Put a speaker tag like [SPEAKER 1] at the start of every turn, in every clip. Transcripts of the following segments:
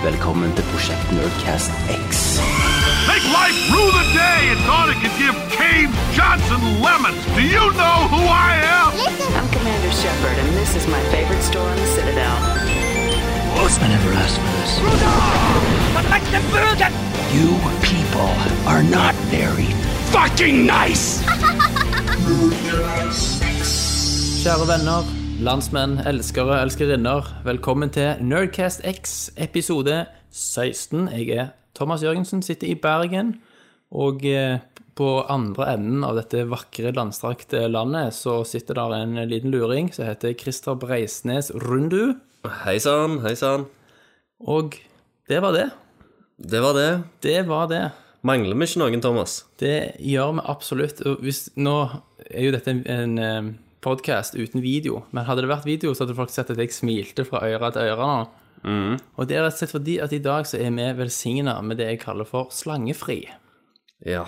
[SPEAKER 1] velkommen til Prosjekt Nerdcast X.
[SPEAKER 2] Make life rue the day and thought it could give Cave Johnson lemons. Do you know who I am?
[SPEAKER 3] I'm Commander Shepard, and this is my favorite store in the Citadel.
[SPEAKER 4] I never asked for this. You people are not very fucking nice!
[SPEAKER 5] Kjære venner, landsmenn, elskere, elskerinner. Velkommen til Nerdcast X episode 16. Jeg er Thomas Jørgensen, sitter i Bergen. Og eh, på andre enden av dette vakre, landstrakte landet så sitter der en liten luring som heter Christer Breisnes Rundu.
[SPEAKER 6] Hei sann, hei sann.
[SPEAKER 5] Og det var det.
[SPEAKER 6] Det var det.
[SPEAKER 5] Det var det.
[SPEAKER 6] Mangler vi ikke noen, Thomas?
[SPEAKER 5] Det gjør vi absolutt. Og hvis, nå er jo dette en, en podkast uten video, men hadde det vært video, så hadde folk sett at jeg smilte fra øre til øre. nå. Og det er rett og slett fordi at i dag så er vi velsigna med det jeg kaller for slangefri.
[SPEAKER 6] Ja.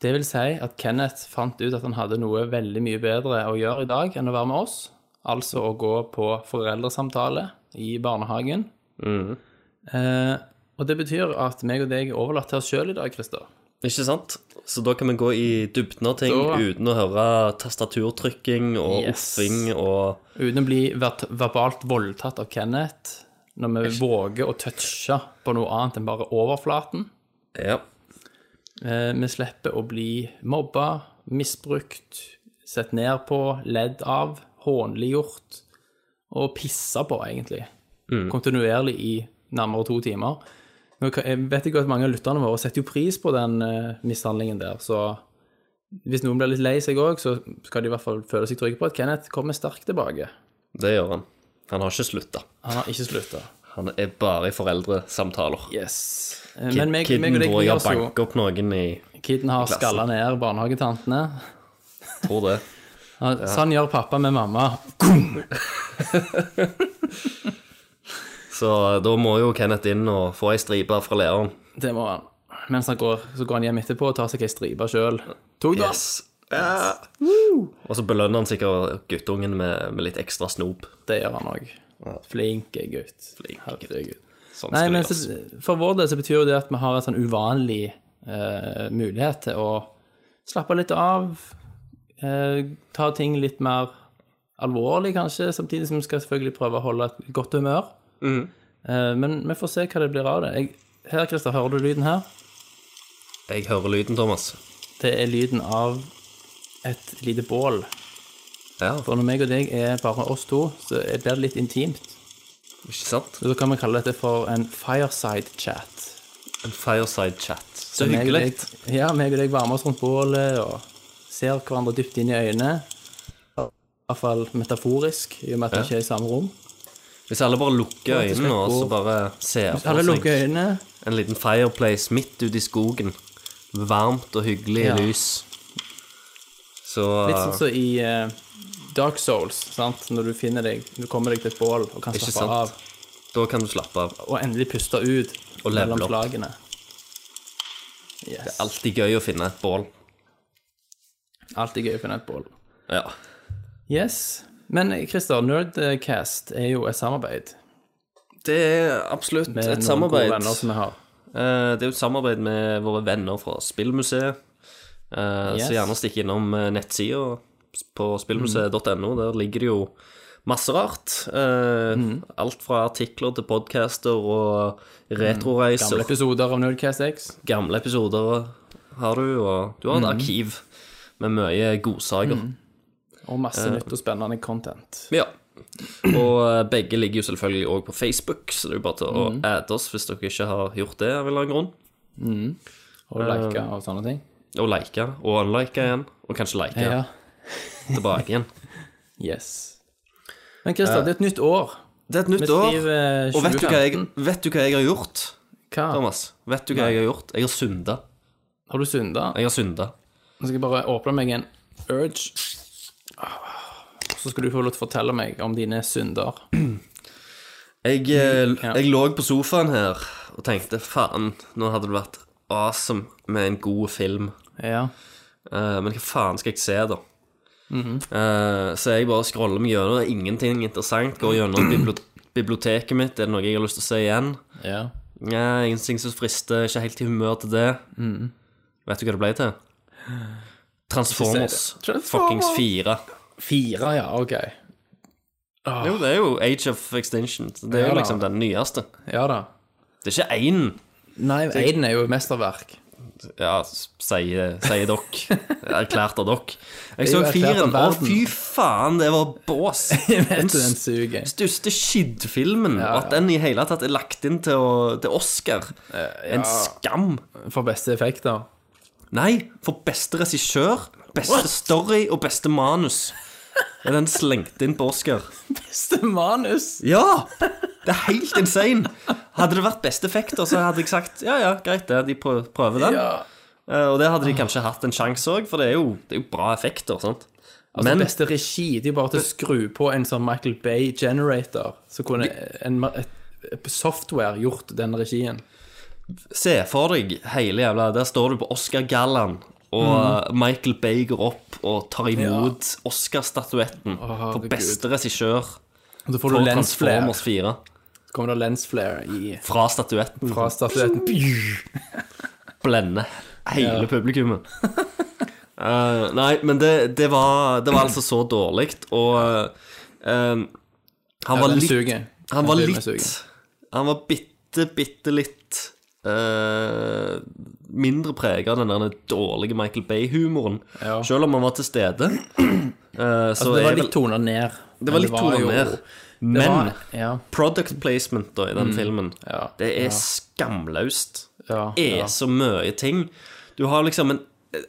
[SPEAKER 5] Det vil si at Kenneth fant ut at han hadde noe veldig mye bedre å gjøre i dag enn å være med oss. Altså å gå på foreldresamtale i barnehagen. Eh, og det betyr at meg og deg er overlatt til oss sjøl i dag, Christer.
[SPEAKER 6] Ikke sant? Så da kan vi gå i dybden av ting
[SPEAKER 5] Da-
[SPEAKER 6] uten å høre tastaturtrykking og
[SPEAKER 5] Yes.
[SPEAKER 6] offing og
[SPEAKER 5] Uten å bli vert- verbalt voldtatt av Kenneth, når vi våger å touche på noe annet enn bare overflaten.
[SPEAKER 6] Ja.
[SPEAKER 5] Eh, vi slipper å bli mobba, misbrukt, sett ned på, ledd av, hånliggjort og pissa på, egentlig. Kontinuerlig i nærmere to timer. Nå kan- jeg vet ikke at mange av lytterne våre setter jo pris på den eh, mishandlingen der, så hvis noen blir litt lei seg òg, så skal de i hvert fall føle seg trygge på at Kenneth kommer sterkt tilbake.
[SPEAKER 6] Det gjør han. Han har ikke slutta.
[SPEAKER 5] Han har ikke slutta.
[SPEAKER 6] Han er bare i foreldresamtaler.
[SPEAKER 5] Yes. Eh, Men meg,
[SPEAKER 6] Kidden
[SPEAKER 5] meg og deg
[SPEAKER 6] tror
[SPEAKER 5] vi
[SPEAKER 6] jeg
[SPEAKER 5] har
[SPEAKER 6] har
[SPEAKER 5] så
[SPEAKER 6] banket opp noen i
[SPEAKER 5] Kidden har
[SPEAKER 6] klassen.
[SPEAKER 5] skalla ned barnehagetantene.
[SPEAKER 6] Tror det.
[SPEAKER 5] Han- Sånn gjør pappa med mamma.
[SPEAKER 6] Så da må jo Kenneth inn og få ei stripe fra læreren.
[SPEAKER 5] Det må han. Mens han går, så går han hjem etterpå og tar seg ei stripe sjøl. Tok du den?
[SPEAKER 6] Yes. Ja. Og så belønner han sikkert guttungen med, med litt ekstra snop.
[SPEAKER 5] Det gjør han òg. Flink gutt. Herregud.
[SPEAKER 6] Sånn
[SPEAKER 5] Nei,
[SPEAKER 6] skal
[SPEAKER 5] men
[SPEAKER 6] det gjøres.
[SPEAKER 5] så, for vår del så betyr jo det at vi har en sånn uvanlig eh, mulighet til å slappe litt av, eh, ta ting litt mer alvorlig kanskje, samtidig som vi skal selvfølgelig prøve å holde et godt humør. Eh, men vi får se hva det blir av det. Jeg, her, Christer, hører du lyden her?
[SPEAKER 6] Jeg hører lyden, Thomas.
[SPEAKER 5] Det er lyden av et lite bål.
[SPEAKER 6] Ja,
[SPEAKER 5] For når meg og deg er bare oss to, så er det litt intimt.
[SPEAKER 6] ikke sant?
[SPEAKER 5] Så da kan vi kalle dette for en fireside chat.
[SPEAKER 6] En fireside chat. Så
[SPEAKER 5] meg og
[SPEAKER 6] hyggelig.
[SPEAKER 5] deg- Ja, meg og deg varmer oss rundt bålet og ser hverandre dypt inn i øynene. I hvert fall metaforisk, i og med at vi ikke er i samme rom.
[SPEAKER 6] Hvis alle bare lukker
[SPEAKER 5] til
[SPEAKER 6] øynene
[SPEAKER 5] slutt
[SPEAKER 6] og så
[SPEAKER 5] går-
[SPEAKER 6] bare ser
[SPEAKER 5] Hvis alle lukker øynene
[SPEAKER 6] en liten fireplace midt ute i skogen. Varmt og hyggelig
[SPEAKER 5] Ja.
[SPEAKER 6] lys. Så
[SPEAKER 5] Litt sånn som i eh, Dark Souls, sant? når du finner deg Du kommer deg til et bål og kan
[SPEAKER 6] Ikke
[SPEAKER 5] slappe
[SPEAKER 6] sant?
[SPEAKER 5] av.
[SPEAKER 6] da kan du slappe av.
[SPEAKER 5] Og endelig puste ut
[SPEAKER 6] Og level
[SPEAKER 5] mellom
[SPEAKER 6] opp.
[SPEAKER 5] slagene. Yes.
[SPEAKER 6] Alltid gøy å finne et bål.
[SPEAKER 5] Alltid gøy å finne et bål.
[SPEAKER 6] Ja.
[SPEAKER 5] Yes. Men eh, Christer, Nerdcast er jo et samarbeid
[SPEAKER 6] Det er absolutt
[SPEAKER 5] med
[SPEAKER 6] et
[SPEAKER 5] noen
[SPEAKER 6] samarbeid.
[SPEAKER 5] gode venner som vi har.
[SPEAKER 6] Eh, Det er jo et samarbeid med våre venner fra Spillmuseet. Eh,
[SPEAKER 5] Yes.
[SPEAKER 6] Så gjerne stikk innom eh, nettsida på spillmuseet.no. Der ligger det jo masse rart. Eh,
[SPEAKER 5] Mm.
[SPEAKER 6] Alt fra artikler til podcaster og retroreiser.
[SPEAKER 5] Gamle
[SPEAKER 6] Gamle,
[SPEAKER 5] episoder av Nerdcast X.
[SPEAKER 6] episoder har du, og du har et
[SPEAKER 5] Mm.
[SPEAKER 6] arkiv med mye godsaker.
[SPEAKER 5] Og masse
[SPEAKER 6] Eh,
[SPEAKER 5] nytt og spennende content.
[SPEAKER 6] Ja. Og eh, begge ligger jo selvfølgelig òg på Facebook, så det er jo bare til å
[SPEAKER 5] Mm.
[SPEAKER 6] adde oss hvis dere ikke har gjort det av en eller annen grunn.
[SPEAKER 5] Og
[SPEAKER 6] eh,
[SPEAKER 5] like og sånne ting.
[SPEAKER 6] Og like, og unlike igjen, og kanskje like
[SPEAKER 5] Ja.
[SPEAKER 6] tilbake igjen.
[SPEAKER 5] Yes. Men Christer, det er et nytt år.
[SPEAKER 6] Det er et
[SPEAKER 5] Vi
[SPEAKER 6] Eh, nytt år.
[SPEAKER 5] skriver Ah. eh,
[SPEAKER 6] Og vet du, hva jeg,
[SPEAKER 5] 2015.
[SPEAKER 6] vet du hva jeg har gjort?
[SPEAKER 5] Hva?
[SPEAKER 6] Thomas. Vet du hva jeg har gjort? Jeg har synda.
[SPEAKER 5] Har du synda?
[SPEAKER 6] Jeg har synda.
[SPEAKER 5] Nå skal jeg bare åpne meg en urge. Så skal du få lov til å fortelle meg om dine synder. Mm,
[SPEAKER 6] Jeg, eh, jeg lå på sofaen her og tenkte faen, nå hadde det vært awesome med en god film.
[SPEAKER 5] Ja.
[SPEAKER 6] Eh, men hva faen skal jeg se, da?
[SPEAKER 5] Mhm.
[SPEAKER 6] Eh, så jeg bare scroller meg gjennom, det er ingenting interessant. Går gjennom biblio- biblioteket mitt, er det noe jeg har lyst til å se igjen?
[SPEAKER 5] ja.
[SPEAKER 6] Ja, ingenting som frister, ikke helt i humør til det.
[SPEAKER 5] Mm.
[SPEAKER 6] Vet du hva det ble til? Transformers.
[SPEAKER 5] Ikke si det. Transformers.
[SPEAKER 6] Fuckings fire.
[SPEAKER 5] Fire, ja, ok.
[SPEAKER 6] Jo, det er jo Age of Extinction. så
[SPEAKER 5] Ah.
[SPEAKER 6] Det er
[SPEAKER 5] Ja
[SPEAKER 6] jo
[SPEAKER 5] da.
[SPEAKER 6] liksom den nyeste.
[SPEAKER 5] Ja da.
[SPEAKER 6] Det er ikke én
[SPEAKER 5] Nei, Aiden er jo et mesterverk.
[SPEAKER 6] Ja, s- sier sier dere. Erklært av dere. Jeg så
[SPEAKER 5] jo erklært av
[SPEAKER 6] firen. Å,
[SPEAKER 5] verden.
[SPEAKER 6] fy faen, det var bås.
[SPEAKER 5] Vet du, den suger.
[SPEAKER 6] største skiddfilmen. Og at den i hele tatt er lagt inn til, å, til Oscar.
[SPEAKER 5] Eh,
[SPEAKER 6] En skam.
[SPEAKER 5] For beste effekter.
[SPEAKER 6] Nei, for beste regissør, beste story og beste manus. Er den slengt inn på Oscar?
[SPEAKER 5] Beste manus!
[SPEAKER 6] Ja! Det er helt insane. Hadde det vært beste effekter, så hadde jeg sagt ja, ja, greit det, de prø- prøver den.
[SPEAKER 5] Ja.
[SPEAKER 6] Eh, Og det hadde de kanskje hatt en sjanse òg, for det er, jo, det er jo bra effekter. sant?
[SPEAKER 5] Altså,
[SPEAKER 6] Men
[SPEAKER 5] beste regi, det er bare til å skru på en sånn Michael Bay-generator, så kunne en, et, et software gjort den regien.
[SPEAKER 6] se for deg hele jævla Der står du på Oscar-gallaen, og
[SPEAKER 5] Mm.
[SPEAKER 6] Michael Bay går opp og tar imot Oscar-statuetten for
[SPEAKER 5] herregud.
[SPEAKER 6] beste regissør
[SPEAKER 5] Og så får
[SPEAKER 6] for
[SPEAKER 5] du lensflare.
[SPEAKER 6] Transformers 4
[SPEAKER 5] Så kommer det lensflare i
[SPEAKER 6] fra statuetten.
[SPEAKER 5] fra statuetten.
[SPEAKER 6] blende hele publikummet. Eh, nei, men det, det, var, det var altså så dårlig, og eh, han, var
[SPEAKER 5] den
[SPEAKER 6] litt,
[SPEAKER 5] suger. Den
[SPEAKER 6] han var
[SPEAKER 5] filmen
[SPEAKER 6] litt
[SPEAKER 5] suger.
[SPEAKER 6] Han var bitte, bitte litt eh, mindre prega av den der dårlige Michael Bay-humoren.
[SPEAKER 5] Ja.
[SPEAKER 6] Selv om han var til stede. eh, så
[SPEAKER 5] Altså, det
[SPEAKER 6] er
[SPEAKER 5] var
[SPEAKER 6] vel-
[SPEAKER 5] litt toner ned.
[SPEAKER 6] det var litt toner ned. Men
[SPEAKER 5] var- ja.
[SPEAKER 6] product placement da, i den filmen,
[SPEAKER 5] Mm. ja,
[SPEAKER 6] det er skamløst.
[SPEAKER 5] Ja,
[SPEAKER 6] det er
[SPEAKER 5] ja.
[SPEAKER 6] så mye ting. Du har liksom en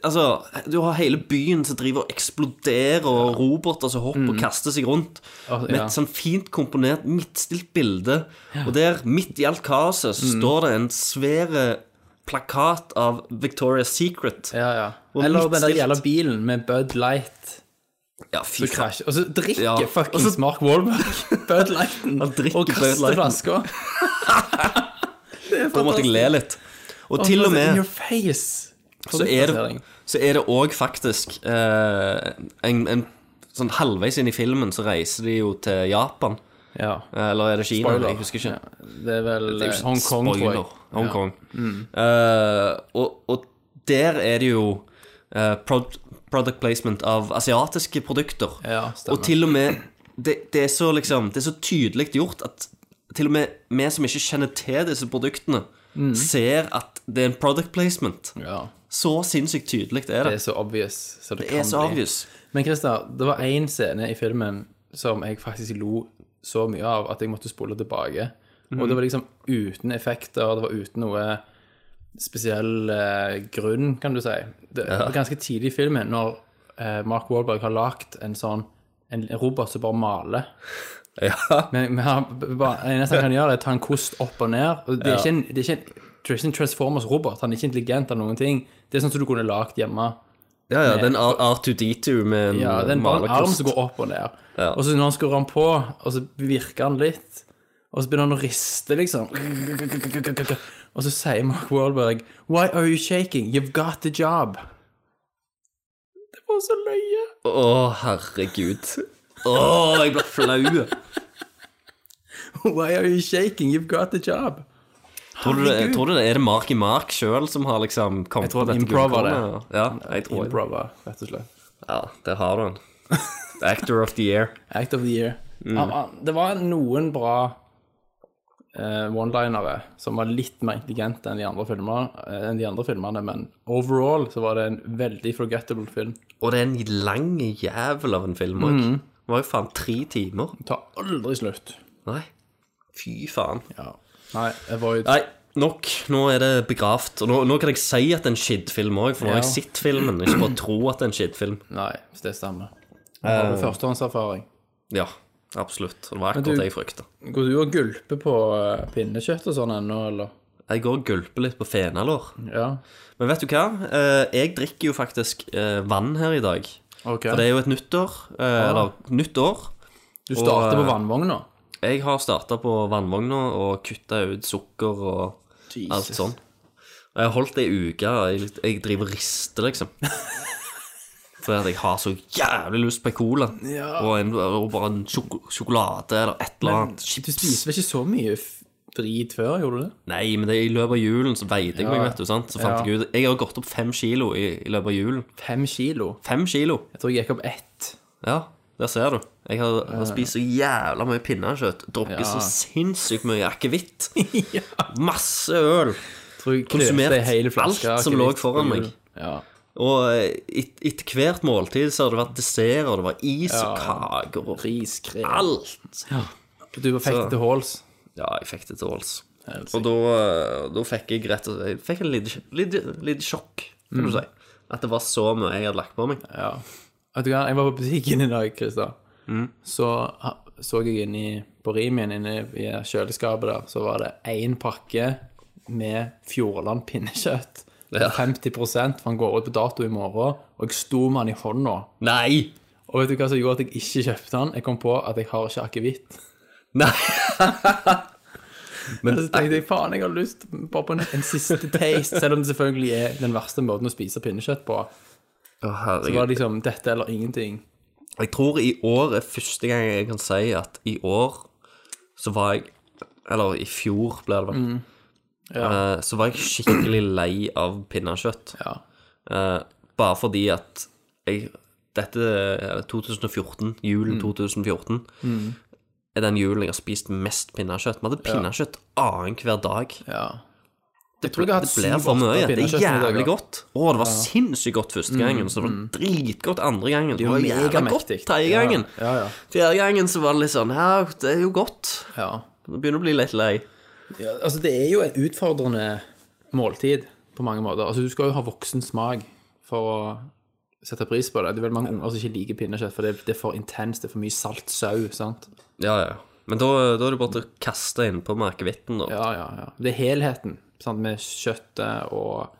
[SPEAKER 6] Altså, du har hele byen som driver og eksploderer, og roboter som hopper og kaster seg rundt.
[SPEAKER 5] Ah,
[SPEAKER 6] Med
[SPEAKER 5] Mm. ja.
[SPEAKER 6] et sånn fint komponert, midtstilt bilde. Og der, midt i alt kaoset, så
[SPEAKER 5] Mm.
[SPEAKER 6] står det en svær plakat av Victoria's Secret.
[SPEAKER 5] Ja, ja.
[SPEAKER 6] Og
[SPEAKER 5] Eller den der
[SPEAKER 6] midtstilt.
[SPEAKER 5] jævla bilen med Bud Light
[SPEAKER 6] Ja,
[SPEAKER 5] som
[SPEAKER 6] fy faen.
[SPEAKER 5] krasjer. Og så drikker
[SPEAKER 6] Ja.
[SPEAKER 5] fuckings
[SPEAKER 6] Og så-
[SPEAKER 5] Mark Wahlberg Bud Lighten
[SPEAKER 6] Han drikker
[SPEAKER 5] og
[SPEAKER 6] Bud Lighten.
[SPEAKER 5] kaster flaska.
[SPEAKER 6] Da måtte jeg le litt. Og til og
[SPEAKER 5] In
[SPEAKER 6] med
[SPEAKER 5] your face.
[SPEAKER 6] så er det, så er det også faktisk eh, en, en sånn halvveis inn i filmen så reiser de jo til Japan.
[SPEAKER 5] ja.
[SPEAKER 6] Eh, Eller er det Kina?
[SPEAKER 5] Spoiler.
[SPEAKER 6] Jeg husker ikke.
[SPEAKER 5] Det er vel
[SPEAKER 6] Det er jo
[SPEAKER 5] eh,
[SPEAKER 6] ikke
[SPEAKER 5] Hong Kong, tror jeg. Mm.
[SPEAKER 6] spoiler. Hong Kong. Eh, og, og der er det jo eh, prod product placement av asiatiske produkter.
[SPEAKER 5] Ja, stemmer.
[SPEAKER 6] og til og med det, det er så liksom Det er så tydelig gjort at til og med vi som ikke kjenner til disse produktene, ser at det er en product placement.
[SPEAKER 5] Mm. Ja.
[SPEAKER 6] Så sinnssykt tydelig er
[SPEAKER 5] Det
[SPEAKER 6] det.
[SPEAKER 5] er så obvious. Så det,
[SPEAKER 6] Det er
[SPEAKER 5] kan
[SPEAKER 6] så
[SPEAKER 5] bli.
[SPEAKER 6] obvious.
[SPEAKER 5] Men Christer, det var én scene i filmen som jeg faktisk lo så mye av at jeg måtte spole tilbake. Og det var liksom uten effekter, det var uten noe spesiell eh, grunn, kan du si. Det var ganske tidlig i filmen, når eh, Mark Wahlberg har lagd en sånn en robot som bare maler.
[SPEAKER 6] Ja.
[SPEAKER 5] Men, men han, bare, det eneste han kan gjøre, er å ta en kost opp og ned. Og det, er ikke en, det, er ikke en, det er ikke en Transformers-robot. Han er ikke intelligent eller noen ting. Det er sånn som du kunne lagd hjemme.
[SPEAKER 6] Ja, ja, den R2D2 med en
[SPEAKER 5] Ja, det er en bare en arm som går opp og ned. Og så når han skrur han på, og så virker han litt, og så begynner han å riste, liksom. Og så sier Mark Wahlberg Why are you shaking? You've got the job. Det var så løye.
[SPEAKER 6] Å, herregud. Å, jeg blir flau.
[SPEAKER 5] Why are you shaking? You've got the job.
[SPEAKER 6] Tror du, det- tror du det er det Mark i Mark sjøl som har liksom kommet
[SPEAKER 5] Jeg tror
[SPEAKER 6] på dette
[SPEAKER 5] improv var det.
[SPEAKER 6] gullkornet? Ja, jeg tror det.
[SPEAKER 5] Improva, rett og slett.
[SPEAKER 6] Ja, der har du den. Actor of the year.
[SPEAKER 5] Act of the year. Han- han- Det var noen bra eh, one-linere som var litt mer intelligente enn de, andre filmer, eh, enn de andre filmene, men overall så var det en veldig forgettable film.
[SPEAKER 6] Og det er en lang jævel av en film òg. Den var jo faen tre timer.
[SPEAKER 5] Tar aldri slutt.
[SPEAKER 6] Nei. Fy faen.
[SPEAKER 5] Ja. Nei, Avoid.
[SPEAKER 6] Nei, nok. Nå er det begravd. Og nå, nå kan jeg si at det er en skittfilm òg, for nå
[SPEAKER 5] Ja.
[SPEAKER 6] har jeg sett filmen. Ikke bare tro at det er en skittfilm.
[SPEAKER 5] Nei, så det stemmer. Har du førstehåndserfaring?
[SPEAKER 6] Ja, absolutt. Og Det var
[SPEAKER 5] du-
[SPEAKER 6] akkurat det jeg frykta.
[SPEAKER 5] Går du og gulper på eh, pinnekjøtt og sånn ennå, eller?
[SPEAKER 6] Jeg går og gulper litt på fenalår.
[SPEAKER 5] Ja.
[SPEAKER 6] Men vet du hva? Eh, Jeg drikker jo faktisk eh, vann her i dag.
[SPEAKER 5] Ok. Ah.
[SPEAKER 6] For det er jo et nytt år. eh, Eller nytt år.
[SPEAKER 5] Du starter
[SPEAKER 6] og,
[SPEAKER 5] på vannvogna.
[SPEAKER 6] Jeg har starta på vannvogna og kutta ut sukker og alt sånn. Og jeg har holdt det i uke. Jeg, jeg driver og rister, liksom. Fordi at jeg har så jævlig lyst på en cola og, en, og bare en sjoko- sjokolade eller et eller annet.
[SPEAKER 5] Du spiser vel ikke så mye f- drit før, gjorde du det?
[SPEAKER 6] Nei, men det, er i løpet av julen så veide jeg meg, vet du. sant? Så fant
[SPEAKER 5] Ja.
[SPEAKER 6] jeg ut Jeg har gått opp fem kilo i, i løpet av julen.
[SPEAKER 5] Fem kilo.
[SPEAKER 6] Fem kilo!
[SPEAKER 5] Jeg tror jeg gikk opp ett.
[SPEAKER 6] Ja, der ser du. Jeg har, har spist så jævla mye pinnekjøtt. Drukket
[SPEAKER 5] Ja.
[SPEAKER 6] så sinnssykt mye akevitt. Masse øl.
[SPEAKER 5] Tror jeg
[SPEAKER 6] Konsumert
[SPEAKER 5] knøste en hel flaske
[SPEAKER 6] alt som
[SPEAKER 5] akevitt
[SPEAKER 6] lå foran
[SPEAKER 5] på jul.
[SPEAKER 6] meg.
[SPEAKER 5] Ja.
[SPEAKER 6] Og eh, et, etter hvert måltid så har det vært dessert, og det var is og
[SPEAKER 5] Ja.
[SPEAKER 6] kaker og
[SPEAKER 5] Ris, krem.
[SPEAKER 6] alt.
[SPEAKER 5] Du var fekt
[SPEAKER 6] Så-
[SPEAKER 5] til halls.
[SPEAKER 6] Ja, jeg fikk det til alls. Og
[SPEAKER 5] Helsike.
[SPEAKER 6] da, eh, da fikk jeg rett og slett jeg fikk en liten liten- liten sjokk, kan du si. At det var så mye jeg hadde lagt på meg.
[SPEAKER 5] Ja. Vet du hva, jeg var på butikken i dag, Christer.
[SPEAKER 6] Mm.
[SPEAKER 5] Så ha- så jeg inni på Rimin, inne i kjøleskapet der, så var det én pakke med Fjordland pinnekjøtt.
[SPEAKER 6] Ja.
[SPEAKER 5] 50 for han går ut på dato i morgen, og jeg sto med han i hånda.
[SPEAKER 6] Nei!
[SPEAKER 5] Og vet du hva som gjorde at jeg ikke kjøpte den? Jeg kom på at jeg har ikke akevitt.
[SPEAKER 6] Nei!
[SPEAKER 5] Men så tenkte jeg faen, jeg har lyst bare på en, en siste taste, selv om det selvfølgelig er den verste måten å spise pinnekjøtt på.
[SPEAKER 6] Å,
[SPEAKER 5] Det
[SPEAKER 6] herregud.
[SPEAKER 5] var liksom dette eller ingenting.
[SPEAKER 6] Jeg tror i år er første gang jeg kan si at i år så var jeg Eller i fjor ble det vel. eh, så var jeg skikkelig lei av pinnekjøtt.
[SPEAKER 5] Ja.
[SPEAKER 6] Eh, bare fordi at jeg Dette er 2014, julen
[SPEAKER 5] Mm.
[SPEAKER 6] 2014, er den julen jeg har spist mest pinnekjøtt. Vi hadde pinnekjøtt annenhver dag.
[SPEAKER 5] ja.
[SPEAKER 6] Det,
[SPEAKER 5] tror jeg har hatt
[SPEAKER 6] ble
[SPEAKER 5] syv,
[SPEAKER 6] for
[SPEAKER 5] åtte
[SPEAKER 6] mye. Det
[SPEAKER 5] pinnekjøtt
[SPEAKER 6] er
[SPEAKER 5] middager.
[SPEAKER 6] jævlig godt. Å, det var sinnssykt
[SPEAKER 5] Mm,
[SPEAKER 6] godt første gangen, så det var dritgodt andre gangen. Det var jævla godt
[SPEAKER 5] megamektig.
[SPEAKER 6] tredje
[SPEAKER 5] Ja,
[SPEAKER 6] gangen.
[SPEAKER 5] ja, ja.
[SPEAKER 6] Fjerde gangen så var det litt sånn Ja, det er jo godt.
[SPEAKER 5] ja.
[SPEAKER 6] Nå begynner jeg å bli litt lei.
[SPEAKER 5] Ja, altså det er jo en utfordrende måltid på mange måter. Altså du skal jo ha voksen smak for å sette pris på det. Det er vel mange unger som ikke liker pinnekjøtt, for det, det er for intenst, det er for mye salt sau, sant?
[SPEAKER 6] Ja, ja. Men da, da er det bare til å kaste innpå merkevitten, da.
[SPEAKER 5] Ja, ja, ja. Det er helheten, sant, med kjøttet og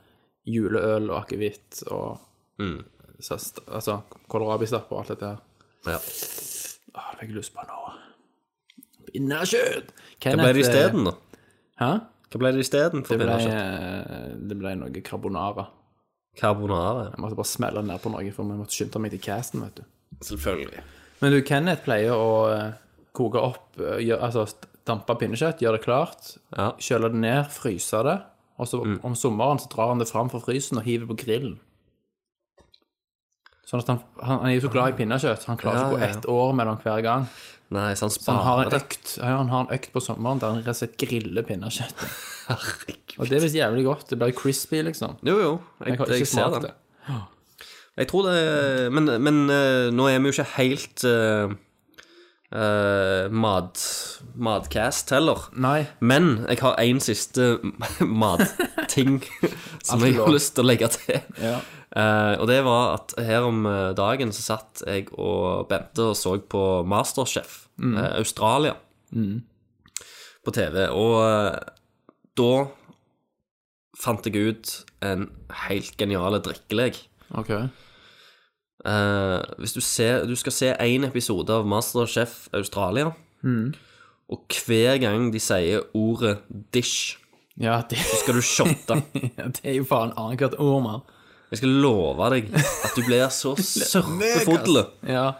[SPEAKER 5] juleøl og akevitt og
[SPEAKER 6] Mm.
[SPEAKER 5] så, altså, kålrabistappe og alt dette her.
[SPEAKER 6] Ja.
[SPEAKER 5] Åh, det fikk jeg lyst på nå. Pinnekjøtt! eh,
[SPEAKER 6] Hva ble det isteden, da?
[SPEAKER 5] Hæ?
[SPEAKER 6] Hva ble det isteden for
[SPEAKER 5] Det ble, eh,
[SPEAKER 6] pinnekjøtt?
[SPEAKER 5] det ble noe carbonara.
[SPEAKER 6] Carbonara.
[SPEAKER 5] Jeg måtte bare smelle ned på noe, for vi måtte skynde meg til casten, vet du.
[SPEAKER 6] Selvfølgelig.
[SPEAKER 5] Men du, Kenneth pleier å eh, koke opp, eh, gjør, altså st- dampe pinnekjøtt, gjøre det klart,
[SPEAKER 6] Ja. Mm.
[SPEAKER 5] kjøle det ned, fryse det, og så om sommeren så drar han det fram fra frysen og hiver på grillen. Sånn at han, han, han er jo så glad i pinnekjøtt, han klarer
[SPEAKER 6] Ah.
[SPEAKER 5] ikke
[SPEAKER 6] Ja,
[SPEAKER 5] å gå
[SPEAKER 6] ja, ja.
[SPEAKER 5] ett år mellom hver gang.
[SPEAKER 6] Nei, sånn så han
[SPEAKER 5] Så han har
[SPEAKER 6] sparer
[SPEAKER 5] en
[SPEAKER 6] det.
[SPEAKER 5] økt, ja, han har en økt på sommeren der han rett og slett griller pinnekjøtt.
[SPEAKER 6] Herregud.
[SPEAKER 5] Og det er visst jævlig godt, det blir crispy liksom.
[SPEAKER 6] Jo, jo. Jeg,
[SPEAKER 5] Jeg har
[SPEAKER 6] jeg,
[SPEAKER 5] ikke
[SPEAKER 6] ser
[SPEAKER 5] smakt
[SPEAKER 6] den.
[SPEAKER 5] det.
[SPEAKER 6] Jeg tror det Men, men eh, nå er vi jo ikke helt uh, mat, Matcast heller.
[SPEAKER 5] Nei,
[SPEAKER 6] Men jeg har en siste matting som jeg har
[SPEAKER 5] lov.
[SPEAKER 6] lyst til å legge til.
[SPEAKER 5] Ja.
[SPEAKER 6] Eh, og det var at her om eh, dagen så satt jeg og Bente og så på Masterchef
[SPEAKER 5] Mm.
[SPEAKER 6] eh, Australia på TV. Og eh, da fant jeg ut en helt genial drikkelek.
[SPEAKER 5] ok.
[SPEAKER 6] Eh, hvis du, ser, du skal se én episode av Masterchef Australia,
[SPEAKER 5] Mm.
[SPEAKER 6] og hver gang de sier ordet 'dish',
[SPEAKER 5] Ja, det,
[SPEAKER 6] skal du shotte.
[SPEAKER 5] det er jo faen annet hvert år, mann.
[SPEAKER 6] Jeg skal love deg at du blir så sørpefodle.
[SPEAKER 5] Ja,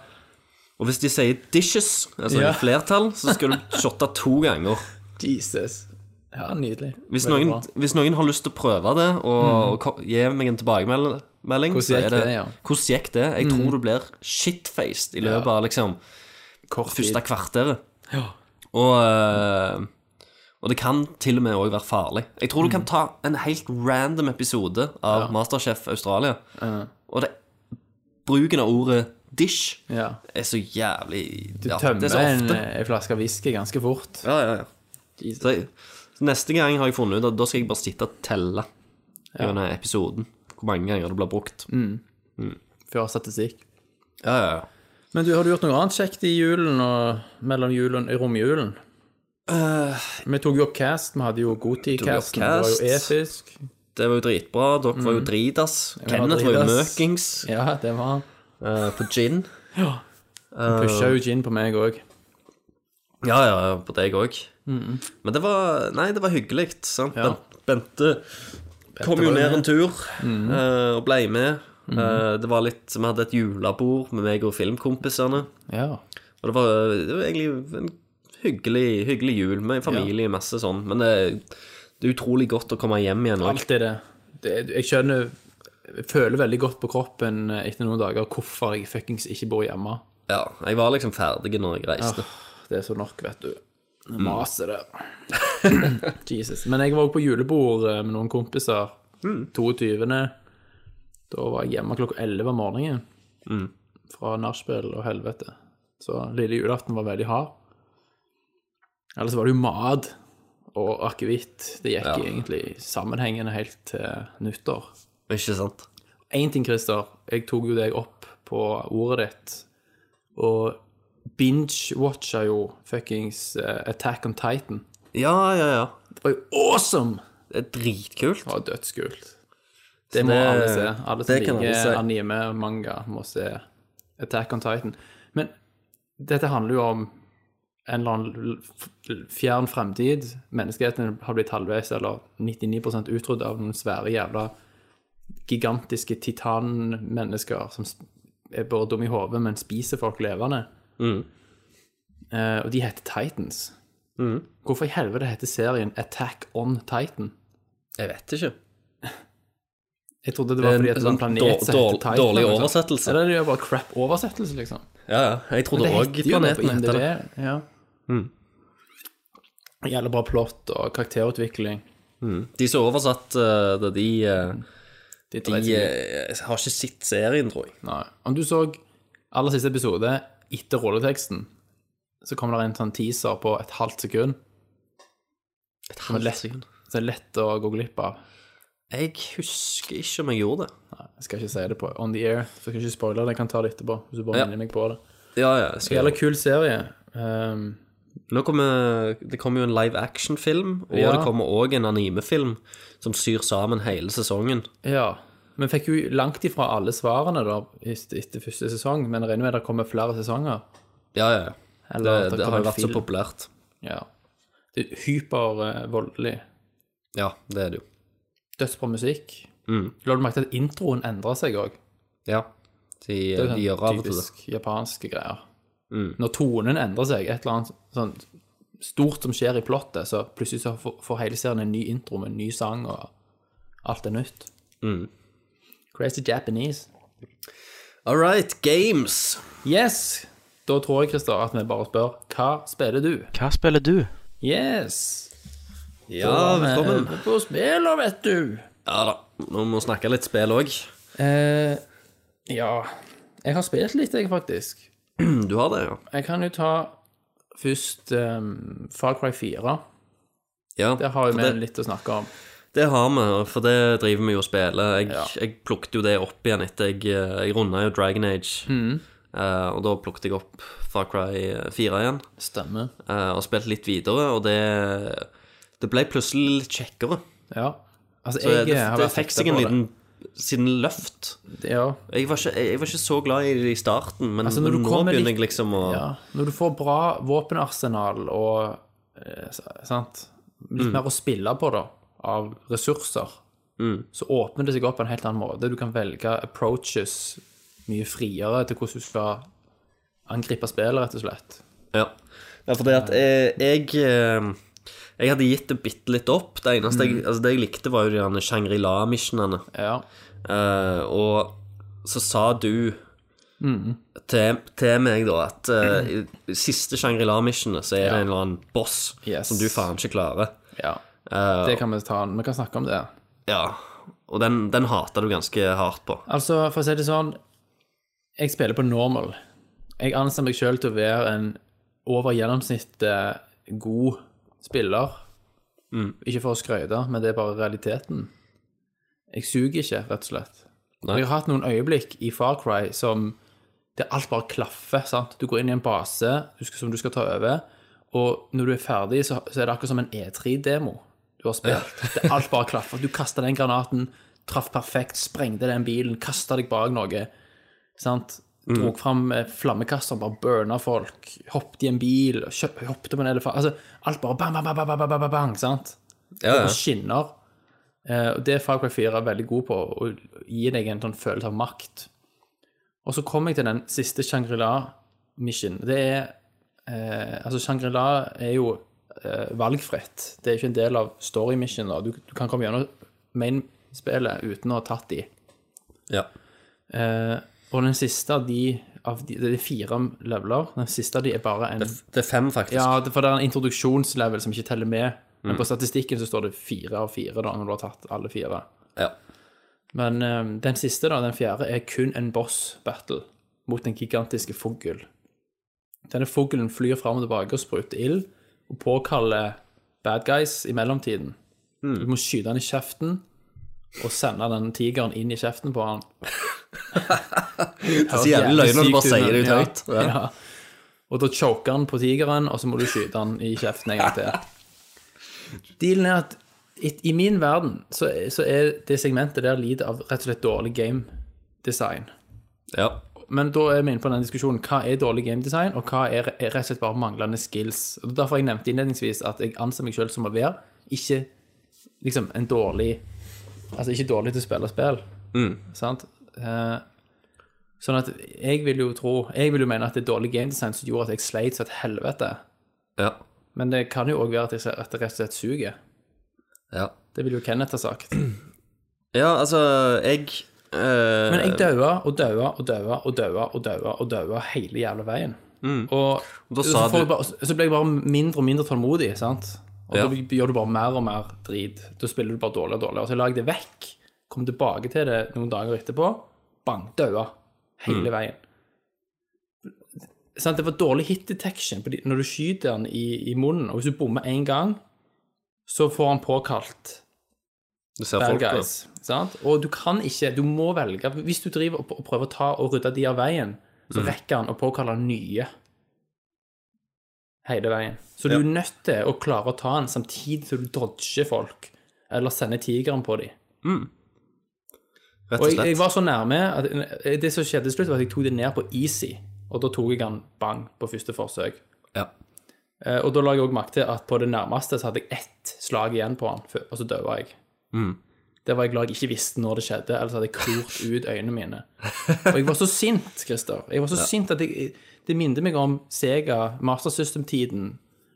[SPEAKER 6] Og hvis de sier 'dishes', altså
[SPEAKER 5] Ja.
[SPEAKER 6] i flertall, så skal du shotte to ganger.
[SPEAKER 5] Jesus. Ja, nydelig.
[SPEAKER 6] Hvis
[SPEAKER 5] Veldig
[SPEAKER 6] noen,
[SPEAKER 5] bra. Mm.
[SPEAKER 6] hvis noen har lyst til å prøve det, og ko- gi meg en tilbakemelding
[SPEAKER 5] Hvordan gikk det, ja. Mm.
[SPEAKER 6] Hvordan gikk det? Jeg tror du blir shitfaced i løpet av liksom
[SPEAKER 5] Kort tid.
[SPEAKER 6] første kvarteret.
[SPEAKER 5] Ja.
[SPEAKER 6] Og, eh, og det kan til og med òg være farlig. Jeg tror
[SPEAKER 5] Mm.
[SPEAKER 6] du kan ta en helt random episode av Masterchef Australia, og det, bruken av ordet 'dish'
[SPEAKER 5] Ja.
[SPEAKER 6] er så jævlig
[SPEAKER 5] Du
[SPEAKER 6] ja,
[SPEAKER 5] tømmer
[SPEAKER 6] det er så
[SPEAKER 5] en, eh,
[SPEAKER 6] ofte.
[SPEAKER 5] en flaske whisky ganske fort.
[SPEAKER 6] Ja, ja, ja. Så, jeg, så neste gang har jeg funnet ut at da skal jeg bare sitte og telle gjennom episoden. Hvor mange ganger det blir brukt.
[SPEAKER 5] Mm. Før statistikk.
[SPEAKER 6] Ja, ja, ja.
[SPEAKER 5] Men du, har du gjort noe annet kjekt i julen og mellom julen og romjulen? Vi tok jo opp cast, vi hadde jo Goti-cast, det
[SPEAKER 6] Eh, Tok opp
[SPEAKER 5] var jo
[SPEAKER 6] cast.
[SPEAKER 5] episk.
[SPEAKER 6] Det var jo dritbra. Dere var jo dritas.
[SPEAKER 5] Mm. var
[SPEAKER 6] Kenneth var jo
[SPEAKER 5] dritas.
[SPEAKER 6] møkings
[SPEAKER 5] Ja, det var han.
[SPEAKER 6] eh, på gin. Eh.
[SPEAKER 5] Pusha jo gin på meg òg.
[SPEAKER 6] Ja, ja, på deg òg. Men det var Nei, det var hyggelig. Sant?
[SPEAKER 5] Ja.
[SPEAKER 6] Ben- Bente kom jo
[SPEAKER 5] var
[SPEAKER 6] ned
[SPEAKER 5] med. Mm-hmm.
[SPEAKER 6] en tur eh, og ble med. Eh, det var litt Vi hadde et julebord med meg og filmkompisene.
[SPEAKER 5] Ja.
[SPEAKER 6] Og det var, det var egentlig en hyggelig, hyggelig jul med familie, masse sånn. Men det, det er utrolig godt å komme hjem igjen òg.
[SPEAKER 5] Alt er det. det jeg skjønner jeg føler veldig godt på kroppen etter noen dager hvorfor jeg fuckings ikke bor hjemme.
[SPEAKER 6] Ja, jeg var liksom ferdig når jeg reiste.
[SPEAKER 5] Det er så nok, vet du. Jeg Maser det. Jesus. Men jeg var også på julebord eh, med noen kompiser 22. Da var jeg hjemme klokka 11 om morgenen fra nachspiel og helvete. Så lille julaften var veldig hard. Ellers var det jo mat og akevitt. Det gikk egentlig sammenhengende helt til nyttår.
[SPEAKER 6] Ikke sant?
[SPEAKER 5] Én ting, Christer. Jeg tok jo deg opp på ordet ditt. Og binge-watcha jo fuckings eh, Attack on Titan.
[SPEAKER 6] Ja, ja, ja.
[SPEAKER 5] Det var jo awesome!
[SPEAKER 6] Det er dritkult.
[SPEAKER 5] Det var dødskult. Det
[SPEAKER 6] Så
[SPEAKER 5] må
[SPEAKER 6] det-
[SPEAKER 5] alle se. Alle som
[SPEAKER 6] det kan alle
[SPEAKER 5] liker
[SPEAKER 6] se.
[SPEAKER 5] anime og manga, må se Attack on Titan. Men dette handler jo om en eller annen l- f- fjern fremtid. Menneskeheten har blitt halvveis eller 99 utryddet av noen svære jævla gigantiske titanmennesker som sp- er bare dumme i hodet, men spiser folk levende.
[SPEAKER 6] Mm.
[SPEAKER 5] Eh, og de heter Titans.
[SPEAKER 6] Mm.
[SPEAKER 5] Hvorfor i helvete heter serien Attack on Titan?
[SPEAKER 6] Jeg vet ikke.
[SPEAKER 5] Jeg trodde det var fordi at det var en planet som
[SPEAKER 6] Dår-
[SPEAKER 5] heter Titan.
[SPEAKER 6] Eh, dårlig
[SPEAKER 5] liksom.
[SPEAKER 6] oversettelse.
[SPEAKER 5] Eller det er bare crap oversettelse, liksom.
[SPEAKER 6] Ja, ja. Jeg trodde òg planeten het det. Mm.
[SPEAKER 5] det. Ja. Jævlig bra plott og karakterutvikling.
[SPEAKER 6] De som oversatt eh, det, de, eh,
[SPEAKER 5] Det
[SPEAKER 6] de
[SPEAKER 5] dreit seg ut.
[SPEAKER 6] eh, har ikke sett serien, tror jeg.
[SPEAKER 5] Nei. Om du så aller siste episode etter rolleteksten, så kommer det en sånn teaser på et halvt sekund.
[SPEAKER 6] Et
[SPEAKER 5] halvt sekund. Så det er lett å gå glipp av.
[SPEAKER 6] Jeg husker ikke om jeg gjorde det.
[SPEAKER 5] Jeg skal ikke si det på on the air, for jeg skal ikke spoile det. Jeg kan ta det etterpå, hvis du bare
[SPEAKER 6] Ja.
[SPEAKER 5] minner meg på det.
[SPEAKER 6] Ja, ja. jeg Skal
[SPEAKER 5] Jævla kul serie. Um,
[SPEAKER 6] Nå kommer, det kommer jo en live action-film, og
[SPEAKER 5] Ja.
[SPEAKER 6] det kommer òg en anime-film som syr sammen hele sesongen.
[SPEAKER 5] Ja. Vi fikk jo langt ifra alle svarene da et- etter første sesong, men regner med det kommer flere sesonger.
[SPEAKER 6] Ja, ja. Det,
[SPEAKER 5] Eller at det
[SPEAKER 6] det
[SPEAKER 5] kommer
[SPEAKER 6] har
[SPEAKER 5] en
[SPEAKER 6] jo vært så
[SPEAKER 5] film.
[SPEAKER 6] populært.
[SPEAKER 5] Ja. Det er hypervoldelig.
[SPEAKER 6] Ja, det er det jo.
[SPEAKER 5] Dødsbra musikk.
[SPEAKER 6] Mm.
[SPEAKER 5] La du merke til at introen endrer seg òg?
[SPEAKER 6] Ja. De, eh, de gjør av og til det.
[SPEAKER 5] sånn Typisk japanske greier.
[SPEAKER 6] Mm.
[SPEAKER 5] Når tonen endrer seg, et eller annet sånn stort som skjer i plottet, så plutselig så får får hele serien en ny intro med en ny sang, og alt er nytt.
[SPEAKER 6] Mm.
[SPEAKER 5] Crazy Japanese.
[SPEAKER 6] All right, games.
[SPEAKER 5] Yes! Da tror jeg, Christer, at vi bare spør hva spiller du?
[SPEAKER 7] Hva spiller du?
[SPEAKER 5] Yes!
[SPEAKER 6] Ja,
[SPEAKER 5] vi
[SPEAKER 6] velkommen.
[SPEAKER 5] er På eh, spiller, vet du.
[SPEAKER 6] Ja da. Nå må vi snakke litt spill òg.
[SPEAKER 5] Eh, ja Jeg har spilt litt, jeg, faktisk.
[SPEAKER 6] Du har det, ja?
[SPEAKER 5] Jeg kan jo ta først um, Far Cry 4.
[SPEAKER 6] Ja.
[SPEAKER 5] Der har jo
[SPEAKER 6] for
[SPEAKER 5] vi
[SPEAKER 6] det,
[SPEAKER 5] litt å snakke om.
[SPEAKER 6] det har vi, for det driver vi jo og spiller. Jeg, jeg plukket jo det opp igjen etter jeg, eh, jeg runda jo Dragon Age.
[SPEAKER 5] Mm.
[SPEAKER 6] Eh, og da plukket jeg opp Far Cry 4 igjen.
[SPEAKER 5] Stemmer.
[SPEAKER 6] eh, og spilt litt videre, og det, det ble plutselig litt kjekkere.
[SPEAKER 5] Ja. Altså,
[SPEAKER 6] Så
[SPEAKER 5] jeg
[SPEAKER 6] det,
[SPEAKER 5] har
[SPEAKER 6] det
[SPEAKER 5] vært
[SPEAKER 6] fikk
[SPEAKER 5] hekta
[SPEAKER 6] seg en
[SPEAKER 5] på
[SPEAKER 6] liten siden løft.
[SPEAKER 5] det. Ja,
[SPEAKER 6] Jeg var, ikke, jeg var ikke så glad i det i starten, men
[SPEAKER 5] Altså, når du
[SPEAKER 6] nå
[SPEAKER 5] kommer
[SPEAKER 6] begynner
[SPEAKER 5] litt-
[SPEAKER 6] jeg liksom å
[SPEAKER 5] ja. Når du får bra våpenarsenal og eh, s- sant? litt mer å spille på, da, av ressurser, så åpner det seg opp på en helt annen måte. Du kan velge approaches mye friere til hvordan du skal angripe spillet, rett og slett.
[SPEAKER 6] Ja, ja for det at eh, jeg eh, Jeg hadde gitt det bitte litt opp. Det eneste jeg, altså det jeg likte, var jo de derne Shangri-La-missionene.
[SPEAKER 5] Ja.
[SPEAKER 6] Eh, og så sa du Mm. til, til meg, da, at eh, i siste Shangri-La-missionet så er det en eller annen boss
[SPEAKER 5] Yes.
[SPEAKER 6] som du faen ikke klarer.
[SPEAKER 5] ja.
[SPEAKER 6] Eh,
[SPEAKER 5] Det kan vi ta Vi kan snakke om det.
[SPEAKER 6] ja. Og den, den hata du ganske hardt på.
[SPEAKER 5] Altså, for å si det sånn Jeg spiller på normal. Jeg anser meg sjøl til å være en over gjennomsnittet eh, god spiller. Ikke for å skryte, men det er bare realiteten. Jeg suger ikke, rett og slett.
[SPEAKER 6] Nei.
[SPEAKER 5] Jeg har hatt noen øyeblikk i Far Cry som det alt bare klaffer. sant? Du går inn i en base du skal, som du skal ta over, Og når du er ferdig, så, så er det akkurat som en E3-demo du har spilt. Det er alt bare klaffer. Du kasta den granaten, traff perfekt, sprengte den bilen, kasta deg bak noe. Sant? Drog fram eh, flammekaster, bare burna folk. Hoppet i en bil, kjø- hoppet på en elefant. Altså, alt bare bang, bang, bang, bang, bang, bang, bang, bang sant?
[SPEAKER 6] Ja,
[SPEAKER 5] Og
[SPEAKER 6] ja.
[SPEAKER 5] skinner. Eh, og det er Far Cry 4 er veldig god på, å gi deg en sånn følelse av makt. Og så kom jeg til den siste Shangri-La-mission. Det er eh, Altså, Shangri-La er jo eh, valgfritt. Det er ikke en del av story-mission. da. Du, du kan komme gjennom main-spillet uten å ha tatt de.
[SPEAKER 6] ja.
[SPEAKER 5] Eh, og den siste av de, av de Det er fire leveler. Den siste av de er bare en
[SPEAKER 6] Det er fem, faktisk.
[SPEAKER 5] ja, det- for det er en introduksjonslevel som ikke teller med. Men på statistikken så står det fire av fire, da, når du har tatt alle fire.
[SPEAKER 6] Ja.
[SPEAKER 5] Men eh, den siste, da, den fjerde, er kun en boss-battle mot den gigantiske fugl. Denne fuglen flyr fram og tilbake og spruter ild, og påkaller bad guys i mellomtiden. Du må skyte han i kjeften, og sende den tigeren inn i kjeften på han.
[SPEAKER 6] så jævlig løgn når du bare sier det ut høyt.
[SPEAKER 5] Ja. Ja. Og da choker han på tigeren, og så må du skyte han i kjeften en gang til. Dealen er at i, i min verden så, er- så er det segmentet der lider av rett og slett dårlig gamedesign.
[SPEAKER 6] ja.
[SPEAKER 5] Men da er vi inne på den diskusjonen hva er dårlig gamedesign, og hva er, er rett og slett bare manglende skills. Og Derfor jeg nevnte innledningsvis at jeg anser meg selv som å være ikke liksom en dårlig Altså ikke dårlig til å spille spill. Sant? Eh, sånn at jeg vil jo tro Jeg vil jo mene at det er dårlig gamedesign som gjorde at jeg sleit som et helvete.
[SPEAKER 6] ja.
[SPEAKER 5] Men det kan jo òg være at jeg at det rett og slett suger.
[SPEAKER 6] ja.
[SPEAKER 5] Det vil jo Kenneth ha sagt.
[SPEAKER 6] Ja, altså, jeg eh,
[SPEAKER 5] Men jeg daua og daua og daua og daua og daua og daua hele jævla veien. Og,
[SPEAKER 6] Mm. Da
[SPEAKER 5] så,
[SPEAKER 6] sa
[SPEAKER 5] får
[SPEAKER 6] du-
[SPEAKER 5] jeg bare, så ble jeg bare mindre og mindre tålmodig, sant? Og
[SPEAKER 6] Ja.
[SPEAKER 5] da gjør du bare mer og mer drit. Da spiller du bare dårligere og dårligere. Og så la jeg det vekk, kom tilbake til det noen dager etterpå, bang, daua hele
[SPEAKER 6] Mm.
[SPEAKER 5] veien. Sant, det var dårlig hit detection fordi når du skyter den i, i munnen, og hvis du bommer én gang, så får han påkalt
[SPEAKER 6] Du ser
[SPEAKER 5] Bad
[SPEAKER 6] folk, da.
[SPEAKER 5] guys. Sant? Og du kan ikke, du må velge Hvis du driver og og prøver å ta og rydde de av veien, så
[SPEAKER 6] Mm.
[SPEAKER 5] rekker han å påkalle nye hele veien. Så du er nødt til å klare å ta han samtidig som du dodger folk, eller sender tigeren på dem.
[SPEAKER 6] Rett
[SPEAKER 5] Og
[SPEAKER 6] og
[SPEAKER 5] jeg, jeg
[SPEAKER 6] slett.
[SPEAKER 5] var så nærme at eh, det som skjedde til slutt, var at jeg tok det ned på easy, og da tok jeg han bang på første forsøk.
[SPEAKER 6] Ja.
[SPEAKER 5] Eh, Og da la jeg òg merke til at på det nærmeste så hadde jeg ett slag igjen på han, før- og så døde jeg.
[SPEAKER 6] Mm.
[SPEAKER 5] Det var jeg glad jeg ikke visste når det skjedde, ellers hadde jeg klort ut øynene mine. Og jeg var så sint, Christer. Jeg var så sint at jeg, det minte meg om Sega Master System-tiden,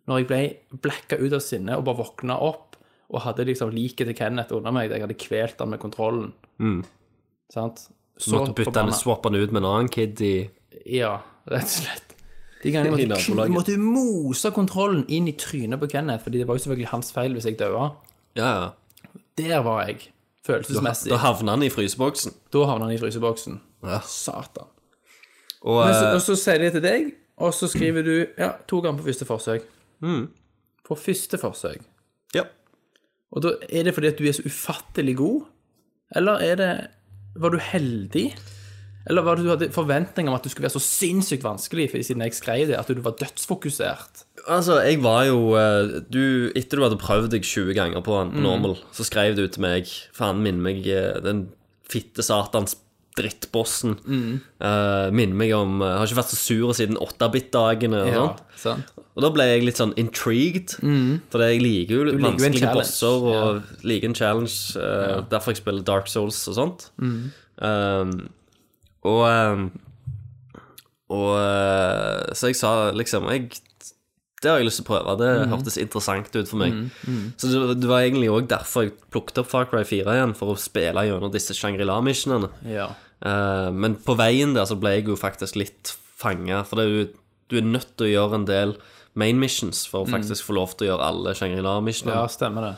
[SPEAKER 5] når jeg ble blacka ut av sinne og bare våkna opp og hadde liksom liket til Kenneth under meg, der jeg hadde kvelt han med kontrollen. Sant?
[SPEAKER 6] Du Mm. måtte bytte den, swappe den ut med en annen kid i
[SPEAKER 5] Ja, rett og slett. De gangene jeg
[SPEAKER 6] I
[SPEAKER 5] måtte,
[SPEAKER 6] nabolaget.
[SPEAKER 5] jeg måtte mose kontrollen inn i trynet på Kenneth, fordi det var jo selvfølgelig hans feil hvis jeg døde.
[SPEAKER 6] Ja, ja.
[SPEAKER 5] Der var jeg, følelsesmessig.
[SPEAKER 6] Da havna han i fryseboksen.
[SPEAKER 5] Da havna han i fryseboksen.
[SPEAKER 6] Ja.
[SPEAKER 5] Satan.
[SPEAKER 6] Og
[SPEAKER 5] Men så,
[SPEAKER 6] eh,
[SPEAKER 5] og så sier de til deg, og så skriver du ja, to ganger på første forsøk. Mm. På første forsøk.
[SPEAKER 6] ja.
[SPEAKER 5] Og da er det fordi at du er så ufattelig god? Eller er det Var du heldig? Eller var det du hadde forventninger om at du skulle være så sinnssykt vanskelig, fordi siden jeg skrev det, at du var dødsfokusert?
[SPEAKER 6] Altså, jeg var jo eh, du, Etter du hadde prøvd deg 20 ganger på en på normal, så skrev du til meg Faen, minn meg eh, den fitte satans drittbossen. Eh, minn meg om eh, Har ikke vært så sur siden 8-bit-dagene. og sånt.
[SPEAKER 5] sant?
[SPEAKER 6] Og da ble jeg litt sånn intrigued, fordi jeg liker jo
[SPEAKER 5] liker jo
[SPEAKER 6] litt
[SPEAKER 5] en
[SPEAKER 6] vanskelige
[SPEAKER 5] challenge,
[SPEAKER 6] bosser og liker en challenge. eh, Derfor jeg spiller Dark Souls og sånt. Um, og um, og eh, Så jeg sa liksom jeg, Det har jeg lyst til å prøve. Det hørtes interessant ut for meg. Så det, det var egentlig òg derfor jeg plukket opp Far Cry 4 igjen, for å spille gjennom disse Shangri-La-missionene.
[SPEAKER 5] Ja.
[SPEAKER 6] Eh, men på veien der så ble jeg jo faktisk litt fanga, for det er jo, du er nødt til å gjøre en del main missions for å faktisk få lov til å gjøre alle Shangri-La-missionene.
[SPEAKER 5] Mm. ja, stemmer det.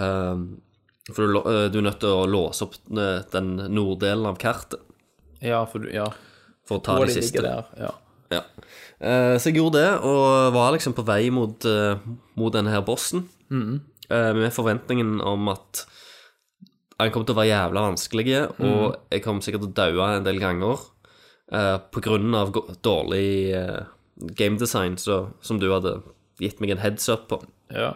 [SPEAKER 6] Eh, for du, lå- eh, du er nødt til å låse opp eh, den norddelen av kartet
[SPEAKER 5] Ja, for du, ja.
[SPEAKER 6] for å ta
[SPEAKER 5] Hvor
[SPEAKER 6] de
[SPEAKER 5] de ligger
[SPEAKER 6] siste.
[SPEAKER 5] der. Ja.
[SPEAKER 6] Ja. Eh, så jeg gjorde det, og var liksom på vei mot, eh, mot denne her bossen. Eh, med forventningen om at han kom til å være jævla vanskelig, og jeg kom sikkert til å daue en del ganger. eh, på grunn av gå- dårlig eh, gamedesign, så- som du hadde gitt meg en heads up på.
[SPEAKER 5] Ja.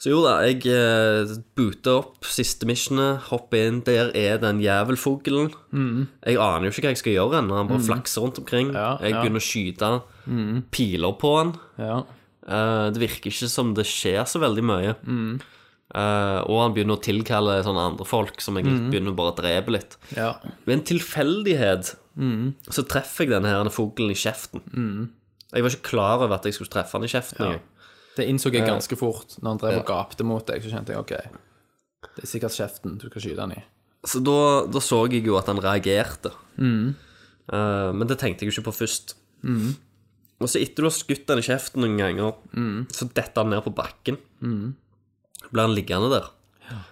[SPEAKER 6] Så jo da, jeg eh, booter opp siste missionet, hopper inn. Der er den jævelfuglen. Jeg aner jo ikke hva jeg skal gjøre ennå. Han bare flakser rundt omkring.
[SPEAKER 5] Mm. Ja,
[SPEAKER 6] jeg
[SPEAKER 5] ja. Mm.
[SPEAKER 6] begynner å skyte piler på han.
[SPEAKER 5] ja.
[SPEAKER 6] Eh, det virker ikke som det skjer så veldig mye.
[SPEAKER 5] Mm.
[SPEAKER 6] Eh, og han begynner å tilkalle sånne andre folk som jeg
[SPEAKER 5] Mm.
[SPEAKER 6] begynner bare å drepe litt.
[SPEAKER 5] ja.
[SPEAKER 6] Ved en tilfeldighet
[SPEAKER 5] Mm.
[SPEAKER 6] så treffer jeg denne her fuglen i kjeften. Jeg var ikke klar over at jeg skulle treffe han i kjeften. engang.
[SPEAKER 5] Det innså jeg ganske fort når han drev og gapte mot deg. Så kjente jeg OK, det er sikkert kjeften du skal skyte han i.
[SPEAKER 6] Så da, da så jeg jo at han reagerte. Eh, men det tenkte jeg jo ikke på først. Og så etter du har skutt han i kjeften noen ganger, så detter han ned på bakken. Blir han liggende der.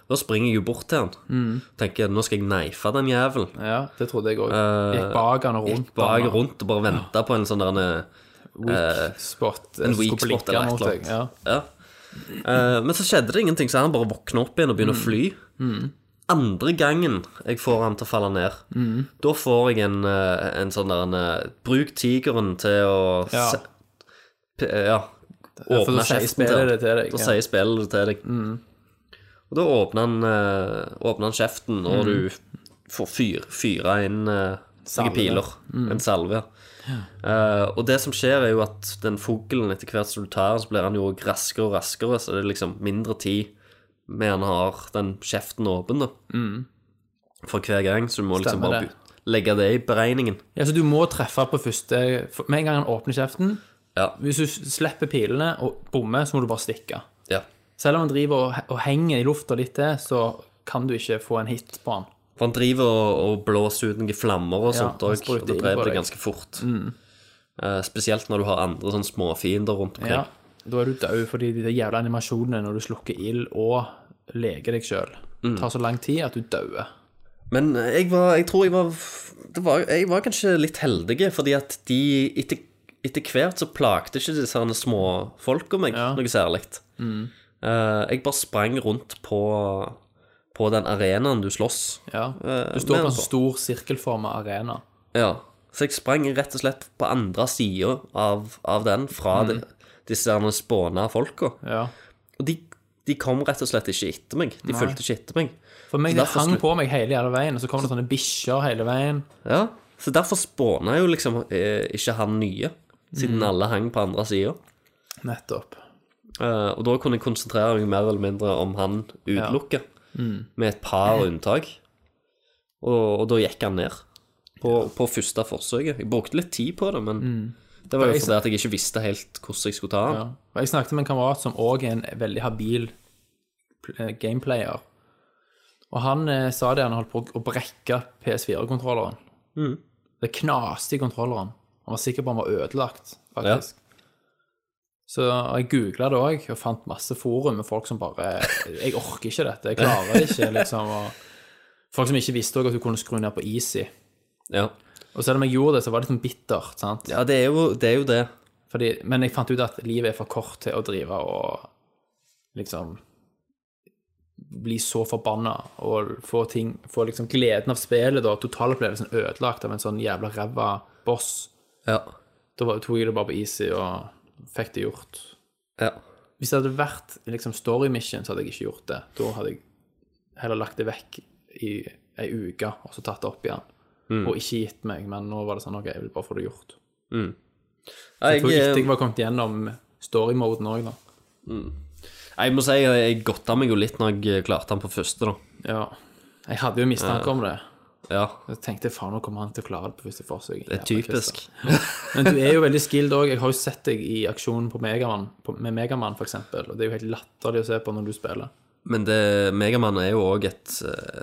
[SPEAKER 6] Da springer jeg jo bort til han. Tenker nå skal jeg neife den jævelen.
[SPEAKER 5] Ja, det trodde jeg òg. Gikk bak han og rundt
[SPEAKER 6] Eh, Gikk bak
[SPEAKER 5] han,
[SPEAKER 6] rundt og bare venta på en sånn der en,
[SPEAKER 5] Weak spot. eh,
[SPEAKER 6] en
[SPEAKER 5] Skulle
[SPEAKER 6] weak spot
[SPEAKER 5] blinke
[SPEAKER 6] eller
[SPEAKER 5] mot
[SPEAKER 6] et eller
[SPEAKER 5] deg, Ja.
[SPEAKER 6] annet. Ja. Eh, men så skjedde det ingenting, så han bare våkna opp igjen
[SPEAKER 5] Mm.
[SPEAKER 6] og begynner å fly. Andre gangen jeg får han til å falle ned,
[SPEAKER 5] Mm.
[SPEAKER 6] da får jeg en, eh, en sånn der en, eh, Bruk tigeren til å
[SPEAKER 5] Ja.
[SPEAKER 6] se, p, eh, ja,
[SPEAKER 5] Ja, for da
[SPEAKER 6] åpne
[SPEAKER 5] sier
[SPEAKER 6] kjeften
[SPEAKER 5] spillet det
[SPEAKER 6] til deg.
[SPEAKER 5] til deg,
[SPEAKER 6] Da
[SPEAKER 5] ja. Mm.
[SPEAKER 6] sier spillet det til deg. Og da åpner han, eh, åpner han kjeften, og du får fyr, fyre inn eh,
[SPEAKER 5] Mm. Salve. Mm.
[SPEAKER 6] noen piler. En salve. ja. Eh, og det som skjer, er jo at den fuglen etter hvert som du tar, så blir han jo raskere og raskere, så det er liksom mindre tid med han har den kjeften åpen, da. For hver gang, så du må
[SPEAKER 5] Mm.
[SPEAKER 6] liksom
[SPEAKER 5] Stemmer
[SPEAKER 6] bare
[SPEAKER 5] det.
[SPEAKER 6] bu- legge det i beregningen.
[SPEAKER 5] ja, så du må treffe på første for- Med en gang han åpner kjeften
[SPEAKER 6] Ja.
[SPEAKER 5] Hvis du slipper pilene og bommer, så må du bare stikke.
[SPEAKER 6] ja.
[SPEAKER 5] Selv om han driver og, og henger i lufta litt til, så kan du ikke få en hit på han.
[SPEAKER 6] For han driver og, og blåser ut noen flammer og
[SPEAKER 5] Ja,
[SPEAKER 6] sånt
[SPEAKER 5] han
[SPEAKER 6] òg, og
[SPEAKER 5] sprøyter
[SPEAKER 6] det
[SPEAKER 5] inn på deg.
[SPEAKER 6] dreper
[SPEAKER 5] Mm.
[SPEAKER 6] deg ganske fort. Eh, spesielt når du har andre sånne småfiender rundt omkring.
[SPEAKER 5] Ja, da er du død fordi de der jævla animasjonene når du slukker ild og leger deg sjøl, tar så lang tid at du dauer.
[SPEAKER 6] Men jeg var, jeg tror jeg var, det var Jeg var kanskje litt heldige, fordi at de etter, etter hvert så plagte ikke disse herne små folka meg
[SPEAKER 5] Ja. Mm.
[SPEAKER 6] noe særlig. Eh, jeg bare sprang rundt på, på den arenaen du slåss.
[SPEAKER 5] Ja.
[SPEAKER 6] eh,
[SPEAKER 5] Du står på
[SPEAKER 6] med han
[SPEAKER 5] en sånn- stor sirkelforma arena.
[SPEAKER 6] Ja. Så jeg sprang rett og slett på andre sida av, av den, fra
[SPEAKER 5] Mm.
[SPEAKER 6] de, disse herne spåna folka.
[SPEAKER 5] Ja.
[SPEAKER 6] Og de, de kom rett og slett ikke etter meg. De fulgte ikke etter meg.
[SPEAKER 5] For meg,
[SPEAKER 6] Så
[SPEAKER 5] det
[SPEAKER 6] derfor
[SPEAKER 5] hang
[SPEAKER 6] slu-
[SPEAKER 5] på meg hele jævla veien, og så kom det sånne bikkjer hele veien.
[SPEAKER 6] Ja, Så derfor spåna jo liksom eh, ikke han nye, siden
[SPEAKER 5] Mm.
[SPEAKER 6] alle hang på andre sida.
[SPEAKER 5] Nettopp.
[SPEAKER 6] Eh, og da kunne jeg konsentrere meg mer eller mindre om han utelukka,
[SPEAKER 5] Mm.
[SPEAKER 6] med et par unntak. Og, og da gikk han ned på, på første forsøket. Jeg brukte litt tid på det, men det var jo
[SPEAKER 5] Mm. jeg-
[SPEAKER 6] fordi at jeg ikke visste helt hvordan jeg skulle ta han.
[SPEAKER 5] Ja. Og Jeg snakket med en kamerat som òg er en veldig habil pl- eh, gameplayer. Og han eh, sa det han holdt på å brekke PS4-kontrolleren. Det knaste i kontrolleren. Han var sikker på han var ødelagt, faktisk. Så jeg googla det òg, og fant masse forum med folk som bare eh, 'Jeg orker ikke dette. Jeg klarer det ikke.' liksom. Og folk som ikke visste òg at du kunne skru ned på easy.
[SPEAKER 6] Ja.
[SPEAKER 5] Og selv om jeg gjorde det, så var det litt sånn bittert. sant?
[SPEAKER 6] ja, det er jo det. Er jo det.
[SPEAKER 5] Fordi, men jeg fant ut at livet er for kort til å drive og liksom bli så forbanna og få ting Få liksom gleden av spillet, da, totalopplevelsen ødelagt av en sånn jævla ræva boss.
[SPEAKER 6] Ja.
[SPEAKER 5] Da var- tok jeg det bare på easy og fikk det gjort.
[SPEAKER 6] ja.
[SPEAKER 5] Hvis det hadde vært liksom story mission, så hadde jeg ikke gjort det. Da hadde jeg heller lagt det vekk i ei uke og så tatt det opp igjen. Og ikke gitt meg, men nå var det sånn OK, jeg vil bare få det gjort. Jeg tror
[SPEAKER 6] eh,
[SPEAKER 5] ikke jeg var kommet gjennom story-moden òg, da.
[SPEAKER 6] Jeg må si jeg, jeg godta meg jo litt når jeg eh, klarte han på første, da.
[SPEAKER 5] Ja. Jeg hadde jo mistanke om det.
[SPEAKER 6] Ja,
[SPEAKER 5] Jeg tenkte faen, nå kommer han til å klare det på første forsøk.
[SPEAKER 6] det er typisk.
[SPEAKER 5] Men du er jo veldig skilled òg. Jeg har jo sett deg i aksjon på Megaman, på, med Megaman f.eks., og det er jo helt latterlig å se på når du spiller.
[SPEAKER 6] Men det, Megaman er jo òg et,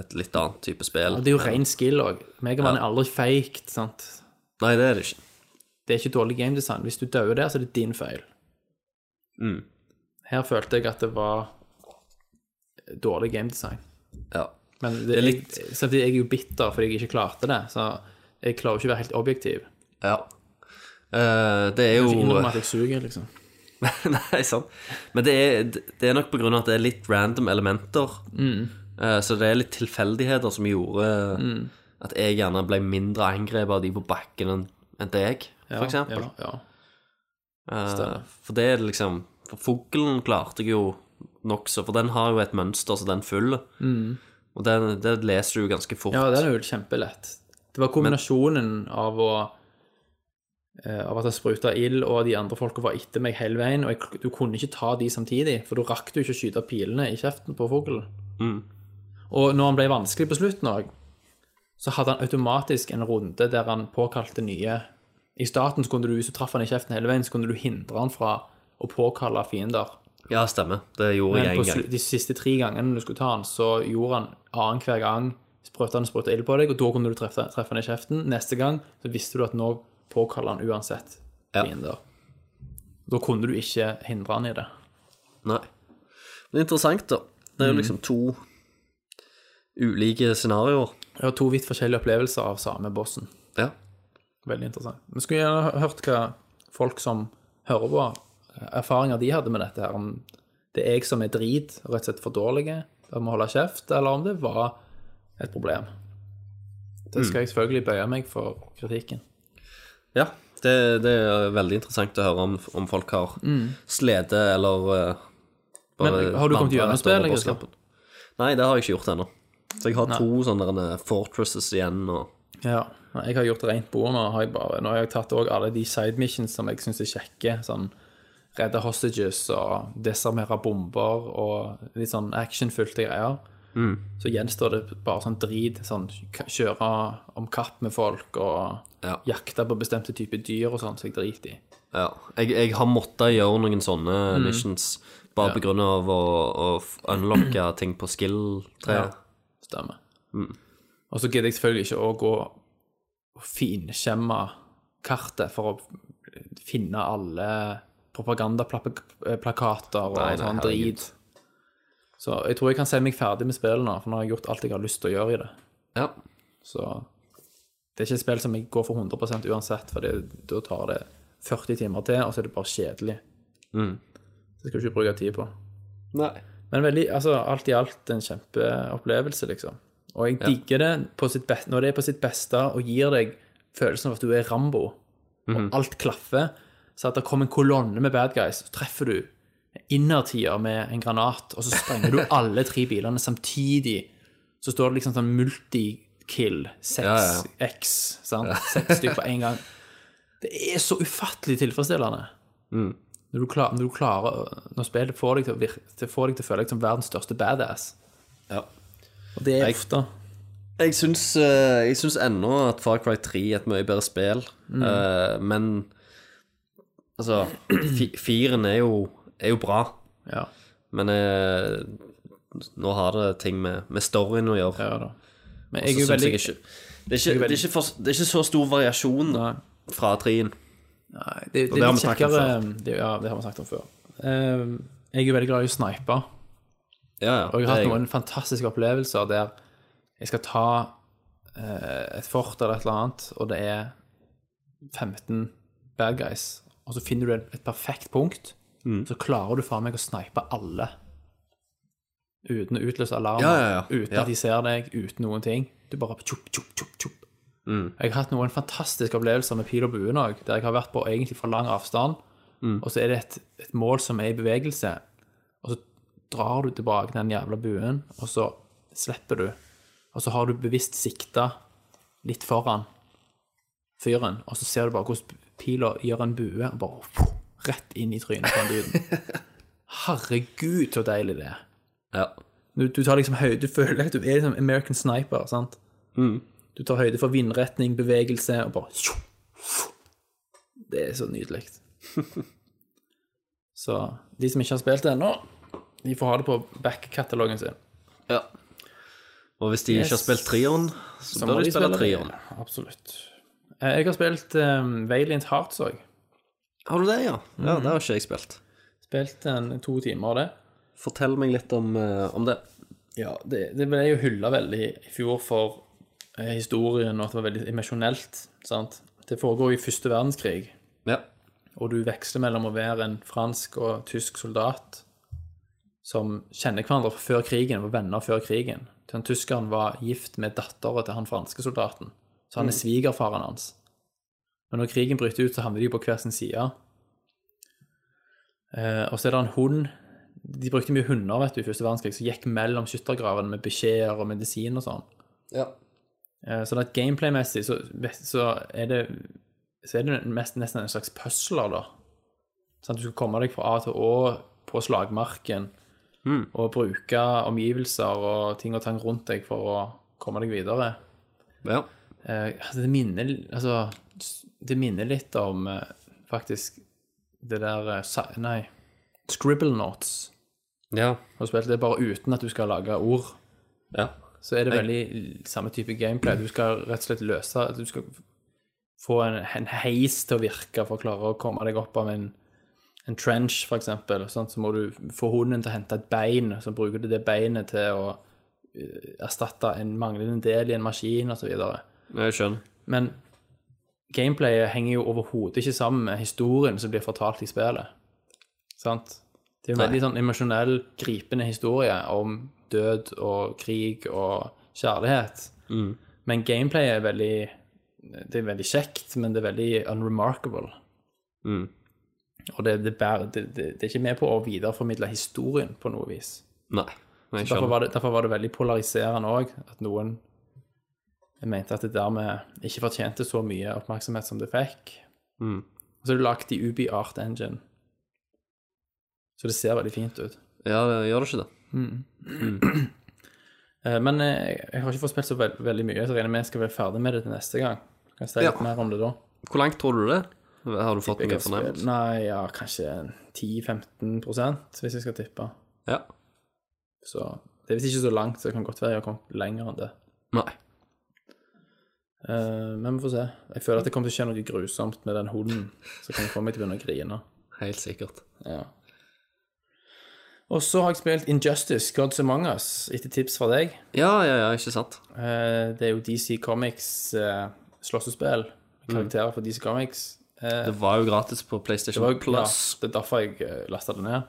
[SPEAKER 6] et litt annet type spill.
[SPEAKER 5] Og det er jo ren skill òg. Megaman er aldri fake, sant.
[SPEAKER 6] Nei, det er det ikke.
[SPEAKER 5] Det er ikke dårlig gamedesign. Hvis du dør der, så er det din feil.
[SPEAKER 6] Mm.
[SPEAKER 5] Her følte jeg at det var dårlig gamedesign.
[SPEAKER 6] Ja.
[SPEAKER 5] Men det,
[SPEAKER 6] er litt-
[SPEAKER 5] jeg, samtidig er jeg jo bitter fordi jeg ikke klarte det, så jeg klarer jo ikke å være helt objektiv.
[SPEAKER 6] ja. Eh, det er
[SPEAKER 5] Jeg
[SPEAKER 6] jo
[SPEAKER 5] kan ikke innrømme at jeg suger, liksom.
[SPEAKER 6] Nei, sant. Men det er, det er nok på grunn av at det er litt random elementer.
[SPEAKER 5] Mm.
[SPEAKER 6] Eh, så det er litt tilfeldigheter som gjorde at jeg gjerne ble mindre angrepet av de på bakken enn enn deg, for eksempel.
[SPEAKER 5] Ja, ja.
[SPEAKER 6] Eh, for det er liksom For fuglen klarte jeg jo nokså For den har jo et mønster så den følger. Og den, det leser du jo ganske fort.
[SPEAKER 5] Mm. Ja, den er jo kjempelett. Det var kombinasjonen av å eh, av at jeg spruta ild, og de andre folka var etter meg hele veien. Og jeg, du kunne ikke ta de samtidig, for da rakk du ikke å skyte pilene i kjeften på fuglen. Og når han ble vanskelig på slutten òg, så hadde han automatisk en runde der han påkalte nye I starten så kunne du, hvis du traff han i kjeften hele veien, så kunne du hindre han fra å påkalle fiender.
[SPEAKER 6] Ja, stemmer. Det gjorde
[SPEAKER 5] Men
[SPEAKER 6] jeg
[SPEAKER 5] på
[SPEAKER 6] en gang.
[SPEAKER 5] slu- de siste tre gangene du skulle ta han, så gjorde han annenhver gang sprøyta han sprøyta ild på deg, og da kunne du treffe, treffe han i kjeften. Neste gang så visste du at nå påkaller han uansett
[SPEAKER 6] Ja.
[SPEAKER 5] fiender. Da kunne du ikke hindre han i det.
[SPEAKER 6] Nei. Men interessant, da. Det
[SPEAKER 5] Mm.
[SPEAKER 6] er jo liksom to ulike scenarioer.
[SPEAKER 5] Jeg har to vidt forskjellige opplevelser av samme bossen.
[SPEAKER 6] Ja.
[SPEAKER 5] Veldig interessant. Vi skulle gjerne ha hørt hva folk som hører på, eh, erfaringer de hadde med dette her. Om det er jeg som er drit, og rett og slett for dårlige, da må holde kjeft, eller om det var et problem. Det skal jeg selvfølgelig bøye meg for kritikken.
[SPEAKER 6] ja. Det, det er veldig interessant å høre om, om folk har slitt eller eh,
[SPEAKER 5] Mm. Men har du kommet
[SPEAKER 6] vandret
[SPEAKER 5] gjennom
[SPEAKER 6] rett over
[SPEAKER 5] spillet, Kristian?
[SPEAKER 6] bosskampen. Nei, det har jeg ikke gjort ennå. Så jeg har to sånne derne fortresses igjen og
[SPEAKER 5] Ja, jeg har gjort rent bord nå. Har jeg bare, nå har jeg tatt også alle de side missions som jeg syns er kjekke. Sånn redde hostages og desarmere bomber og litt sånn actionfylte greier. Så gjenstår det bare sånn drit. Sånn k- kjøre om kapp med folk og
[SPEAKER 6] Ja.
[SPEAKER 5] jakte på bestemte typer dyr og sånn, så jeg driter i.
[SPEAKER 6] Ja. Jeg, jeg har måttet gjøre noen sånne
[SPEAKER 5] Mm.
[SPEAKER 6] missions bare på grunn av å, å f- unlocke ting på skill-treet.
[SPEAKER 5] Stemmer.
[SPEAKER 6] Mm.
[SPEAKER 5] Og så gidder jeg selvfølgelig ikke å gå og finskjemme kartet for å finne alle propagandaplakater og
[SPEAKER 6] Nei, nei,
[SPEAKER 5] sånn
[SPEAKER 6] herregud.
[SPEAKER 5] drit. Så jeg tror jeg kan se meg ferdig med spillet nå, for nå har jeg gjort alt jeg har lyst til å gjøre i det.
[SPEAKER 6] Ja.
[SPEAKER 5] Så det er ikke et spill som jeg går for 100 uansett, for det, da tar det 40 timer til, og så er det bare kjedelig. Det skal du ikke bruke tid på.
[SPEAKER 6] Nei.
[SPEAKER 5] Men veldig, altså, alt i alt en kjempeopplevelse, liksom. Og jeg digger det på sitt best, når det er på sitt beste og gir deg følelsen av at du er Rambo,
[SPEAKER 6] Mhm.
[SPEAKER 5] og alt klaffer, så at det kommer en kolonne med bad guys, så treffer du innertier med en granat, og så sprenger du alle tre bilene samtidig. Så står det liksom sånn multikill,
[SPEAKER 6] Ja, ja.
[SPEAKER 5] 6x, sant? Seks stykker på en gang. Det er så ufattelig tilfredsstillende.
[SPEAKER 6] Mm.
[SPEAKER 5] Når du, klar, når du klarer Når spillet får deg til å, virke, til, får deg til å føle deg som verdens største badass.
[SPEAKER 6] Ja.
[SPEAKER 5] Og det er
[SPEAKER 6] Jeg-
[SPEAKER 5] ofte.
[SPEAKER 6] Jeg syns, eh, jeg syns ennå at Far Cry 3 er et mye bedre spill,
[SPEAKER 5] Mm.
[SPEAKER 6] eh, men Altså, fi- firen er jo, er jo bra,
[SPEAKER 5] Ja,
[SPEAKER 6] men eh, nå har det ting med, med storyen å gjøre.
[SPEAKER 5] ja da. Men jeg
[SPEAKER 6] Så
[SPEAKER 5] er jo
[SPEAKER 6] syns
[SPEAKER 5] veldig
[SPEAKER 6] jeg ikke, det, er ikke, det, er ikke for, det er ikke så stor variasjon
[SPEAKER 5] Nei.
[SPEAKER 6] fra treen.
[SPEAKER 5] Nei, det, det,
[SPEAKER 6] det
[SPEAKER 5] er
[SPEAKER 6] har
[SPEAKER 5] litt
[SPEAKER 6] vi snakket om
[SPEAKER 5] kjekkere ehm, det, Ja, det har vi snakket om før. Ehm, jeg er jo veldig glad i å snipe,
[SPEAKER 6] Ja, ja.
[SPEAKER 5] og jeg har
[SPEAKER 6] det
[SPEAKER 5] hatt
[SPEAKER 6] er jeg.
[SPEAKER 5] noen fantastiske opplevelser der jeg skal ta eh, et fort eller et eller annet, og det er 15 bad guys, og så finner du et, et perfekt punkt,
[SPEAKER 6] Mm.
[SPEAKER 5] så klarer du faen meg å snipe alle. Uten å utløse alarm,
[SPEAKER 6] Ja, ja, ja.
[SPEAKER 5] uten
[SPEAKER 6] Ja.
[SPEAKER 5] at de ser deg, uten noen ting. Du bare tjopp, tjopp, tjopp, tjopp.
[SPEAKER 6] Mm.
[SPEAKER 5] Jeg har hatt noen fantastiske opplevelser med pil og bue nå, der jeg har vært på egentlig fra lang avstand,
[SPEAKER 6] Mm.
[SPEAKER 5] og så er det et, et mål som er i bevegelse, og så drar du tilbake den jævla buen, og så slipper du, og så har du bevisst sikta litt foran fyren, og så ser du bare hvordan pila gjør en bue, og bare pff, rett inn i trynet på den duden. Herregud, så deilig det er.
[SPEAKER 6] Ja.
[SPEAKER 5] Du, du tar liksom høyde, du føler at du er liksom American Sniper, sant?
[SPEAKER 6] Mm.
[SPEAKER 5] Du tar høyde for vindretning, bevegelse, og bare tjo, tjo. Det er så nydelig. så de som ikke har spilt det ennå, de får ha det på back-katalogen sin.
[SPEAKER 6] Ja. Og hvis de ikke har
[SPEAKER 5] Yes.
[SPEAKER 6] spilt treeren, så, bør de spille treeren.
[SPEAKER 5] det. Absolutt. Eh, Jeg har spilt um, Valiant Hearts òg.
[SPEAKER 6] Har du det, ja? Ja,
[SPEAKER 5] Mm.
[SPEAKER 6] det har ikke jeg spilt.
[SPEAKER 5] Spilt en, to timer av det.
[SPEAKER 6] Fortell meg litt om, eh, om det.
[SPEAKER 5] Ja, det, det ble jo hylla veldig i fjor for eh, historien, og at det var veldig emosjonelt. sant? Det foregår i første verdenskrig,
[SPEAKER 6] Ja.
[SPEAKER 5] og du veksler mellom å være en fransk og tysk soldat som kjenner hverandre fra før krigen, var venner før krigen. Den tyskeren var gift med datteren til han franske soldaten, så han er svigerfaren hans. Men når krigen bryter ut, så havner de på hver sin side. Eh, og så er det en hund De brukte mye hunder vet du, i første verdenskrig, som gikk mellom skyttergravene med beskjeder og medisin og sånn.
[SPEAKER 7] Ja.
[SPEAKER 5] Eh, sånn at gameplay-messig så, så er det så er det mest, nesten en slags puzzler, da. Sånn at du skal komme deg fra A til Å på slagmarken og bruke omgivelser og ting og tang rundt deg for å komme deg videre.
[SPEAKER 6] Ja.
[SPEAKER 5] Eh, altså, det minner Altså, det minner litt om eh, faktisk det der eh, sa- Nei, scribble notes.
[SPEAKER 6] Ja.
[SPEAKER 5] Har du spilt det bare uten at du skal lage ord?
[SPEAKER 6] ja.
[SPEAKER 5] så er det veldig samme type gameplay. Du skal rett og slett løse Du skal få en, en heis til å virke for å klare å komme deg opp av en, en trench, for eksempel. Sant? Så må du få hunden til å hente et bein, så bruker du det beinet til å eh, erstatte en manglende del i en maskin, osv.
[SPEAKER 6] Jeg skjønner.
[SPEAKER 5] Men gameplayet henger jo overhodet ikke sammen med historien som blir fortalt i spillet. Sant? Det er en
[SPEAKER 6] Nei.
[SPEAKER 5] veldig sånn emosjonell, gripende historie om død og krig og kjærlighet.
[SPEAKER 6] Mm.
[SPEAKER 5] Men gameplayet er veldig Det er veldig kjekt, men det er veldig unremarkable.
[SPEAKER 6] Mm.
[SPEAKER 5] Og det, det, bærer, det, det, det er ikke med på å videreformidle historien på noe vis.
[SPEAKER 6] Nei. Jeg
[SPEAKER 5] Derfor
[SPEAKER 6] skjønner.
[SPEAKER 5] var, det, derfor var det veldig polariserende òg, at noen mente at det dermed ikke fortjente så mye oppmerksomhet som det fikk.
[SPEAKER 6] Mm.
[SPEAKER 5] Og så er det lagt i Ubi Art Engine, så det ser veldig fint ut.
[SPEAKER 6] Ja, det gjør det ikke det?
[SPEAKER 5] Eh, Men eh, jeg har ikke fått spilt så veld, veldig mye, så jeg regner med jeg skal være ferdig med det til neste gang. Kan jeg si
[SPEAKER 6] Ja.
[SPEAKER 5] litt mer om det da?
[SPEAKER 6] Hvor langt tror du det? Har du fått
[SPEAKER 5] Jeg
[SPEAKER 6] noe
[SPEAKER 5] har spilt-
[SPEAKER 6] fornærmet?
[SPEAKER 5] Nei, ja, kanskje 10-15 prosent, hvis jeg skal tippe.
[SPEAKER 6] Ja.
[SPEAKER 5] Så det er visst ikke så langt, så det kan godt være jeg har kommet lenger enn det.
[SPEAKER 6] Nei.
[SPEAKER 5] Eh, men vi får se. Jeg føler at det kommer til å skje noe grusomt med den hunden. Så kan jeg få meg til å begynne å grine.
[SPEAKER 6] Helt sikkert.
[SPEAKER 5] Ja. Og så har jeg spilt Injustice, Gods Among Us, etter tips fra deg.
[SPEAKER 6] Ja, ja, ja, ikke sant?
[SPEAKER 5] Eh, det er jo DC Comics eh, slåssespill. Karakterer for DC Comics. Eh,
[SPEAKER 6] Det var jo gratis på PlayStation
[SPEAKER 5] det var,
[SPEAKER 6] Plus.
[SPEAKER 5] Ja, det er derfor jeg eh, lastet det ned.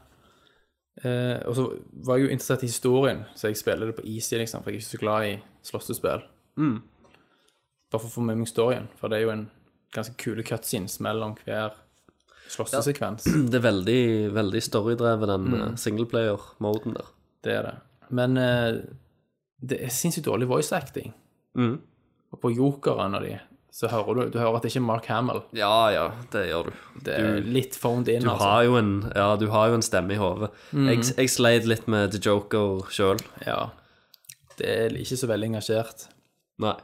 [SPEAKER 5] Eh, og så var jeg jo interessert i historien, så jeg spiller det på easy, liksom, for jeg er ikke så glad i slåssespill.
[SPEAKER 6] Mm.
[SPEAKER 5] Bare for å få med meg storyen, for det er jo en ganske kule cutscenes mellom hver slåssesekvens.
[SPEAKER 6] Det er veldig, veldig storydrevet, den eh, singleplayer-moden der.
[SPEAKER 5] Det er det. Men eh, det er sinnssykt dårlig voice acting.
[SPEAKER 6] Mhm.
[SPEAKER 5] Og på jokeren av de, så hører du, du hører at det ikke er Mark Hamill.
[SPEAKER 6] Ja, ja, det gjør du.
[SPEAKER 5] Det er litt phoned in, altså.
[SPEAKER 6] Du har sånn. Mm. jo en, ja, du har jo en stemme i hodet. Jeg, jeg sleit litt med The Joker sjøl.
[SPEAKER 5] Ja. Det er ikke så veldig engasjert.
[SPEAKER 6] Nei.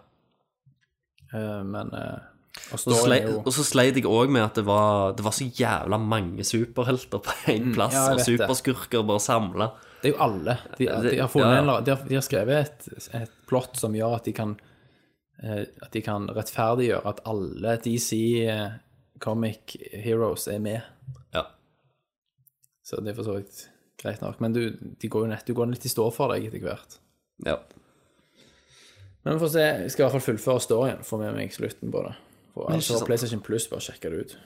[SPEAKER 5] Eh, men eh, Og
[SPEAKER 6] Og så
[SPEAKER 5] storyen
[SPEAKER 6] sleit,
[SPEAKER 5] er jo
[SPEAKER 6] og så sleit jeg òg med at det var, det var så jævla mange superhelter på én plass,
[SPEAKER 5] ja, jeg
[SPEAKER 6] og
[SPEAKER 5] vet det.
[SPEAKER 6] superskurker bare samla.
[SPEAKER 5] Det er jo alle. De,
[SPEAKER 6] Ja, det-
[SPEAKER 5] de, har, funnet,
[SPEAKER 6] ja, ja.
[SPEAKER 5] en eller- de, har, de har skrevet et, et plott som gjør at de kan eh, At de kan rettferdiggjøre at alle DC eh, comic heroes er med.
[SPEAKER 6] Ja.
[SPEAKER 5] Så det er for så vidt greit nok. Men du, de går jo nett, du går litt i stå for deg etter hvert.
[SPEAKER 6] ja.
[SPEAKER 5] Men vi får se. Jeg skal i hvert fall fullføre storyen. Få med meg slutten på det. For
[SPEAKER 6] ikke
[SPEAKER 5] altså,
[SPEAKER 6] sant.
[SPEAKER 5] PlayStation Plus, bare sjekke det ut.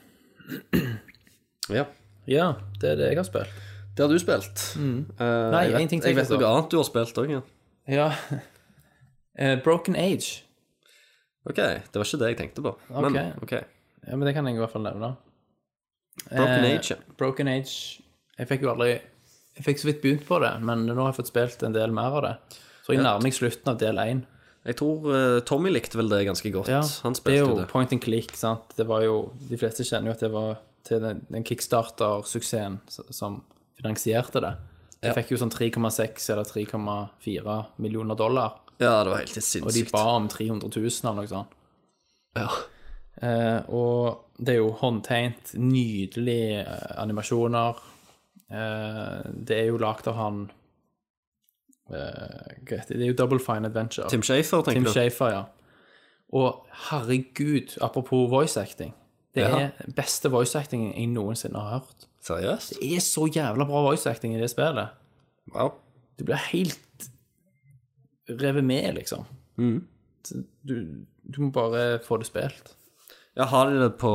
[SPEAKER 6] ja.
[SPEAKER 5] Ja, det er det jeg har spilt.
[SPEAKER 6] Det har du spilt. Eh,
[SPEAKER 5] Mm. Nei,
[SPEAKER 6] jeg vet,
[SPEAKER 5] en ting til,
[SPEAKER 6] jeg vet
[SPEAKER 5] altså.
[SPEAKER 6] noe annet du har spilt òg. Ja.
[SPEAKER 5] Ja. Eh, Broken Age.
[SPEAKER 6] Ok, det var ikke det jeg tenkte på. Men ok.
[SPEAKER 5] Ja, men det kan jeg i hvert fall nevne.
[SPEAKER 6] Broken
[SPEAKER 5] eh,
[SPEAKER 6] Age, ja.
[SPEAKER 5] Broken Age Jeg fikk jo aldri Jeg fikk så vidt begynt på det, men nå har jeg fått spilt en del mer av det. Så jeg nærmer meg slutten av del én.
[SPEAKER 6] Jeg tror eh, Tommy likte vel det ganske godt. Han
[SPEAKER 5] det er
[SPEAKER 6] spilte
[SPEAKER 5] jo
[SPEAKER 6] det.
[SPEAKER 5] point and click, sant. Det var jo De fleste kjenner jo at det var til den, den kickstarter-suksessen s- som finansierte det. Jeg fikk jo sånn 3,6 eller 3,4 millioner dollar,
[SPEAKER 6] Ja, det var helt
[SPEAKER 5] og de
[SPEAKER 6] sinnssykt.
[SPEAKER 5] ba om 300 000 eller noe sånt.
[SPEAKER 6] Ja.
[SPEAKER 5] Eh, og det er jo håndtegnet, nydelige eh, animasjoner. Eh, det er jo lagd av han eh, hva heter det? det er jo Double Fine Adventure.
[SPEAKER 6] Tim Shafer, tenker
[SPEAKER 5] Tim
[SPEAKER 6] du?
[SPEAKER 5] Schafer, ja. Og herregud, apropos voice acting. Det
[SPEAKER 6] Ja.
[SPEAKER 5] er beste voice acting jeg noensinne har hørt.
[SPEAKER 6] Seriøst?
[SPEAKER 5] Det er så jævla bra voice acting i det spillet.
[SPEAKER 6] Wow.
[SPEAKER 5] Du blir helt revet med, liksom.
[SPEAKER 6] Mm.
[SPEAKER 5] Så Du, du må bare få det spilt.
[SPEAKER 6] Ja, har de det på,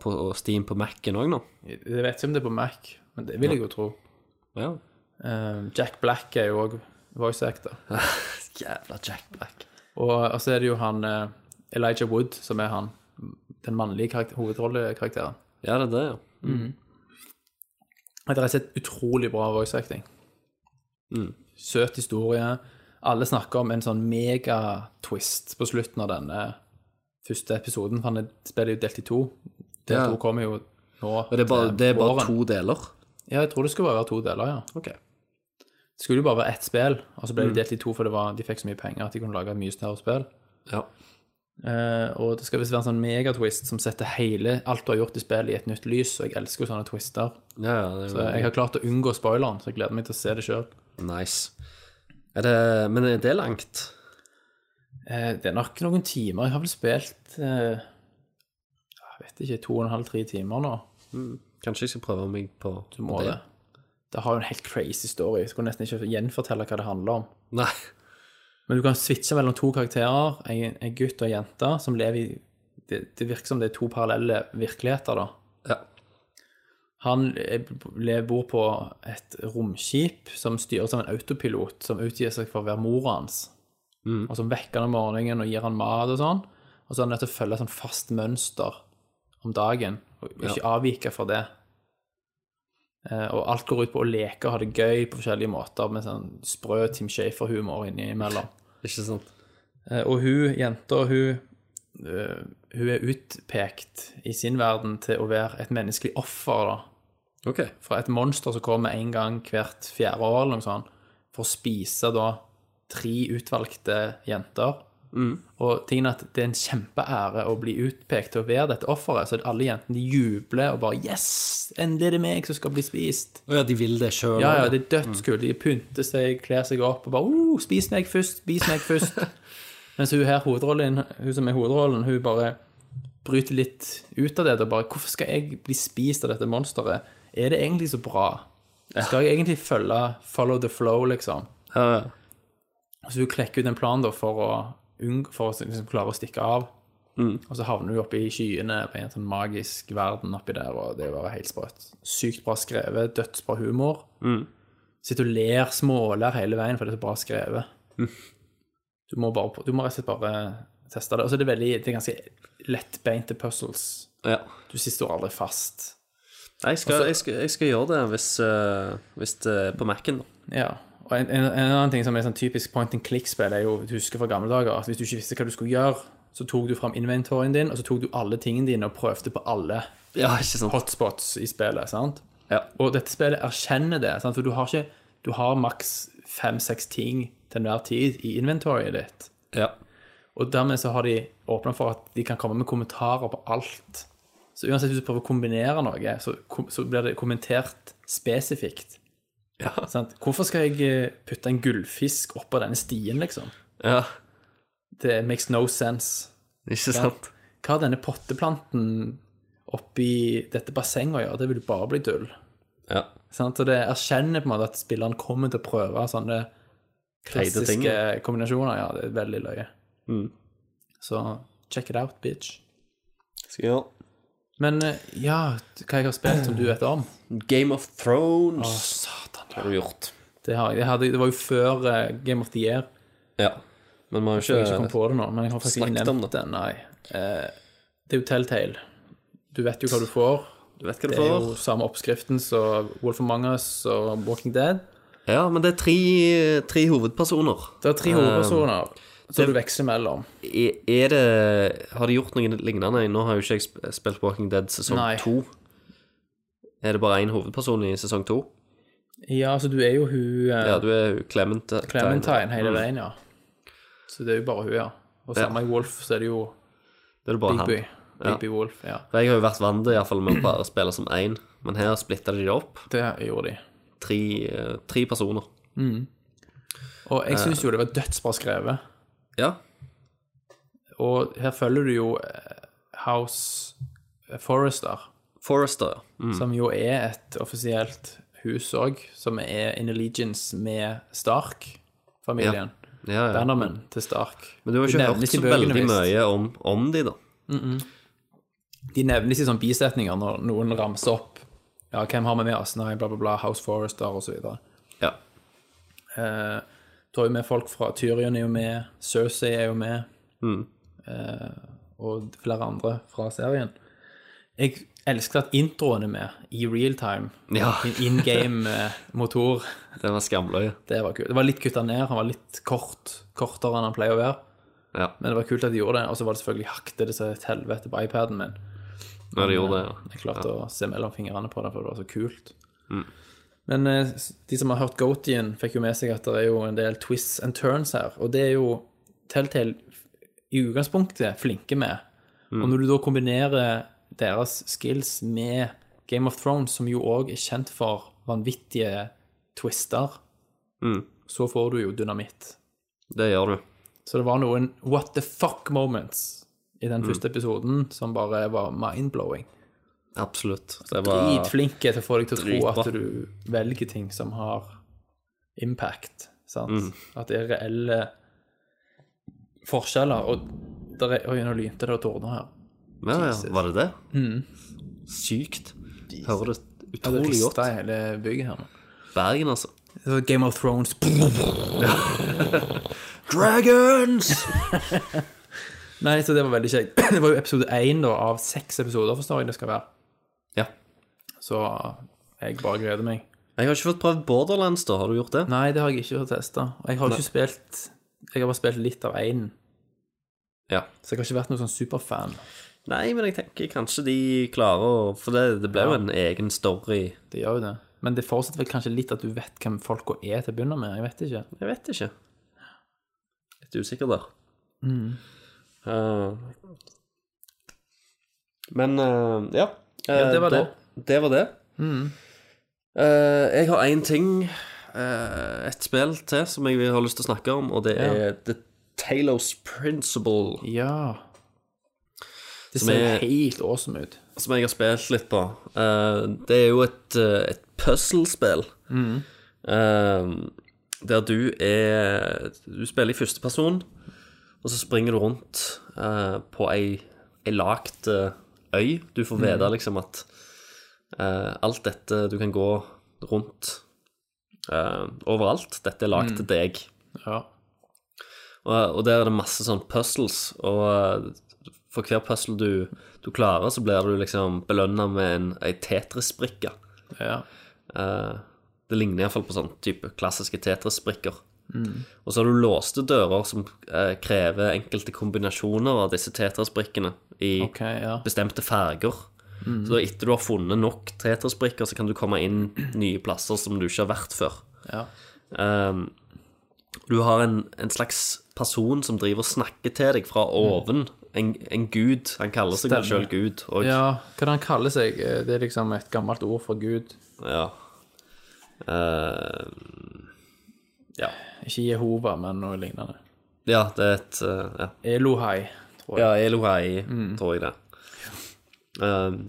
[SPEAKER 6] på Steam på Mac-en òg nå?
[SPEAKER 5] Jeg jeg vet ikke om det er på Mac, men det vil jeg jo tro.
[SPEAKER 6] Ja.
[SPEAKER 5] Eh, Jack Black er jo òg voice actor.
[SPEAKER 6] Jævla Jack Black.
[SPEAKER 5] Og og så er det jo han eh, Elijah Wood som er han den mannlige karakter hovedrollekarakteren.
[SPEAKER 6] Ja, det er det, ja.
[SPEAKER 5] Det er rett og slett utrolig bra voice acting.
[SPEAKER 6] Mm.
[SPEAKER 5] Søt historie. Alle snakker om en sånn megatwist på slutten av denne første episoden. For han er- spiller jo delt i to. Del
[SPEAKER 6] Ja.
[SPEAKER 5] to kommer jo nå.
[SPEAKER 6] Og det er bare,
[SPEAKER 5] til
[SPEAKER 6] det er bare
[SPEAKER 5] våren.
[SPEAKER 6] to deler?
[SPEAKER 5] Ja, jeg tror det skulle bare være to deler, ja.
[SPEAKER 6] Ok. Mm.
[SPEAKER 5] Det skulle jo bare være ett spill, og så ble det delt i to, for det var, de fikk så mye penger at de kunne lage et mye større spill.
[SPEAKER 6] Ja.
[SPEAKER 5] Eh, og det skal visst være en sånn megatwist som setter hele alt du har gjort i spillet, i et nytt lys, og jeg elsker jo sånne twister.
[SPEAKER 6] Ja, ja, det er
[SPEAKER 5] Så jeg har klart å unngå spoileren, så jeg gleder meg til å se det sjøl.
[SPEAKER 6] Nice. Er det, men er det langt?
[SPEAKER 5] Eh, det er nok noen timer. Jeg har vel spilt eh, Jeg vet ikke, to og en halv, tre timer nå.
[SPEAKER 6] Kanskje jeg skal prøve meg på
[SPEAKER 5] Du må det. Det har jo en helt crazy story. Jeg skulle nesten ikke gjenfortelle hva det handler om.
[SPEAKER 6] Nei.
[SPEAKER 5] Men du kan switche mellom to karakterer, en, en gutt og en jente, som lever i det, det virker som det er to parallelle virkeligheter, da.
[SPEAKER 6] Ja.
[SPEAKER 5] Han eh, lever- bor på et romskip som styres av en autopilot som utgir seg for å være mora hans. Og som vekker han om morgenen og gir han mat og sånn. Og så er han nødt til å følge et sånn fast mønster om dagen, og ikke avvike fra det. Eh, Og alt går ut på å leke og ha det gøy på forskjellige måter, med sånn sprø Tim Shafer-humor innimellom.
[SPEAKER 6] Ikke sant?
[SPEAKER 5] Eh, Og hun, jenta, hun, eh, hun er utpekt i sin verden til å være et menneskelig offer, da.
[SPEAKER 6] OK.
[SPEAKER 5] Fra et monster som kommer en gang hvert fjerde år, eller noe sånt, for å spise da tre utvalgte jenter. Og tingen er at det er en kjempeære å bli utpekt til å være dette offeret, så alle jentene de jubler og bare Yes! Endelig er det meg som skal bli spist.
[SPEAKER 6] Å ja, de vil det sjøl?
[SPEAKER 5] Ja, ja, det er dødskult. De pynter seg, kler seg opp og bare oh, Spis meg først, spis meg først. Mens hun her, hovedrollen, hun som er hovedrollen, hun bare bryter litt ut av det. Og bare Hvorfor skal jeg bli spist av dette monsteret? Er det egentlig så bra? Skal jeg egentlig følge follow the flow, liksom?
[SPEAKER 6] ja, ja.
[SPEAKER 5] Så hun klekker ut en plan da for å, unng- for å liksom, klare å stikke av.
[SPEAKER 6] Mm.
[SPEAKER 5] Og så havner hun oppe i skyene på en sånn magisk verden oppi der, og det var helt sprøtt. Sykt bra skrevet, dødsbra humor. Sitter og ler, småler hele veien, for det er så bra skrevet. Du må, bare, du må rett og slett bare teste det. Og så er det veldig, det er ganske lettbeinte puzzles.
[SPEAKER 6] ja. Altså-
[SPEAKER 5] Du står aldri fast.
[SPEAKER 6] Nei, jeg skal, jeg, skal, jeg skal gjøre det hvis, eh, hvis det er på Mac-en, da.
[SPEAKER 5] Ja. Og en, en, en annen ting som er sånn typisk point and click-spill, er jo, du husker fra gamle dager, at hvis du ikke visste hva du skulle gjøre, så tok du fram inventoryen din, og så tok du alle tingene dine og prøvde på alle
[SPEAKER 6] Ja, ikke sant?
[SPEAKER 5] hotspots i spillet, sant?
[SPEAKER 6] Ja.
[SPEAKER 5] Og dette spillet erkjenner det, sant? for du har ikke, du har maks fem-seks ting til enhver tid i inventoryet ditt.
[SPEAKER 6] ja.
[SPEAKER 5] Og dermed så har de åpnet for at de kan komme med kommentarer på alt. Så uansett hvis du prøver å kombinere noe, så, kom- så blir det kommentert spesifikt. Sant? Hvorfor skal jeg eh, putte en gullfisk oppå denne stien, liksom?
[SPEAKER 6] ja.
[SPEAKER 5] Det makes no sense.
[SPEAKER 6] Ikke sant?
[SPEAKER 5] Hva har denne potteplanten oppi dette bassenget å gjøre? Det vil jo bare bli tull.
[SPEAKER 6] Ja.
[SPEAKER 5] Sant? Og det erkjenner på en måte at spilleren kommer til å prøve sånne
[SPEAKER 6] Teite ting,
[SPEAKER 5] klassiske kombinasjoner. Ja, det er veldig løye. Så check it out, bitch.
[SPEAKER 6] Skal jeg gjøre
[SPEAKER 5] Men eh, ja, hva jeg har spilt som du vet om?
[SPEAKER 6] Game of Thrones
[SPEAKER 5] Satan.
[SPEAKER 6] har du gjort.
[SPEAKER 5] Det, har, jeg hadde, det var jo før eh, Game of the Year.
[SPEAKER 6] Ja. Men vi har
[SPEAKER 5] Jeg har ikke
[SPEAKER 6] jo
[SPEAKER 5] kommet
[SPEAKER 6] ikke
[SPEAKER 5] på det nå, men jeg har faktisk ikke
[SPEAKER 6] Snakket om
[SPEAKER 5] nevnt
[SPEAKER 6] det.
[SPEAKER 5] det. Nei. Eh, det er jo Telltale. Du vet jo hva du får.
[SPEAKER 6] Du vet hva du
[SPEAKER 5] Det er jo
[SPEAKER 6] får.
[SPEAKER 5] samme oppskriften som Wolf Among Us og Walking Dead.
[SPEAKER 6] Ja, men det er tre, tre hovedpersoner.
[SPEAKER 5] Det er tre
[SPEAKER 6] Eh,
[SPEAKER 5] hovedpersoner som du veksler mellom.
[SPEAKER 6] Er er det Har de gjort noe lignende? Nå har jo ikke jeg sp- spilt Walking Dead sesong
[SPEAKER 5] Nei.
[SPEAKER 6] to. Er det bare én hovedperson i sesong to?
[SPEAKER 5] Ja, altså du er jo hun eh,
[SPEAKER 6] Ja, du er jo Clement.
[SPEAKER 5] Clementine hele
[SPEAKER 6] Mm.
[SPEAKER 5] veien, ja. Så det er jo bare hun, ja. Og
[SPEAKER 6] Ja.
[SPEAKER 5] samme i Wolf, så er det jo
[SPEAKER 6] Det er det bare
[SPEAKER 5] Big
[SPEAKER 6] han.
[SPEAKER 5] Boy. Big
[SPEAKER 6] Ja.
[SPEAKER 5] Boy Wolf, ja.
[SPEAKER 6] For Jeg har jo vært vant i hvert fall med å bare spille som én, men her splitta de det opp.
[SPEAKER 5] Det gjorde de.
[SPEAKER 6] Tre, eh, tre personer.
[SPEAKER 5] Og
[SPEAKER 6] Eh.
[SPEAKER 5] jeg syns jo det var dødsbra skrevet.
[SPEAKER 6] Ja.
[SPEAKER 5] Og her følger du jo eh, House Forester,
[SPEAKER 6] Forrester. Mm.
[SPEAKER 5] som jo er et offisielt hus òg, som er in allegiance med Stark-familien.
[SPEAKER 6] Ja, ja.
[SPEAKER 5] Bannerman til Stark.
[SPEAKER 6] Men du har
[SPEAKER 5] De
[SPEAKER 6] ikke
[SPEAKER 5] nevnes
[SPEAKER 6] hørt
[SPEAKER 5] i
[SPEAKER 6] så
[SPEAKER 5] bøkene,
[SPEAKER 6] veldig
[SPEAKER 5] visst.
[SPEAKER 6] mye om, om de, da.
[SPEAKER 5] De nevnes i sånne bisetninger når noen ramser opp Ja, hvem har vi med oss? Nei, bla, bla, bla, House Forester osv. Du
[SPEAKER 6] Ja.
[SPEAKER 5] har Eh, jo med folk fra Tyrion er jo med, Cersei er jo med, eh, og flere andre fra serien. Jeg Elsket at introen er med i real time.
[SPEAKER 6] Ja.
[SPEAKER 5] In game-motor.
[SPEAKER 6] Den var skamløy.
[SPEAKER 5] Det var kult. Det var litt kutta ned. Han var litt kort, kortere enn han pleier å være.
[SPEAKER 6] Ja,
[SPEAKER 5] Men det var kult at de gjorde det. Og så var det selvfølgelig hakte det seg et helvete på iPaden min.
[SPEAKER 6] når de gjorde det. ja.
[SPEAKER 5] Jeg klarte å se mellom fingrene på det, for det var så kult. Men eh, s- de som har hørt Goatien, fikk jo med seg at det er jo en del twists and turns her. Og det er jo Telltale i utgangspunktet flinke med. Og når du da kombinerer deres skills med Game of Thrones, som jo òg er kjent for vanvittige twister, så får du jo dynamitt.
[SPEAKER 6] Mm. Det gjør du.
[SPEAKER 5] Så det var noen what the fuck moments i den første episoden som bare var mind-blowing.
[SPEAKER 6] Absolutt. Det var
[SPEAKER 5] Dritflinke til å få deg til å tro
[SPEAKER 6] Dritbra.
[SPEAKER 5] at du velger ting som har impact. Sant? At det er reelle forskjeller. Og der er, oi, nå lynte det og tordna her.
[SPEAKER 6] ja, ja. Var det det? Sykt.
[SPEAKER 5] Ja,
[SPEAKER 6] Hører Mm. det
[SPEAKER 5] det
[SPEAKER 6] utrolig godt.
[SPEAKER 5] rista i hele bygget her nå.
[SPEAKER 6] Bergen, altså.
[SPEAKER 5] Det var Game of Thrones.
[SPEAKER 6] Dragons!
[SPEAKER 5] Nei, så det var veldig kjekt. Det var jo episode én da, av seks episoder, forstår jeg det skal være.
[SPEAKER 6] ja.
[SPEAKER 5] Så jeg bare gleder meg.
[SPEAKER 6] Jeg har ikke fått prøvd Borderlands, da. Har du gjort det?
[SPEAKER 5] Nei, det har jeg ikke fått testa. Og jeg har ikke spilt Jeg har bare spilt litt av én,
[SPEAKER 6] Ja.
[SPEAKER 5] så jeg har ikke vært noen sånn superfan.
[SPEAKER 6] Nei, men jeg tenker kanskje de klarer å For det, det ble jo en egen story.
[SPEAKER 5] Det gjør jo det. Men det fortsetter vel kanskje litt at du vet hvem folka er til å begynne med. Jeg vet ikke.
[SPEAKER 6] Jeg vet ikke. Litt usikker der.
[SPEAKER 5] Mm.
[SPEAKER 6] Eh, men eh, ja.
[SPEAKER 5] Ja, det var
[SPEAKER 6] Eh,
[SPEAKER 5] det. Mm.
[SPEAKER 6] da- Det var det. Eh, jeg har én ting, eh, et spill til, som jeg vil- har lyst til å snakke om, og det er The Talos Principle,
[SPEAKER 5] Ja. Det
[SPEAKER 6] Som
[SPEAKER 5] ser
[SPEAKER 6] er-
[SPEAKER 5] helt awesome ut.
[SPEAKER 6] som jeg har spilt litt på. Eh, det er jo et, eh, et puzzlespill. Eh, der du er Du spiller i første person, og så springer du rundt eh, på ei, ei lagt eh, øy. Du får vite liksom at eh, alt dette Du kan gå rundt eh, overalt. Dette er lagd til deg.
[SPEAKER 5] Ja.
[SPEAKER 6] Og, og der er det masse sånn puzzles, og eh, for hver puzzle du, du klarer, så blir du liksom belønna med en, ei Tetris-brikke.
[SPEAKER 5] ja.
[SPEAKER 6] Eh, det ligner iallfall på sånn type klassiske Tetris-brikker.
[SPEAKER 5] Mm.
[SPEAKER 6] Og så har du låste dører som eh, krever enkelte kombinasjoner av disse Tetris-brikkene i
[SPEAKER 5] OK, ja. Mm.
[SPEAKER 6] bestemte farger. Så da etter du har funnet nok Tetris-brikker, så kan du komme inn nye plasser som du ikke har vært før.
[SPEAKER 5] Ja.
[SPEAKER 6] Ehm, du har en, en slags person som driver og snakker til deg fra oven. En, en gud. Han kaller seg vel
[SPEAKER 5] Stemmer.
[SPEAKER 6] sjøl gud. Og,
[SPEAKER 5] ja. Hva er det han kaller seg? Eh, Det er liksom et gammelt ord for Gud.
[SPEAKER 6] ja. Ehm, ja.
[SPEAKER 5] Ikke Jehova, men noe lignende.
[SPEAKER 6] Ja, det er et eh, ja.
[SPEAKER 5] Elohai, tror jeg.
[SPEAKER 6] Ja, Elohai,
[SPEAKER 5] Mm.
[SPEAKER 6] tror jeg det. Um,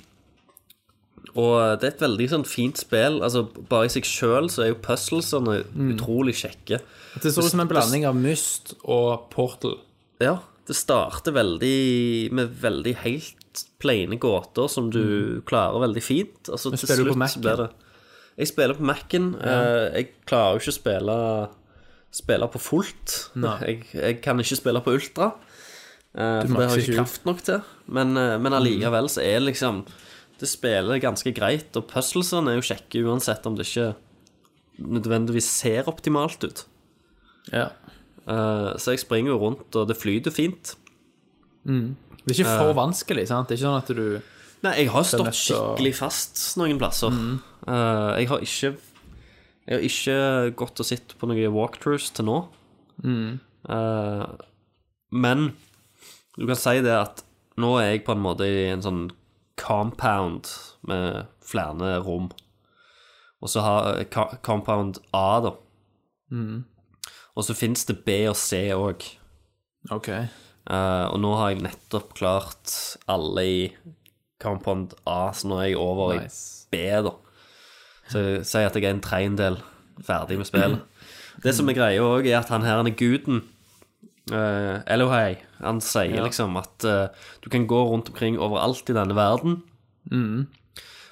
[SPEAKER 6] og det er et veldig sånn fint spill. Altså, bare i seg sjøl så er jo puzzlesene
[SPEAKER 5] Mm.
[SPEAKER 6] utrolig kjekke.
[SPEAKER 5] Det så ut som en blanding av Myst og Portal.
[SPEAKER 6] Ja, det starter veldig med veldig helt plaine gåter som du klarer veldig fint. Altså, til
[SPEAKER 5] Mhm. spiller du på
[SPEAKER 6] slutt så
[SPEAKER 5] Mac-en?
[SPEAKER 6] blir det- Jeg spiller på Mac-en. Eh, jeg klarer jo ikke å spille, spille på fullt.
[SPEAKER 5] Nei.
[SPEAKER 6] Jeg, jeg kan ikke spille på ultra. Eh, for det har
[SPEAKER 5] makser ikke
[SPEAKER 6] jeg
[SPEAKER 5] Mhm.
[SPEAKER 6] ikke
[SPEAKER 5] ut.
[SPEAKER 6] kraft nok til. Men, eh, men allikevel så er det liksom Det spiller ganske greit, og puzzlesene er jo kjekke uansett om det ikke nødvendigvis ser optimalt ut.
[SPEAKER 5] Ja.
[SPEAKER 6] Eh, så jeg springer jo rundt, og det flyter fint.
[SPEAKER 5] Det er ikke for vanskelig, sant? Det er ikke sånn at du
[SPEAKER 6] Nei, jeg har stått
[SPEAKER 5] neste-
[SPEAKER 6] skikkelig fast noen plasser. Eh, jeg har ikke Jeg har ikke gått og sett på noen walkthroughs til nå. Eh, men du kan si det at nå er jeg på en måte i en sånn compound med flere rom. Og så har ka- compound A, da. Og så fins det B og C òg.
[SPEAKER 5] OK.
[SPEAKER 6] Eh, og nå har jeg nettopp klart alle i Compound A, så nå er jeg over
[SPEAKER 5] Nice.
[SPEAKER 6] i B, da. Så jeg sier at jeg er en tredjedel ferdig med spillet. Det som er greia òg, er at han her, han er guden uh, Elohei, han sier liksom at eh, du kan gå rundt omkring overalt i denne verden,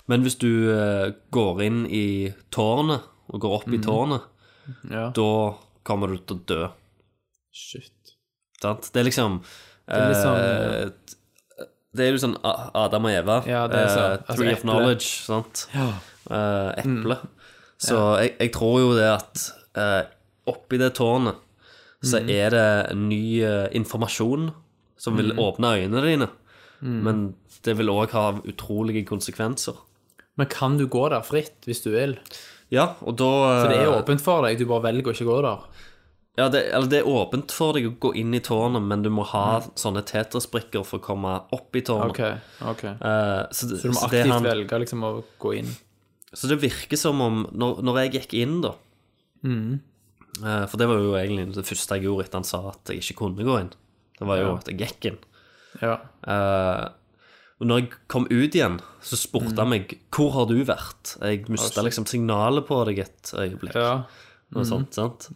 [SPEAKER 6] men hvis du eh, går inn i tårnet, og går opp i tårnet,
[SPEAKER 5] Ja.
[SPEAKER 6] da kommer du til å dø.
[SPEAKER 5] Shit.
[SPEAKER 6] Sant? Det er liksom
[SPEAKER 5] er litt sånn,
[SPEAKER 6] eh, Det er jo sånn A- Adam og Eva.
[SPEAKER 5] Ja, det er så-
[SPEAKER 6] eh,
[SPEAKER 5] altså, eple.
[SPEAKER 6] Tree
[SPEAKER 5] Mm.
[SPEAKER 6] of Knowledge, sant. Eh, eple. Så jeg, jeg tror jo det at eh, oppi det tårnet så
[SPEAKER 5] Mm.
[SPEAKER 6] er det ny eh, informasjon som vil åpne øynene dine.
[SPEAKER 5] Mm.
[SPEAKER 6] Men det vil òg ha utrolige konsekvenser.
[SPEAKER 5] Men kan du gå der fritt hvis du vil?
[SPEAKER 6] Ja, og da eh,
[SPEAKER 5] For det er åpent for deg, du bare velger å ikke gå der.
[SPEAKER 6] Ja, det, eller det er åpent for deg å gå inn i tårnet, men du må ha sånne tetrisbrikker for å komme opp i tårnet.
[SPEAKER 5] Mm. Ok, ok.
[SPEAKER 6] Eh, så, det-
[SPEAKER 5] Så du må
[SPEAKER 6] det
[SPEAKER 5] aktivt
[SPEAKER 6] han-
[SPEAKER 5] velge liksom å gå inn.
[SPEAKER 6] Så det virker som om Når, når jeg gikk inn, da
[SPEAKER 5] Mm.
[SPEAKER 6] eh, For det var jo egentlig det første jeg gjorde etter han sa at jeg ikke kunne gå inn. Det var jo
[SPEAKER 5] Ja.
[SPEAKER 6] at jeg gikk inn.
[SPEAKER 5] Ja.
[SPEAKER 6] Eh, og når jeg kom ut igjen, så spurte han
[SPEAKER 5] Mm.
[SPEAKER 6] meg 'Hvor har du vært?' Jeg mista liksom signalet på deg et øyeblikk.
[SPEAKER 5] ja. Mm.
[SPEAKER 6] Og sånt, sant?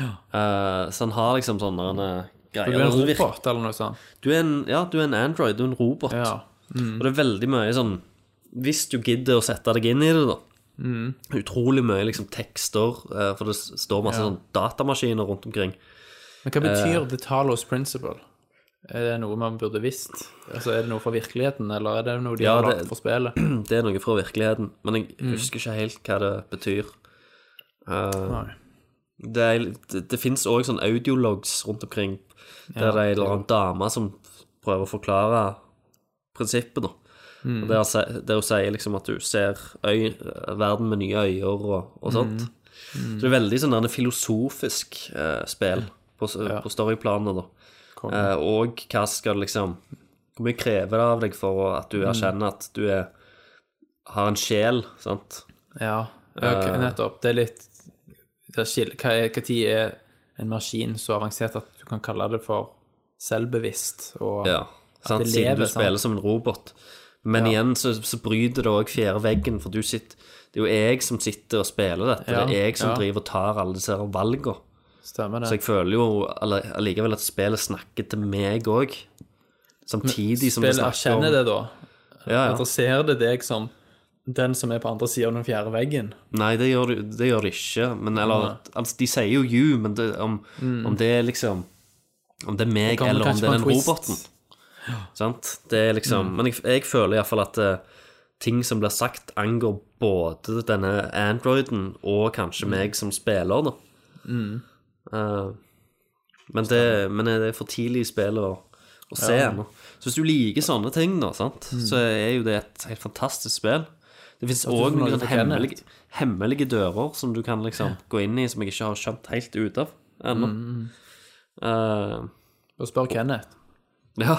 [SPEAKER 6] Eh, så han har liksom sånne eh,
[SPEAKER 5] Du
[SPEAKER 6] greier.
[SPEAKER 5] er en
[SPEAKER 6] Og det virker-
[SPEAKER 5] robot eller noe sånt.
[SPEAKER 6] du er en, ja, du er en Android, du er en robot.
[SPEAKER 5] Ja.
[SPEAKER 6] Og det er veldig mye sånn Hvis du gidder å sette deg inn i det, da. Utrolig mye liksom tekster, eh, for det s- står masse sånn datamaskiner rundt omkring.
[SPEAKER 5] Men hva betyr
[SPEAKER 6] Eh.
[SPEAKER 5] the Talos principle? Er det noe man burde visst? Altså, Er det noe fra virkeligheten, eller er det noe de
[SPEAKER 6] Ja,
[SPEAKER 5] har
[SPEAKER 6] det-
[SPEAKER 5] lagt for spillet?
[SPEAKER 6] Mm, Det er noe fra virkeligheten, men jeg husker ikke helt hva det betyr. Eh,
[SPEAKER 5] Nei.
[SPEAKER 6] det, er, det, det finnes òg sånn audiologs rundt omkring, der det er ei eller annen dame som prøver å forklare prinsippet, da. Og Der, se- der hun sier liksom at du ser øy, verden med nye øyne og, og sånt. Så det er veldig sånn der filosofisk eh, spill på, s- på storyplanet, da. Eh, og hva skal liksom Hvor mye krever det av deg for at du erkjenner at du er, har en sjel, sant?
[SPEAKER 5] Ja,
[SPEAKER 6] Eh.
[SPEAKER 5] ok, nettopp. Det er litt det er skil, hva, er, hva tid er en maskin så avansert at du kan kalle det for selvbevisst? Og,
[SPEAKER 6] Ja, sant?
[SPEAKER 5] det
[SPEAKER 6] siden
[SPEAKER 5] lever,
[SPEAKER 6] du
[SPEAKER 5] sant?
[SPEAKER 6] spiller som en robot. Men igjen så, så bryter det òg fjerde veggen, for du sitter, det er jo jeg som sitter og spiller dette.
[SPEAKER 5] Ja,
[SPEAKER 6] Det er jeg som
[SPEAKER 5] ja.
[SPEAKER 6] driver og tar alle disse her valgene.
[SPEAKER 5] Stemmer det?
[SPEAKER 6] Så jeg føler jo alle- allikevel at spillet snakker til meg òg. Samtidig som det
[SPEAKER 5] Spillet
[SPEAKER 6] snakker om
[SPEAKER 5] erkjenner det, da.
[SPEAKER 6] Ja, ja.
[SPEAKER 5] Adresserer det deg som den som er på andre siden av den fjerde veggen?
[SPEAKER 6] Nei, det gjør, det- det gjør det ikke. Men, eller, altså, de sier jo you, men det, om, om det er liksom Om det er meg,
[SPEAKER 5] Mm. kommer
[SPEAKER 6] eller om
[SPEAKER 5] kanskje på
[SPEAKER 6] det er den
[SPEAKER 5] en twist.
[SPEAKER 6] roboten. Sant? Det er liksom
[SPEAKER 5] Mm.
[SPEAKER 6] Men jeg, jeg føler iallfall at eh, ting som blir sagt, angår både denne androiden
[SPEAKER 5] Mm.
[SPEAKER 6] og kanskje meg som spiller, da. Eh, men, det, men det er for tidlig i spillet å, å se ennå. Så hvis du liker sånne ting, da, sant? så er jo det et helt fantastisk spill. Det
[SPEAKER 5] Mm. du
[SPEAKER 6] fins
[SPEAKER 5] får
[SPEAKER 6] òg
[SPEAKER 5] noe
[SPEAKER 6] noen
[SPEAKER 5] for
[SPEAKER 6] hemmelige, hemmelige dører som du kan liksom gå inn i, som jeg ikke har skjønt helt ut av ennå.
[SPEAKER 5] Mm.
[SPEAKER 6] Eh,
[SPEAKER 5] Og spør Kenneth.
[SPEAKER 6] ja.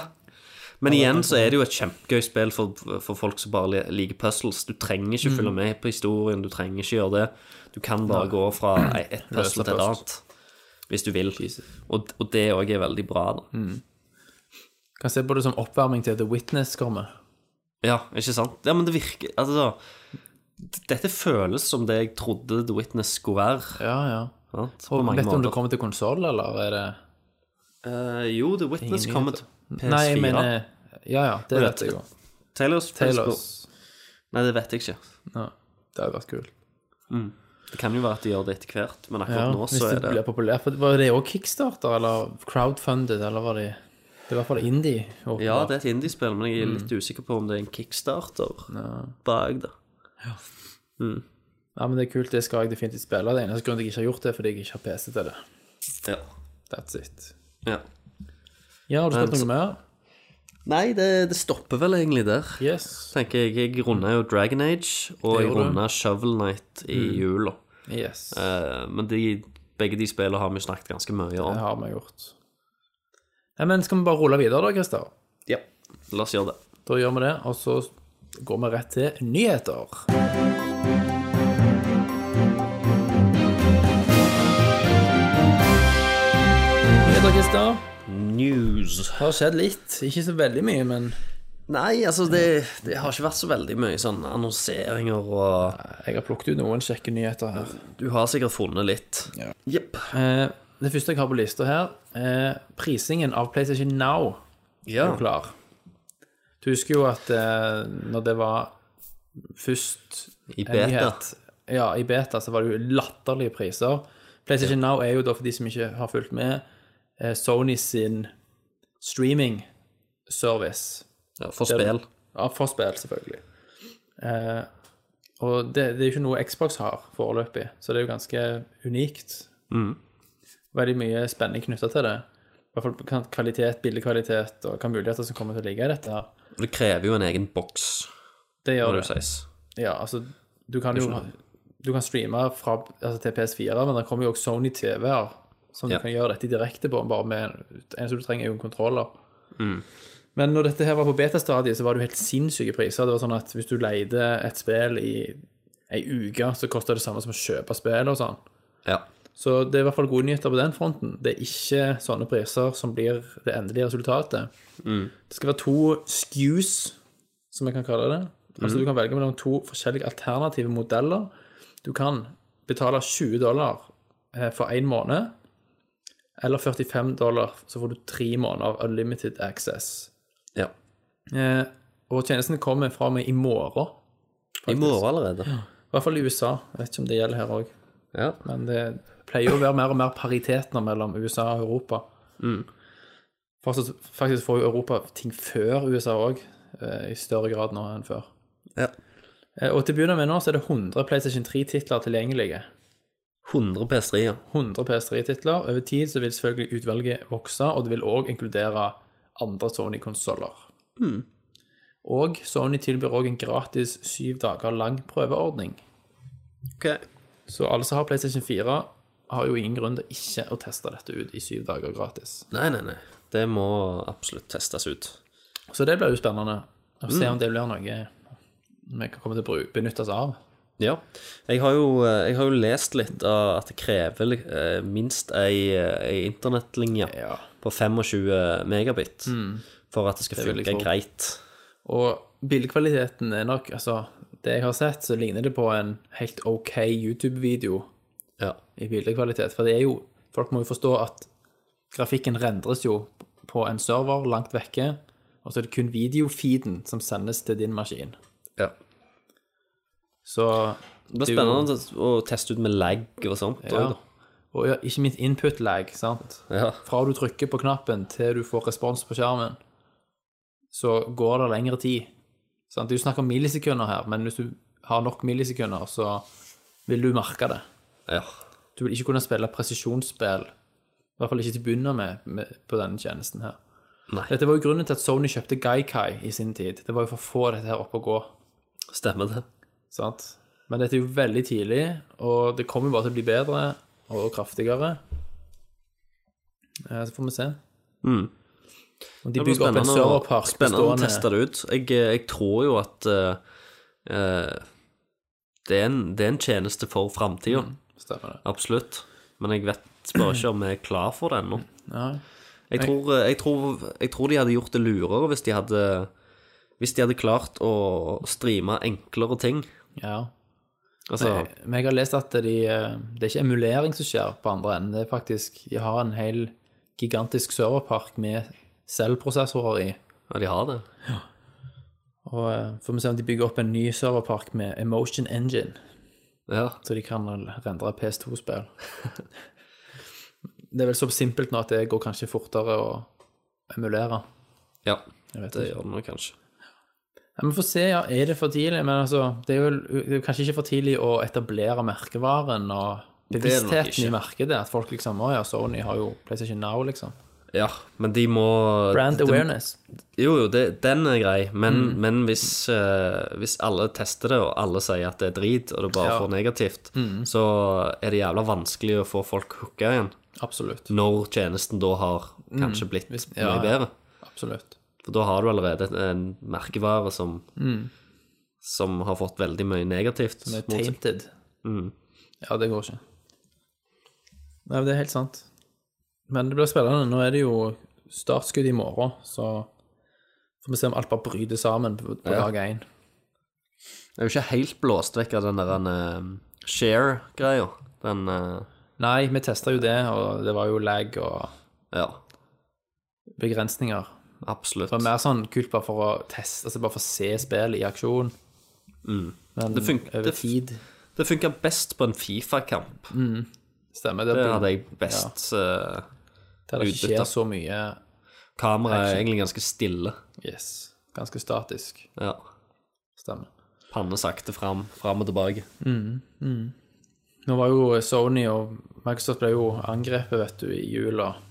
[SPEAKER 6] Men igjen så er det jo et kjempegøy spill for, for folk som bare li- liker puzzles. Du trenger ikke
[SPEAKER 5] Mm.
[SPEAKER 6] følge med på historien, du trenger ikke gjøre det. Du kan bare gå fra ei- et puzzle til et annet, hvis du vil. Og, og det òg er veldig bra,
[SPEAKER 5] Mm.
[SPEAKER 6] da.
[SPEAKER 5] Kan se på det som oppvarming til The Witness kommer.
[SPEAKER 6] Ja, ikke sant? Ja, men det virker Altså, dette føles som det jeg trodde The Witness skulle være.
[SPEAKER 5] Ja, ja.
[SPEAKER 6] sant? På mange
[SPEAKER 5] Vet du om det
[SPEAKER 6] måter.
[SPEAKER 5] kommer til konsoll, eller er det
[SPEAKER 6] Eh, jo, The Witness
[SPEAKER 5] Ingen
[SPEAKER 6] kommer
[SPEAKER 5] nyheter.
[SPEAKER 6] til PS4.
[SPEAKER 5] Nei, jeg mener Ja, ja, det
[SPEAKER 6] Vet
[SPEAKER 5] vet jeg jo.
[SPEAKER 6] Taylors,
[SPEAKER 5] Taylors.
[SPEAKER 6] Nei, det vet jeg ikke.
[SPEAKER 5] Ja, det hadde vært kult.
[SPEAKER 6] Det kan jo være at de gjør det etter hvert, men akkurat
[SPEAKER 5] Ja,
[SPEAKER 6] nå
[SPEAKER 5] hvis
[SPEAKER 6] så
[SPEAKER 5] det
[SPEAKER 6] er det
[SPEAKER 5] blir populært. For var det òg kickstarter, eller crowdfunded, eller var det Det var i hvert fall indie. åpenbart.
[SPEAKER 6] Ja, det er et indiespill, men jeg er litt
[SPEAKER 5] Mm.
[SPEAKER 6] usikker på om det er en kickstarter bak det.
[SPEAKER 5] ja, men det er kult, det skal jeg definitivt spille. Det eneste grunnen til at jeg ikke har gjort det, er fordi jeg ikke har PC til det.
[SPEAKER 6] Ja.
[SPEAKER 5] That's it.
[SPEAKER 6] ja.
[SPEAKER 5] Ja, har du spilt
[SPEAKER 6] Men
[SPEAKER 5] noe mer?
[SPEAKER 6] Nei, det, det stopper vel egentlig der.
[SPEAKER 5] Yes.
[SPEAKER 6] Tenker Jeg jeg runda jo Dragon Age, og
[SPEAKER 5] Det
[SPEAKER 6] jeg
[SPEAKER 5] gjorde du. Mm.
[SPEAKER 6] runda Shovel Knight i jula.
[SPEAKER 5] Yes.
[SPEAKER 6] Eh, men de, begge de spillene har vi snakket ganske mye
[SPEAKER 5] Det
[SPEAKER 6] om.
[SPEAKER 5] har vi gjort. Nei, men skal vi bare rulle videre, da, Christer?
[SPEAKER 6] Ja. La oss gjøre det.
[SPEAKER 5] Da gjør vi det, og så går vi rett til nyheter. Nyheter, Christer.
[SPEAKER 6] News.
[SPEAKER 5] Det har skjedd litt. Ikke så veldig mye, men
[SPEAKER 6] Nei, altså, det, det har ikke vært så veldig mye sånn annonseringer og
[SPEAKER 5] jeg har plukket ut noen kjekke nyheter her.
[SPEAKER 6] Du har sikkert funnet litt. Jepp.
[SPEAKER 5] Eh, det første jeg har på lista her, er prisingen av PlayStation Now.
[SPEAKER 6] Ja.
[SPEAKER 5] er jo klar. Du husker jo at eh, når det var først
[SPEAKER 6] I
[SPEAKER 5] en
[SPEAKER 6] beta.
[SPEAKER 5] nyhet- Ja, i beta så var det jo latterlige priser. PlayStation Now er jo da, for de som ikke har fulgt med, eh, Sony sin streaming service.
[SPEAKER 6] Ja, for spill.
[SPEAKER 5] Ja, for spill, selvfølgelig. Eh, og det, det er jo ikke noe Xbox har foreløpig, så det er jo ganske unikt. Veldig mye spenning knytta til det. I hvert fall kan- kvalitet, bildekvalitet og hva muligheter som kommer til å ligge i dette. her.
[SPEAKER 6] Og Det krever jo en egen boks,
[SPEAKER 5] Det
[SPEAKER 6] må
[SPEAKER 5] gjør
[SPEAKER 6] det
[SPEAKER 5] det.
[SPEAKER 6] jo sies.
[SPEAKER 5] Ja, altså, du kan jo du kan streame fra, altså, til PS4, men det kommer jo også Sony TV-er som
[SPEAKER 6] Ja.
[SPEAKER 5] du kan gjøre dette direkte på, bare med en som du trenger, er jo en kontroller. Men når dette her var på beta-stadiet, så var det jo helt sinnssyke priser. Det var sånn at hvis du leide et spill i ei uke, så kosta det samme som å kjøpe spill og sånn.
[SPEAKER 6] Ja.
[SPEAKER 5] Så det er i hvert fall gode nyheter på den fronten. Det er ikke sånne priser som blir det endelige resultatet. Det skal være to SKUs, som jeg kan kalle det. Altså Du kan velge mellom to forskjellige alternative modeller. Du kan betale 20 dollar eh, for én måned, eller 45 dollar, så får du tre måneder unlimited access.
[SPEAKER 6] ja.
[SPEAKER 5] Eh, og tjenesten kommer fra meg i morgen,
[SPEAKER 6] I morgen allerede.
[SPEAKER 5] i hvert fall i USA. Jeg vet ikke om det gjelder her òg.
[SPEAKER 6] Ja.
[SPEAKER 5] Men det pleier jo å være mer og mer pariteter mellom USA og Europa. Faktisk, faktisk får jo Europa ting før USA òg, i større grad nå enn før.
[SPEAKER 6] ja.
[SPEAKER 5] Eh, Og til å begynne med nå så er det 100 PlayStation 3-titler tilgjengelige.
[SPEAKER 6] 100 PS3-er.
[SPEAKER 5] 100 PS3-titler. Over tid så vil selvfølgelig utvalget vokse, og det vil òg inkludere andre Sony-konsoller. Og Sony tilbyr òg en gratis syv dager lang prøveordning.
[SPEAKER 6] Okay.
[SPEAKER 5] Så alle som har PlayStation 4, har jo ingen grunn til ikke å teste dette ut i syv dager gratis.
[SPEAKER 6] Nei, nei, nei. Det må absolutt testes ut.
[SPEAKER 5] Så det blir jo spennende å se om det blir noe vi kan komme til å bru- benytte oss av.
[SPEAKER 6] Ja. Jeg har jo, eh, jeg har jo lest litt av at det krever eh, minst ei, eh, ei internettlinje
[SPEAKER 5] Ja.
[SPEAKER 6] på 25 megabit for at Mm. det skal
[SPEAKER 5] Det vil jeg
[SPEAKER 6] funke
[SPEAKER 5] tro.
[SPEAKER 6] greit.
[SPEAKER 5] Og bildekvaliteten er nok Altså, det jeg har sett, så ligner det på en helt OK YouTube-video
[SPEAKER 6] Ja.
[SPEAKER 5] i bildekvalitet. For det er jo Folk må jo forstå at grafikken rendres jo på en server langt vekke, og så er det kun videofeeden som sendes til din maskin.
[SPEAKER 6] ja.
[SPEAKER 5] Så
[SPEAKER 6] Det blir
[SPEAKER 5] er jo-
[SPEAKER 6] spennende å teste ut med lag og sånt.
[SPEAKER 5] Ja.
[SPEAKER 6] også, da.
[SPEAKER 5] Og ja, ikke minst input lag, sant?
[SPEAKER 6] Ja.
[SPEAKER 5] Fra du trykker på knappen til du får respons på skjermen, så går det lengre tid. Sant? Du snakker om millisekunder her, men hvis du har nok millisekunder, så vil du merke det.
[SPEAKER 6] Ja.
[SPEAKER 5] Du vil ikke kunne spille presisjonsspill, i hvert fall ikke til å begynne med, med på denne tjenesten her.
[SPEAKER 6] Nei.
[SPEAKER 5] Dette var jo grunnen til at Sony kjøpte Gaikai i sin tid. Det var jo for å få dette her opp og gå.
[SPEAKER 6] Stemmer det.
[SPEAKER 5] Sant? Men dette er jo veldig tidlig, og det kommer bare til å bli bedre og kraftigere. Eh, Så får vi se. Og de
[SPEAKER 6] Mm. Det blir
[SPEAKER 5] bygger opp en
[SPEAKER 6] spennende å-
[SPEAKER 5] serverpark
[SPEAKER 6] Spennende å
[SPEAKER 5] bestående-
[SPEAKER 6] teste det ut. Jeg, eh, jeg tror jo at eh, eh, det, er en, det er en tjeneste for framtida.
[SPEAKER 5] Mm. Stemmer det.
[SPEAKER 6] Absolutt. Men jeg vet bare ikke om jeg er klar for det ennå.
[SPEAKER 5] Nei.
[SPEAKER 6] Jeg tror, eh, jeg, tror, jeg tror de hadde gjort det lurere hvis de hadde Hvis de hadde klart å streame enklere ting.
[SPEAKER 5] Ja.
[SPEAKER 6] Altså,
[SPEAKER 5] Men- Men jeg har lest at de, eh, det er ikke emulering som skjer på andre enden. Det er faktisk De har en hel gigantisk serverpark med selvprosessorer i.
[SPEAKER 6] ja, de har det.
[SPEAKER 5] Og eh, får vi se om de bygger opp en ny serverpark med Emotion Engine.
[SPEAKER 6] Ja.
[SPEAKER 5] Så de kan vel rendre PS2-spill. det er vel så simpelt nå at det går kanskje fortere å emulere.
[SPEAKER 6] ja
[SPEAKER 5] Jeg vet
[SPEAKER 6] det
[SPEAKER 5] ikke.
[SPEAKER 6] gjør det nå kanskje.
[SPEAKER 5] Ja, men få se, ja. Er det for tidlig? Men altså, det er jo det er jo kanskje ikke for tidlig å etablere merkevaren og
[SPEAKER 6] er det nok
[SPEAKER 5] bevisstheten i
[SPEAKER 6] ikke.
[SPEAKER 5] markedet. At folk liksom Å ja, Sony har jo PlayStation Now, liksom.
[SPEAKER 6] Ja, men de må
[SPEAKER 5] Brand
[SPEAKER 6] det-
[SPEAKER 5] awareness.
[SPEAKER 6] Jo, jo, det, den er grei, men,
[SPEAKER 5] Mm.
[SPEAKER 6] men hvis, eh, hvis alle tester det, og alle sier at det er drit, og det bare
[SPEAKER 5] Ja. Mm.
[SPEAKER 6] får negativt, så er det jævla vanskelig å få folk hooka igjen.
[SPEAKER 5] Absolutt.
[SPEAKER 6] Når tjenesten da har kanskje blitt
[SPEAKER 5] Mm. ja,
[SPEAKER 6] mye
[SPEAKER 5] ja.
[SPEAKER 6] bedre.
[SPEAKER 5] Absolutt.
[SPEAKER 6] For da har du allerede en merkevare som Som har fått veldig mye negativt.
[SPEAKER 5] Det Mm. er
[SPEAKER 6] mot seg. Mm.
[SPEAKER 5] tainted. Ja, det går ikke. Nei, det er helt sant. Men det blir spennende. Nå er det jo startskudd i morgen, så får vi se om alt bare bryter sammen på, på dag én.
[SPEAKER 6] Jeg er jo ikke helt blåst vekk av den der eh, share-greia. Den eh,
[SPEAKER 5] Nei, vi testa jo det, og det var jo lag og
[SPEAKER 6] Ja,
[SPEAKER 5] begrensninger.
[SPEAKER 6] absolutt.
[SPEAKER 5] Det var mer sånn kult bare for å teste, altså bare for å se spillet i aksjon. Men
[SPEAKER 6] Mm. Det fun-
[SPEAKER 5] over
[SPEAKER 6] det-
[SPEAKER 5] tid
[SPEAKER 6] Det funka best på en Fifa-kamp.
[SPEAKER 5] stemmer det.
[SPEAKER 6] Det hadde jeg best eh,
[SPEAKER 5] Der det ikke
[SPEAKER 6] utbytte.
[SPEAKER 5] skjer så mye.
[SPEAKER 6] Kameraet er egentlig ganske stille.
[SPEAKER 5] Yes. Ganske statisk.
[SPEAKER 6] Ja.
[SPEAKER 5] Stemmer.
[SPEAKER 6] Panne sakte fram, fram og tilbake.
[SPEAKER 5] Nå var jo Sony og Microsoft ble jo angrepet, vet du, i jula. Mm.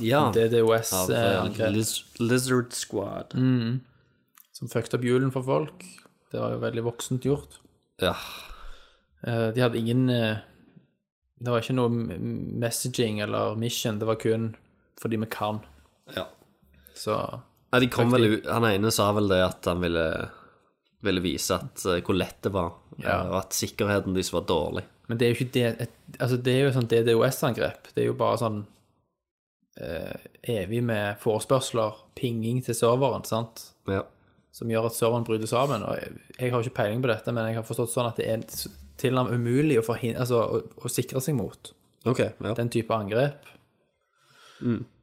[SPEAKER 6] Ja. Av eh,
[SPEAKER 5] DDoS-angrep
[SPEAKER 6] Liz Lizard Squad.
[SPEAKER 5] som fucket opp julen for folk. Det var jo veldig voksent gjort.
[SPEAKER 6] Ja.
[SPEAKER 5] Eh, De hadde ingen eh, Det var ikke noe m- messaging eller mission, det var kun fordi vi kan.
[SPEAKER 6] ja.
[SPEAKER 5] Så
[SPEAKER 6] Nei, de kom vel ut, Han ene sa vel det at han ville, ville vise at, eh, hvor lett det var,
[SPEAKER 5] Ja.
[SPEAKER 6] eh, og at sikkerheten deres var dårlig.
[SPEAKER 5] Men det er jo ikke det et, Altså, det er jo et sånt DDoS-angrep. Det er jo bare sånn eh, evig med forespørsler, pinging til serveren, sant,
[SPEAKER 6] Ja.
[SPEAKER 5] som gjør at serveren bryter sammen. Og jeg, jeg har ikke peiling på dette, men jeg har forstått sånn at det er s- tilnærmet umulig å, forhin- altså, å, å sikre seg mot
[SPEAKER 6] Ok, ja. Mm.
[SPEAKER 5] den type angrep.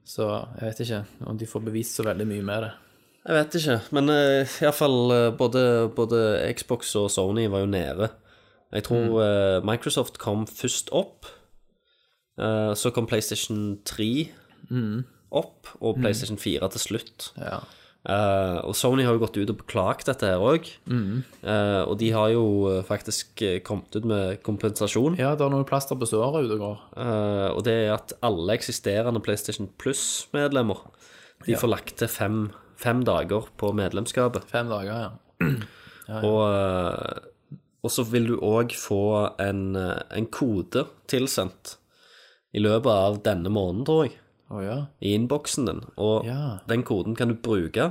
[SPEAKER 5] Så jeg vet ikke om de får bevist så veldig mye med det.
[SPEAKER 6] Jeg vet ikke, men eh, i hvert fall eh, både, både Xbox og Sony var jo nede. Jeg tror eh, Microsoft kom først opp, eh, så kom PlayStation 3 opp, og PlayStation 4 til slutt.
[SPEAKER 5] Ja.
[SPEAKER 6] Eh, og Sony har jo gått ut og beklaget dette her òg, og de har jo eh, faktisk eh, kommet ut med kompensasjon.
[SPEAKER 5] Ja, det er noe plaster på såret ute og går.
[SPEAKER 6] Eh, og det er at alle eksisterende PlayStation Plus-medlemmer De får lagt til fem, fem dager på medlemskapet.
[SPEAKER 5] Fem dager, ja.
[SPEAKER 6] Og, eh, og så vil du òg få en, eh, en kode tilsendt i løpet av denne måneden, tror jeg,
[SPEAKER 5] Å ja.
[SPEAKER 6] i innboksen din. Og
[SPEAKER 5] Ja.
[SPEAKER 6] den koden kan du bruke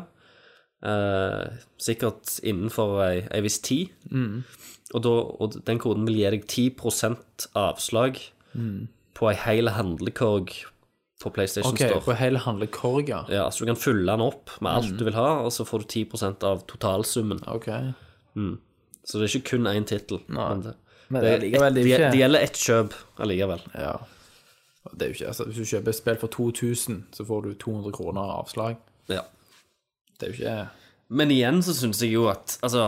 [SPEAKER 6] eh, sikkert innenfor ei, ei viss tid.
[SPEAKER 5] Mm.
[SPEAKER 6] Og, da, og den koden vil gi deg 10 avslag på ei hel handlekorg på PlayStation
[SPEAKER 5] Mm. OK,
[SPEAKER 6] Store.
[SPEAKER 5] på Mm. hele handlekorga.
[SPEAKER 6] Ja, så du kan fylle den opp med alt du vil ha, og så får du 10 av totalsummen.
[SPEAKER 5] OK.
[SPEAKER 6] Så det er ikke kun én tittel. Men det,
[SPEAKER 5] Men
[SPEAKER 6] det,
[SPEAKER 5] allikevel, det er
[SPEAKER 6] det-
[SPEAKER 5] ikke-
[SPEAKER 6] det gjelder ett kjøp allikevel.
[SPEAKER 5] Ja. Og Det er jo ikke, altså, hvis du kjøper et spill for 2000, så får du 200 kroner avslag.
[SPEAKER 6] Ja.
[SPEAKER 5] Det er jo ikke
[SPEAKER 6] Men igjen så syns jeg jo at Altså,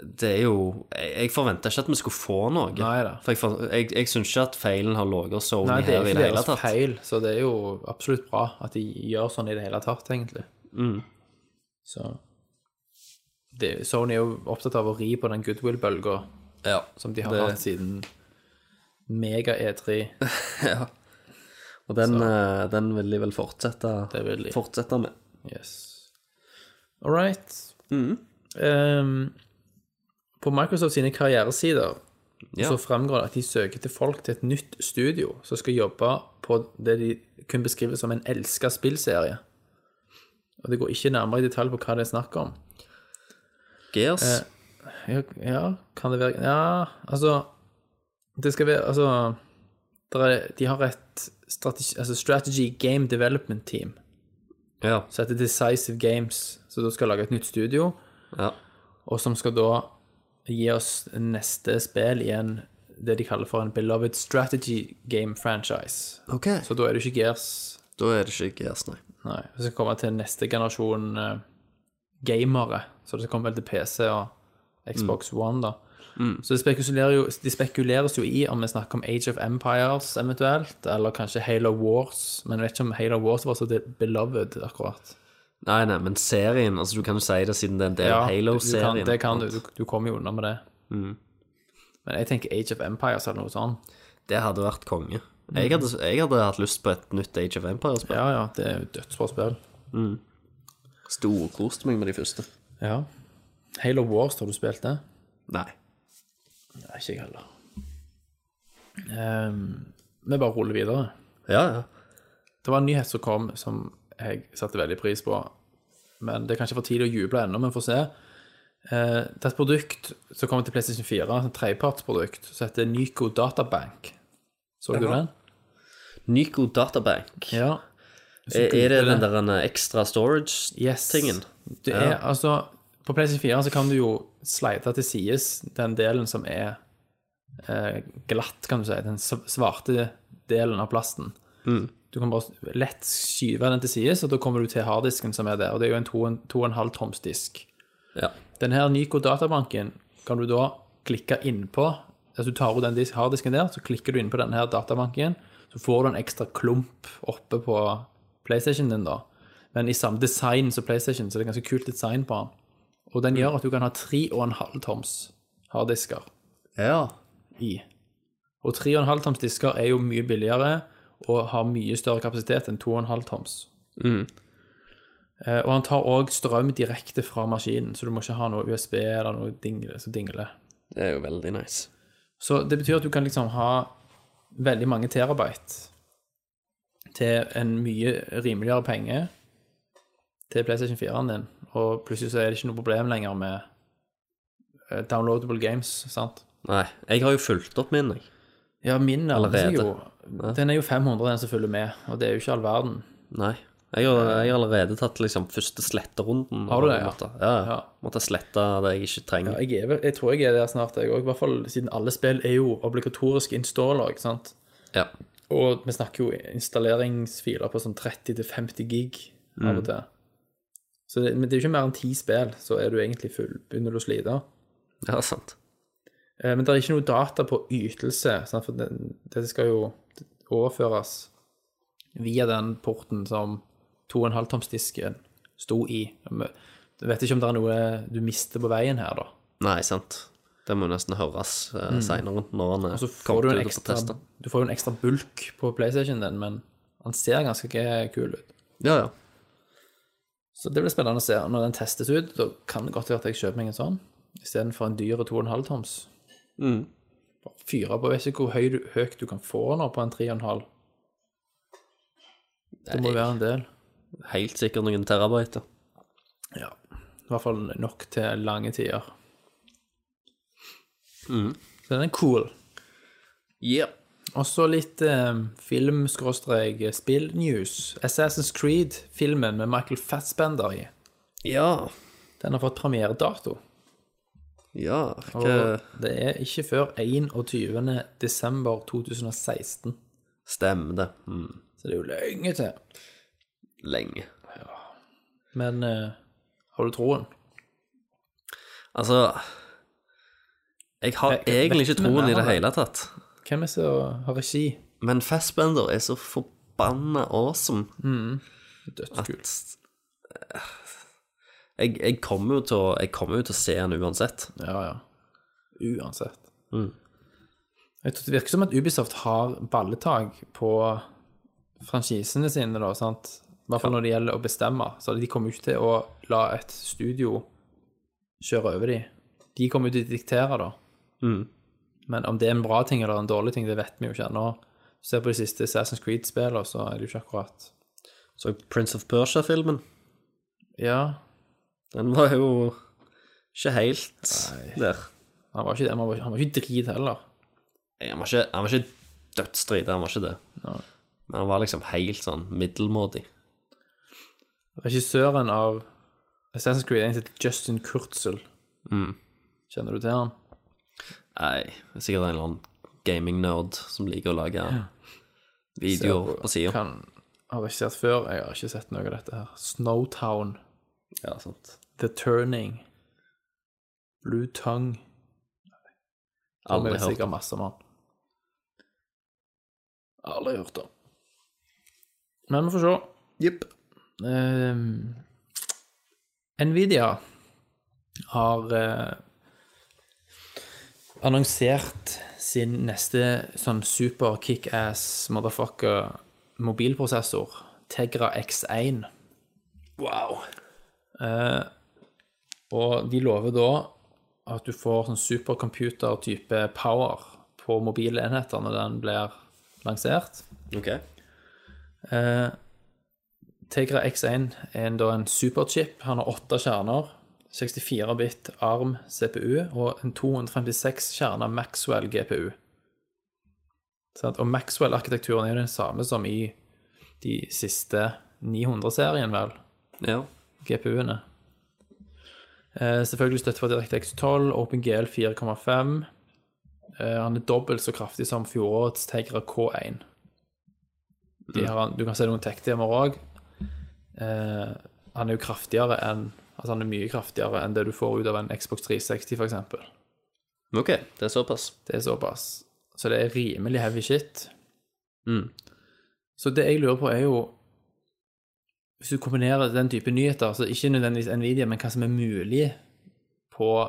[SPEAKER 6] det er jo Jeg, jeg forventa ikke at vi skulle få noe.
[SPEAKER 5] Nei da.
[SPEAKER 6] For jeg, for- jeg, jeg syns ikke at feilen har ligget hos Sony
[SPEAKER 5] Nei, det er
[SPEAKER 6] her i
[SPEAKER 5] ikke
[SPEAKER 6] det hele
[SPEAKER 5] deres
[SPEAKER 6] tatt.
[SPEAKER 5] feil, så det er jo absolutt bra at de gjør sånn i det hele tatt, egentlig.
[SPEAKER 6] Mm.
[SPEAKER 5] Så det, Sony er jo opptatt av å ri på den goodwill-bølga
[SPEAKER 6] Ja.
[SPEAKER 5] som de har
[SPEAKER 6] Det-
[SPEAKER 5] hatt siden E mega-E3.
[SPEAKER 6] Og den, eh, den vil de vel fortsette,
[SPEAKER 5] Det vil de.
[SPEAKER 6] fortsette med.
[SPEAKER 5] Yes. All right.
[SPEAKER 6] Mm.
[SPEAKER 5] Ehm, på Microsoft sine karrieresider
[SPEAKER 6] Ja.
[SPEAKER 5] så fremgår det at de søker til folk til et nytt studio som skal jobbe på det de kun beskriver som en elska spillserie. Og det går ikke nærmere i detalj på hva det er snakk om.
[SPEAKER 6] Gears.
[SPEAKER 5] Eh. Ja, ja, kan det være Ja, altså Det skal være Altså der er, De har et strategi, altså strategy game development team
[SPEAKER 6] ja.
[SPEAKER 5] som heter Decisive Games, som da skal lage et nytt studio,
[SPEAKER 6] ja.
[SPEAKER 5] og som skal da gi oss neste spill i en det de kaller for en beloved strategy game franchise.
[SPEAKER 6] Ok.
[SPEAKER 5] Så da er det ikke Gears
[SPEAKER 6] Da er det ikke Gears, nei.
[SPEAKER 5] Nei. Vi skal komme til neste generasjon eh, gamere, så det kommer vel til PC og Xbox One, da. Så det spekulerer jo, de spekuleres jo i om vi snakker om Age of Empires eventuelt, eller kanskje Halo Wars, men jeg vet ikke om Halo Wars var så det beloved, akkurat.
[SPEAKER 6] Nei, nei, men serien Altså, du kan jo si det siden det er en del av
[SPEAKER 5] du
[SPEAKER 6] Halo-serien.
[SPEAKER 5] kan, det kan du. du. Du kommer jo unna med det. Men jeg tenker Age of Empires eller noe sånt.
[SPEAKER 6] Det hadde vært konge. Jeg, hadde, jeg hadde hatt lyst på et nytt Age of Empires-spill.
[SPEAKER 5] Ja, ja, det er jo et dødsbra spill.
[SPEAKER 6] Storkoste meg med de første.
[SPEAKER 5] Ja. Halo Wars, har du spilt det?
[SPEAKER 6] Nei.
[SPEAKER 5] Nei, ikke jeg heller. Ehm, vi bare ruller videre.
[SPEAKER 6] Ja, ja.
[SPEAKER 5] Det var en nyhet som kom som jeg satte veldig pris på. Men det er kanskje for tidlig å juble ennå, men vi får se. Eh, det er et produkt som kommer til PlayStation 4, et trepartsprodukt, som heter Nyco Databank. Så du den?
[SPEAKER 6] Nyco Databank.
[SPEAKER 5] Ja.
[SPEAKER 6] er, er det den der en ekstra
[SPEAKER 5] Yes.
[SPEAKER 6] storage-tingen?
[SPEAKER 5] Det er altså På PlayStation 4 så kan du jo slide til sides den delen som er eh, glatt, kan du si. Den s- svarte delen av plasten. Du kan bare lett skyve den til sides, og da kommer du til harddisken som er der. Og det er jo en to- en 2,5 toms disk.
[SPEAKER 6] Ja.
[SPEAKER 5] Denne Nyco-databanken kan du da klikke innpå. Altså du tar ut den dis- harddisken der, så klikker du inn på denne her databanken, så får du en ekstra klump oppe på PlayStation din da, men i samme design som PlayStation, så det er ganske kult design på den. Og den gjør at du kan ha 3,5 toms harddisker
[SPEAKER 7] Ja.
[SPEAKER 5] i. Og 3,5 toms disker er jo mye billigere og har mye større kapasitet enn 2,5 toms. Eh, og han tar òg strøm direkte fra maskinen, så du må ikke ha noe USB eller noe dingle som dingler.
[SPEAKER 6] Det er jo veldig nice.
[SPEAKER 5] Så det betyr at du kan liksom ha veldig mange terabyte til en mye rimeligere penge til PlayStation 4-en din, og plutselig så er det ikke noe problem lenger med eh, downloadable games, sant?
[SPEAKER 6] Nei, jeg har jo fulgt opp min, jeg.
[SPEAKER 5] Ja, min nærmer seg jo.
[SPEAKER 6] Allerede. Ja.
[SPEAKER 5] Den er jo 500, den som følger med, og det er jo ikke all verden.
[SPEAKER 6] Nei. Jeg har, jeg har allerede tatt liksom første sletterunden.
[SPEAKER 5] Har du det, ja?
[SPEAKER 6] Måtte, ja,
[SPEAKER 5] Ja.
[SPEAKER 6] måtte slette det jeg ikke trenger.
[SPEAKER 5] Jeg, er, vel- jeg tror jeg er der snart, jeg òg, i hvert fall siden alle spill er jo obligatoriske installer, ikke sant?
[SPEAKER 6] Ja.
[SPEAKER 5] Og vi snakker jo installeringsfiler på sånn 30-50 gig av og til. Så det, men det er jo ikke mer enn ti spill, så er du egentlig full, begynner du å slite.
[SPEAKER 6] ja, sant.
[SPEAKER 5] Eh, Men det er ikke noe data på ytelse, sant? for det, dette skal jo overføres via den porten som 2,5-tomsdisken sto i. Jeg vet ikke om det er noe du mister på veien her, da.
[SPEAKER 6] Nei, sant. Det må nesten høres eh, senere når han
[SPEAKER 5] Og
[SPEAKER 6] er
[SPEAKER 5] så får du, en
[SPEAKER 6] kommet ut og
[SPEAKER 5] ekstra,
[SPEAKER 6] protester.
[SPEAKER 5] du får jo en ekstra bulk på PlayStation din, men han ser ganske ikke kul ut.
[SPEAKER 6] Ja, ja.
[SPEAKER 5] Så det blir spennende å se. Og Når den testes ut, da kan det godt være at jeg kjøper meg en sånn istedenfor en dyr 2,5 toms. Bare fyre på. Jeg vet ikke hvor høy du, høyt du kan få nå på en 3,5. Det må være en del.
[SPEAKER 6] Helt sikkert noen terabyte.
[SPEAKER 5] Ja. I hvert fall nok til lange tider. Så den er cool.
[SPEAKER 6] Yeah.
[SPEAKER 5] Og så litt eh, film-spill-news. Assassin's Creed-filmen med Michael Fassbender i.
[SPEAKER 6] Ja.
[SPEAKER 5] Den har fått premieredato.
[SPEAKER 6] Ja. Hva
[SPEAKER 5] Og det er ikke før 21. desember 2016.
[SPEAKER 6] Stemmer det? Mm.
[SPEAKER 5] Så det er jo lenge til.
[SPEAKER 6] Lenge.
[SPEAKER 5] Men eh, har du troen?
[SPEAKER 6] Altså Jeg har
[SPEAKER 5] Jeg-
[SPEAKER 6] egentlig
[SPEAKER 5] vet
[SPEAKER 6] ikke
[SPEAKER 5] vi
[SPEAKER 6] troen
[SPEAKER 5] mer
[SPEAKER 6] i det
[SPEAKER 5] om det?
[SPEAKER 6] hele tatt.
[SPEAKER 5] Hvem er det som har regi?
[SPEAKER 6] Men Fassbender er så forbanna awesome at
[SPEAKER 5] Dødskult.
[SPEAKER 6] jeg, jeg kommer jo til å Jeg kommer jo til å se han uansett.
[SPEAKER 5] Ja, ja. Uansett. Jeg tror Det virker som at Ubisoft har balletak på franchisene sine, da, sant? I hvert fall når det gjelder å bestemme. Så de kommer jo ikke til å la et studio kjøre over de. De kommer jo til å diktere, da.
[SPEAKER 6] Mm.
[SPEAKER 5] Men om det er en bra ting eller en dårlig ting, det vet vi jo ikke ennå. Se på de siste Assassin's Creed-spillene, så er det jo ikke akkurat
[SPEAKER 6] Så Prince of Persia-filmen,
[SPEAKER 5] Ja,
[SPEAKER 6] den var jo ikke helt der.
[SPEAKER 5] han var ikke, det. han var, han var ikke drit heller.
[SPEAKER 6] Nei, Han var ikke, han var ikke dødsdrit, han var ikke det. Men han var liksom helt sånn middelmådig.
[SPEAKER 5] Regissøren av Assassin's Creed er egentlig Justin Kurtzel. Kjenner du til han?
[SPEAKER 6] Nei, det er sikkert en eller annen gaming-nerd som liker å lage videoer på sida.
[SPEAKER 5] Han har regissert før. Jeg har ikke sett noe av dette her. Snowtown,
[SPEAKER 6] Ja, sant.
[SPEAKER 5] The Turning, Blue Tongue Aldri
[SPEAKER 6] Aldri
[SPEAKER 5] hørt
[SPEAKER 6] hørt.
[SPEAKER 5] sikkert masse om han. Aldri hørt om. Men vi får se.
[SPEAKER 6] Jepp.
[SPEAKER 5] Ehm, Nvidia har eh, annonsert sin neste sånn super kickass motherfucker mobilprosessor, Tegra X1. Wow. Eh, og de lover da at du får sånn supercomputer-type power på mobile enheter når den blir lansert.
[SPEAKER 6] Ok.
[SPEAKER 5] Eh, Tegra X1 er en, da en superchip. Han har åtte kjerner. 64 bit ARM CPU og en 256 kjerner Maxwell GPU. Sant? Og Maxwell-arkitekturen er jo den samme som i de siste 900-serien, vel,
[SPEAKER 6] Ja.
[SPEAKER 5] GPU-ene. Eh, selvfølgelig støtte for DirectX 12, OpenGL 4,5. Eh, han er dobbelt så kraftig som fjorårets Tegra K1. De har, du kan se noen tech-demoer òg. Eh, han er jo kraftigere enn Altså han er mye kraftigere enn det du får ut av en Xbox 360, f.eks.
[SPEAKER 6] Ok, det er såpass.
[SPEAKER 5] Det er såpass. Så det er rimelig Mm. heavy shit. Så det jeg lurer på, er jo hvis du kombinerer den type nyheter, så ikke nødvendigvis Nvidia, men hva som er mulig på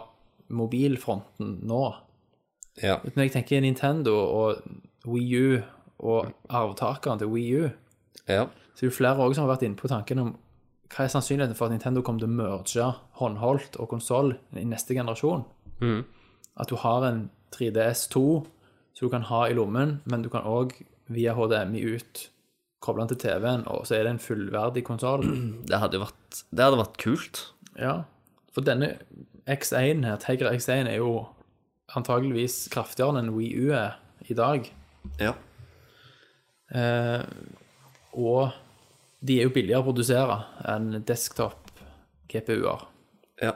[SPEAKER 5] mobilfronten nå.
[SPEAKER 7] Ja.
[SPEAKER 5] Når jeg tenker Nintendo og Wii U og arvtakeren til Wii U,
[SPEAKER 7] ja.
[SPEAKER 5] så er det jo flere også som har vært inne på tanken om hva er sannsynligheten for at Nintendo kommer til å merge håndholdt og konsoll i neste generasjon? At du har en 3DS2 som du kan ha i lommen, men du kan òg via HDMI ut koble den til TV-en, og så er det en fullverdig konsoll.
[SPEAKER 6] Det hadde vært, det hadde vært kult.
[SPEAKER 5] Ja, for denne X1 her, Tegra X1 er jo antageligvis kraftigere enn Wii U er i dag.
[SPEAKER 6] Ja.
[SPEAKER 5] Eh, og de er jo billigere å produsere enn desktop-GPU-er.
[SPEAKER 6] Ja.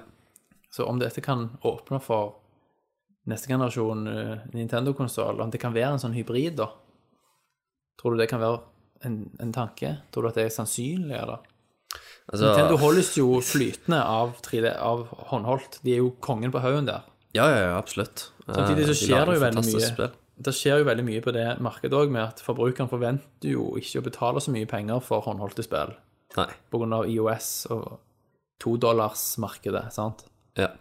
[SPEAKER 5] Så om dette kan åpne for neste generasjon eh, Nintendo-konsoll, om det kan være en sånn hybrid, da, tror du det kan være en, en tanke? Tror du at det er sannsynlig, eller?
[SPEAKER 6] Altså,
[SPEAKER 5] Nintendo holdes jo flytende av, 3D, av håndholdt. De er jo kongen på haugen der.
[SPEAKER 6] Ja, ja, ja, absolutt.
[SPEAKER 5] Samtidig så
[SPEAKER 6] Eh, de
[SPEAKER 5] skjer
[SPEAKER 6] lager
[SPEAKER 5] det jo veldig
[SPEAKER 6] fantastiske
[SPEAKER 5] mye. Det skjer jo veldig mye på det markedet òg, med at forbrukeren forventer jo ikke å betale så mye penger for håndholdte spill
[SPEAKER 6] Nei.
[SPEAKER 5] pga. IOS og todollarsmarkedet, sant?
[SPEAKER 6] Ja.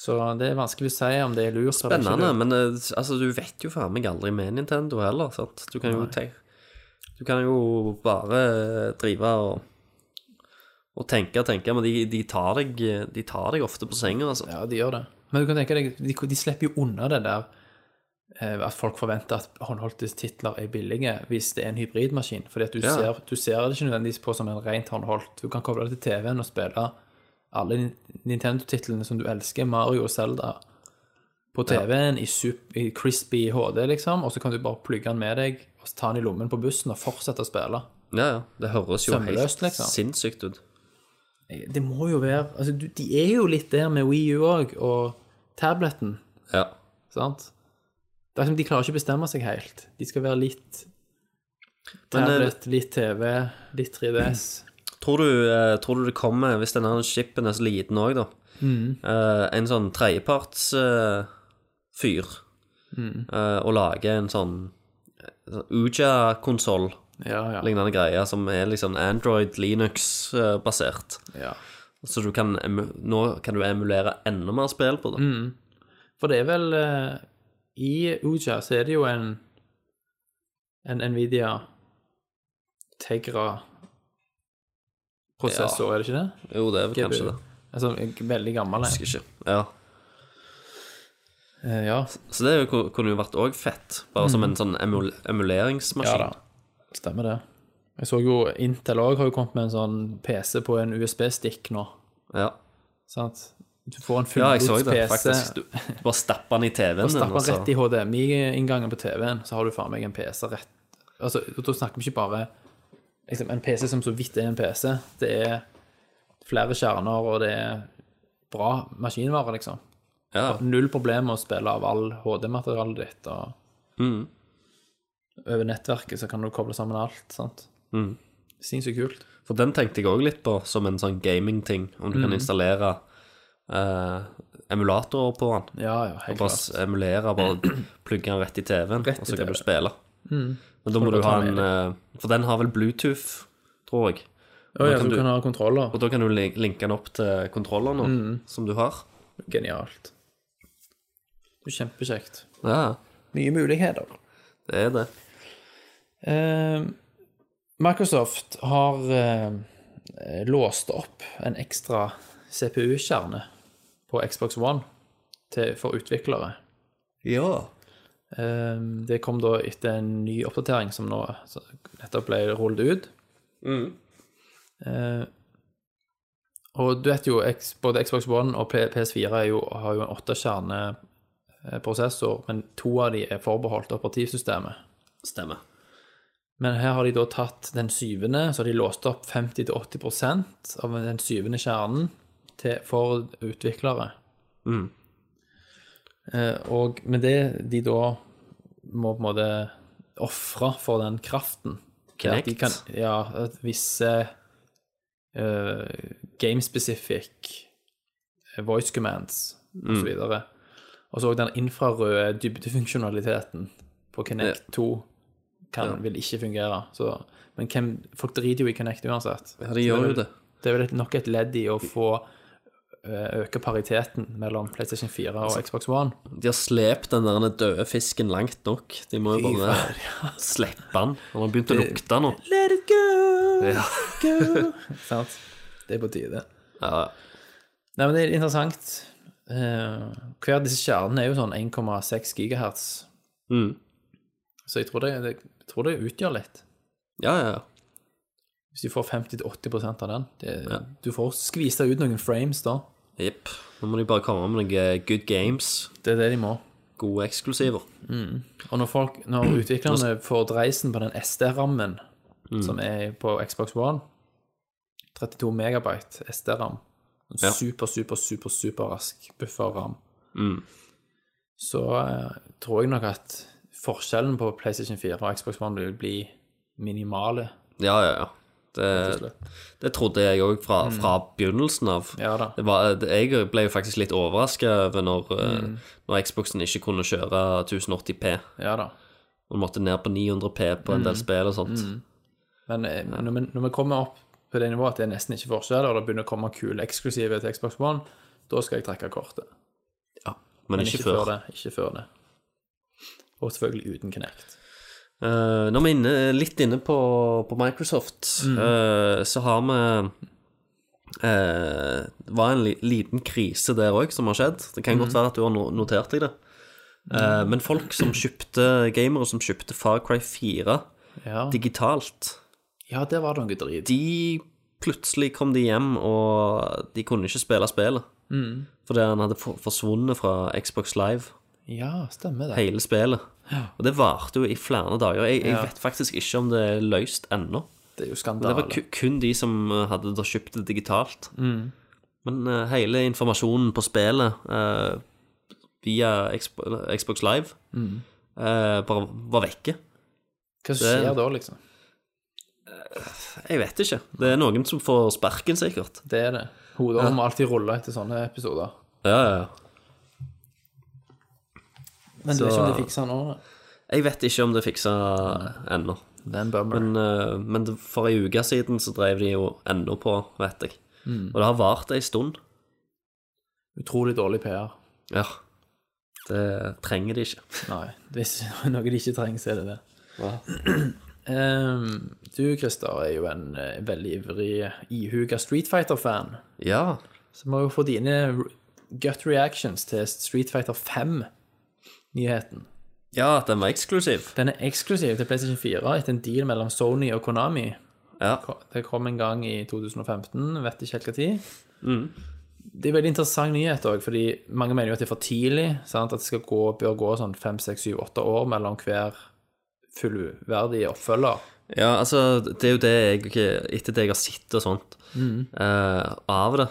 [SPEAKER 5] Så det er vanskelig å si om det er lurt eller ikke.
[SPEAKER 6] Spennende,
[SPEAKER 5] lurt.
[SPEAKER 6] men eh, altså, du vet jo faen meg aldri med Nintendo heller, sant? Du kan jo, tenk- du kan jo bare eh, drive og, og tenke og tenke, men de, de, tar deg, de tar deg ofte på senga, altså.
[SPEAKER 5] Ja, de gjør det. Men du kan tenke deg, de, de slipper jo unna det der eh, at folk forventer at håndholdte titler er billige hvis det er en hybridmaskin. Fordi at du,
[SPEAKER 6] Ja.
[SPEAKER 5] ser, du ser det ikke nødvendigvis på som en rent håndholdt. Du kan koble det til TV-en og spille alle Nin- Nintendo-titlene som du elsker, Mario og Zelda, på TV-en i, sup- i crispy HD, liksom, og så kan du bare plugge den med deg og ta den i lommen på bussen og fortsette å spille.
[SPEAKER 6] Ja, ja. Det høres jo
[SPEAKER 5] Sømløst,
[SPEAKER 6] helt
[SPEAKER 5] liksom.
[SPEAKER 6] sinnssykt ut.
[SPEAKER 5] Eh, Det må jo være Altså, du, de er jo litt der med Wii U òg, og tableten.
[SPEAKER 6] Ja.
[SPEAKER 5] Sant? Det er som de klarer ikke å bestemme seg helt. De skal være litt
[SPEAKER 6] Men, eh,
[SPEAKER 5] tablet, litt TV, litt 3DS.
[SPEAKER 6] Tror du, eh, tror du det kommer, hvis denne her shippen er så liten òg, da,
[SPEAKER 5] Mm.
[SPEAKER 6] eh, en sånn tredjeparts eh, fyr
[SPEAKER 5] Mm.
[SPEAKER 6] eh, og lager en sånn Uja-konsoll,
[SPEAKER 5] Ja, ja.
[SPEAKER 6] lignende greie, som er liksom Android, Linux-basert.
[SPEAKER 5] ja.
[SPEAKER 6] Så du kan, emu- nå kan du emulere enda mer spill på det.
[SPEAKER 5] Mm. For det er vel eh, I Uja så er det jo en en Nvidia Tegra-prosessor, er det ikke det?
[SPEAKER 6] Jo, det er vel kanskje
[SPEAKER 5] GPU.
[SPEAKER 6] det.
[SPEAKER 5] Altså en veldig gammel en.
[SPEAKER 6] Husker ikke. Ja.
[SPEAKER 5] Eh, ja.
[SPEAKER 6] Så det er jo- kunne jo vært òg fett, bare som en sånn emul
[SPEAKER 5] Mm. ja
[SPEAKER 6] emuleringsmaskin.
[SPEAKER 5] da. Stemmer det. Jeg så jo Intel òg har jo kommet med en sånn PC på en USB-stick nå.
[SPEAKER 6] Ja,
[SPEAKER 5] Sant? Du får en
[SPEAKER 6] ja, jeg så
[SPEAKER 5] fullgods
[SPEAKER 6] det,
[SPEAKER 5] PC.
[SPEAKER 6] faktisk. Du, du bare stapper den i altså. TV-en
[SPEAKER 5] Og stapper
[SPEAKER 6] og så-
[SPEAKER 5] rett i HDMI-inngangen på TV-en, så har du faen meg en PC rett Altså, og Da snakker vi ikke bare liksom, en PC som så vidt er en PC. Det er flere kjerner, og det er bra maskinvare, liksom.
[SPEAKER 6] Ja,
[SPEAKER 5] Null problem med å spille av all HD-materialet ditt. og
[SPEAKER 6] Mm.
[SPEAKER 5] Over nettverket så kan du koble sammen alt. sant?
[SPEAKER 6] Mm.
[SPEAKER 5] Sinnssykt kult.
[SPEAKER 6] for den tenkte jeg òg litt på som en sånn gaming-ting. Om du kan
[SPEAKER 5] Mm.
[SPEAKER 6] installere eh, emulatorer på den.
[SPEAKER 5] Ja, ja, helt
[SPEAKER 6] Bare
[SPEAKER 5] klart.
[SPEAKER 6] s- emulere, bare plugge den rett i TV-en,
[SPEAKER 5] Rett i
[SPEAKER 6] og så kan
[SPEAKER 5] TV. Mm.
[SPEAKER 6] du spille. Men da må
[SPEAKER 5] du
[SPEAKER 6] du
[SPEAKER 5] ta
[SPEAKER 6] ha
[SPEAKER 5] den
[SPEAKER 6] en eh, For den har vel Bluetooth, tror jeg.
[SPEAKER 5] Å ja,
[SPEAKER 6] kan
[SPEAKER 5] så du
[SPEAKER 6] du-
[SPEAKER 5] kan ha kontroller.
[SPEAKER 6] Og da kan du lin- linke den opp til kontrollene
[SPEAKER 5] Mm.
[SPEAKER 6] som du har.
[SPEAKER 5] Genialt. Det er Kjempekjekt.
[SPEAKER 6] Ja,
[SPEAKER 5] Nye muligheter.
[SPEAKER 6] det er det.
[SPEAKER 5] Eh, Microsoft har eh, låst opp en ekstra CPU-kjerne på Xbox One til, for utviklere.
[SPEAKER 6] Ja.
[SPEAKER 5] Eh, det kom da etter en ny oppdatering som nå som nettopp ble rullet ut. Eh, og du vet jo, X- både Xbox One og P- PS4 er jo, har jo en åttekjerneprosessor, men to av de er forbeholdt operativsystemet.
[SPEAKER 6] Stemmer.
[SPEAKER 5] Men her har de da tatt den syvende, så har de låst opp 50-80 av den syvende kjernen til, for utviklere. Eh, og med det de da må på en måte ofre for den kraften er at de
[SPEAKER 6] Kinect.
[SPEAKER 5] kan, ja, at visse eh, game-specific eh, voice commands og så videre. Og så også den infrarøde dybdefunksjonaliteten på Kinect 2 kan, vil ikke fungere. Så, men hvem, folk driter jo i Connect uansett.
[SPEAKER 6] Ja, de gjør jo det.
[SPEAKER 5] Det er vel et- nok et ledd i å få eh, øke pariteten mellom PlayStation 4 og Xbox One.
[SPEAKER 6] De har slept den der døde fisken langt nok. De må jo bare slippe den. Han har begynt å lukte nå.
[SPEAKER 5] Let it go!
[SPEAKER 6] Ja.
[SPEAKER 5] Sant? Det er på tide. Nei, men det er interessant. Eh, hver av disse kjernene er jo sånn 1,6 gigahertz.
[SPEAKER 6] Mm.
[SPEAKER 5] Så jeg tror det, det, jeg tror det utgjør litt.
[SPEAKER 6] Ja, ja, ja.
[SPEAKER 5] Hvis du får 50-80 av den. Det,
[SPEAKER 6] Ja.
[SPEAKER 5] Du får skvisa ut noen frames, da.
[SPEAKER 6] Jepp. Nå må de bare komme med noen eh, good games.
[SPEAKER 5] Det er det de må.
[SPEAKER 6] Gode eksklusiver.
[SPEAKER 5] Og når, folk, når utviklerne får dreisen på den SD-rammen
[SPEAKER 6] Mm.
[SPEAKER 5] som er på Xbox One 32 megabyte SD-ram. En
[SPEAKER 6] Ja.
[SPEAKER 5] super, super, super, super rask bufferram.
[SPEAKER 6] Mm.
[SPEAKER 5] Så eh, tror jeg nok at forskjellen på PlayStation 4 og Xbox One vil bli minimale.
[SPEAKER 6] Ja, ja, ja.
[SPEAKER 5] og
[SPEAKER 6] Det,
[SPEAKER 5] slett.
[SPEAKER 6] det trodde jeg òg fra, fra begynnelsen av.
[SPEAKER 5] Mm. Ja da.
[SPEAKER 6] Det var, det- jeg ble jo faktisk litt overraska over når, eh,
[SPEAKER 5] Mm.
[SPEAKER 6] når Xboxen ikke kunne kjøre 1080P.
[SPEAKER 5] Ja da.
[SPEAKER 6] Og måtte ned på 900P på en
[SPEAKER 5] Mm.
[SPEAKER 6] del spill og sånt.
[SPEAKER 5] Men eh, når, vi, når vi kommer opp på det nivået at det er nesten ikke forskjell, og det begynner å komme kule eksklusive til Xbox One, da skal jeg trekke kortet.
[SPEAKER 6] Ja. Men,
[SPEAKER 5] Men
[SPEAKER 6] ikke, før.
[SPEAKER 5] det. Ikke før det. Og selvfølgelig uten Kinect.
[SPEAKER 6] Eh, når vi er inne, litt inne på, på Microsoft,
[SPEAKER 5] Mm.
[SPEAKER 6] eh, så har vi eh, Det var en li, liten krise der òg som har skjedd. Det kan
[SPEAKER 5] Mm.
[SPEAKER 6] godt være at du har no, notert deg det. Eh, men folk som kjøpte gamere som kjøpte Far Cry 4
[SPEAKER 5] Ja,
[SPEAKER 6] digitalt,
[SPEAKER 5] ja der var det noe drit.
[SPEAKER 6] de plutselig kom de hjem, og de kunne ikke spille spillet. Fordi han hadde for, forsvunnet fra Xbox Live,
[SPEAKER 5] Ja, stemmer det.
[SPEAKER 6] hele spillet. Og det varte jo i flere dager. Jeg, jeg vet faktisk ikke om det er løst ennå.
[SPEAKER 5] Det er jo
[SPEAKER 6] Det
[SPEAKER 5] skandale.
[SPEAKER 6] var ku- kun de som eh, hadde da kjøpt det digitalt. Men eh, hele informasjonen på spillet eh, via Xb- eller Xbox Live eh, bare var vekke.
[SPEAKER 5] Hva skjer da, liksom?
[SPEAKER 6] Jeg vet ikke. Det er noen som får sparken, sikkert.
[SPEAKER 5] Det er det. Hodet må alltid rulle etter sånne episoder.
[SPEAKER 6] Ja, ja, ja.
[SPEAKER 5] Men det er ikke om de fikser nå. da.
[SPEAKER 6] Jeg vet ikke om det er fiksa ennå.
[SPEAKER 5] Det er en bummer.
[SPEAKER 6] Men, eh, men det- for ei uke siden så drev de jo ennå på, vet jeg. Og det har vart ei stund.
[SPEAKER 5] Utrolig dårlig PR.
[SPEAKER 6] Ja. Det trenger de ikke.
[SPEAKER 5] Nei, hvis noe de ikke trenger, så er det det. Ehm, du, Christer, er jo en eh, veldig ivrig ihuga Street Fighter-fan.
[SPEAKER 6] Ja.
[SPEAKER 5] Så må jo få dine r- gut reactions til Street Fighter 5-nyheten.
[SPEAKER 6] ja, at den var eksklusiv.
[SPEAKER 5] Den er eksklusiv til PlayStation 4 etter en deal mellom Sony og Konami.
[SPEAKER 6] Ja.
[SPEAKER 5] Det kom en gang i 2015, vet ikke helt hva tid.
[SPEAKER 6] Mm.
[SPEAKER 5] Det er veldig interessant nyhet òg, fordi mange mener jo at det er for tidlig. Sant? At det skal gå, bør gå sånn fem, seks, syv, åtte år mellom hver fullverdig oppfølger.
[SPEAKER 6] Ja, altså, det er jo det jeg ikke- Etter det jeg har sett og sånt eh, av det,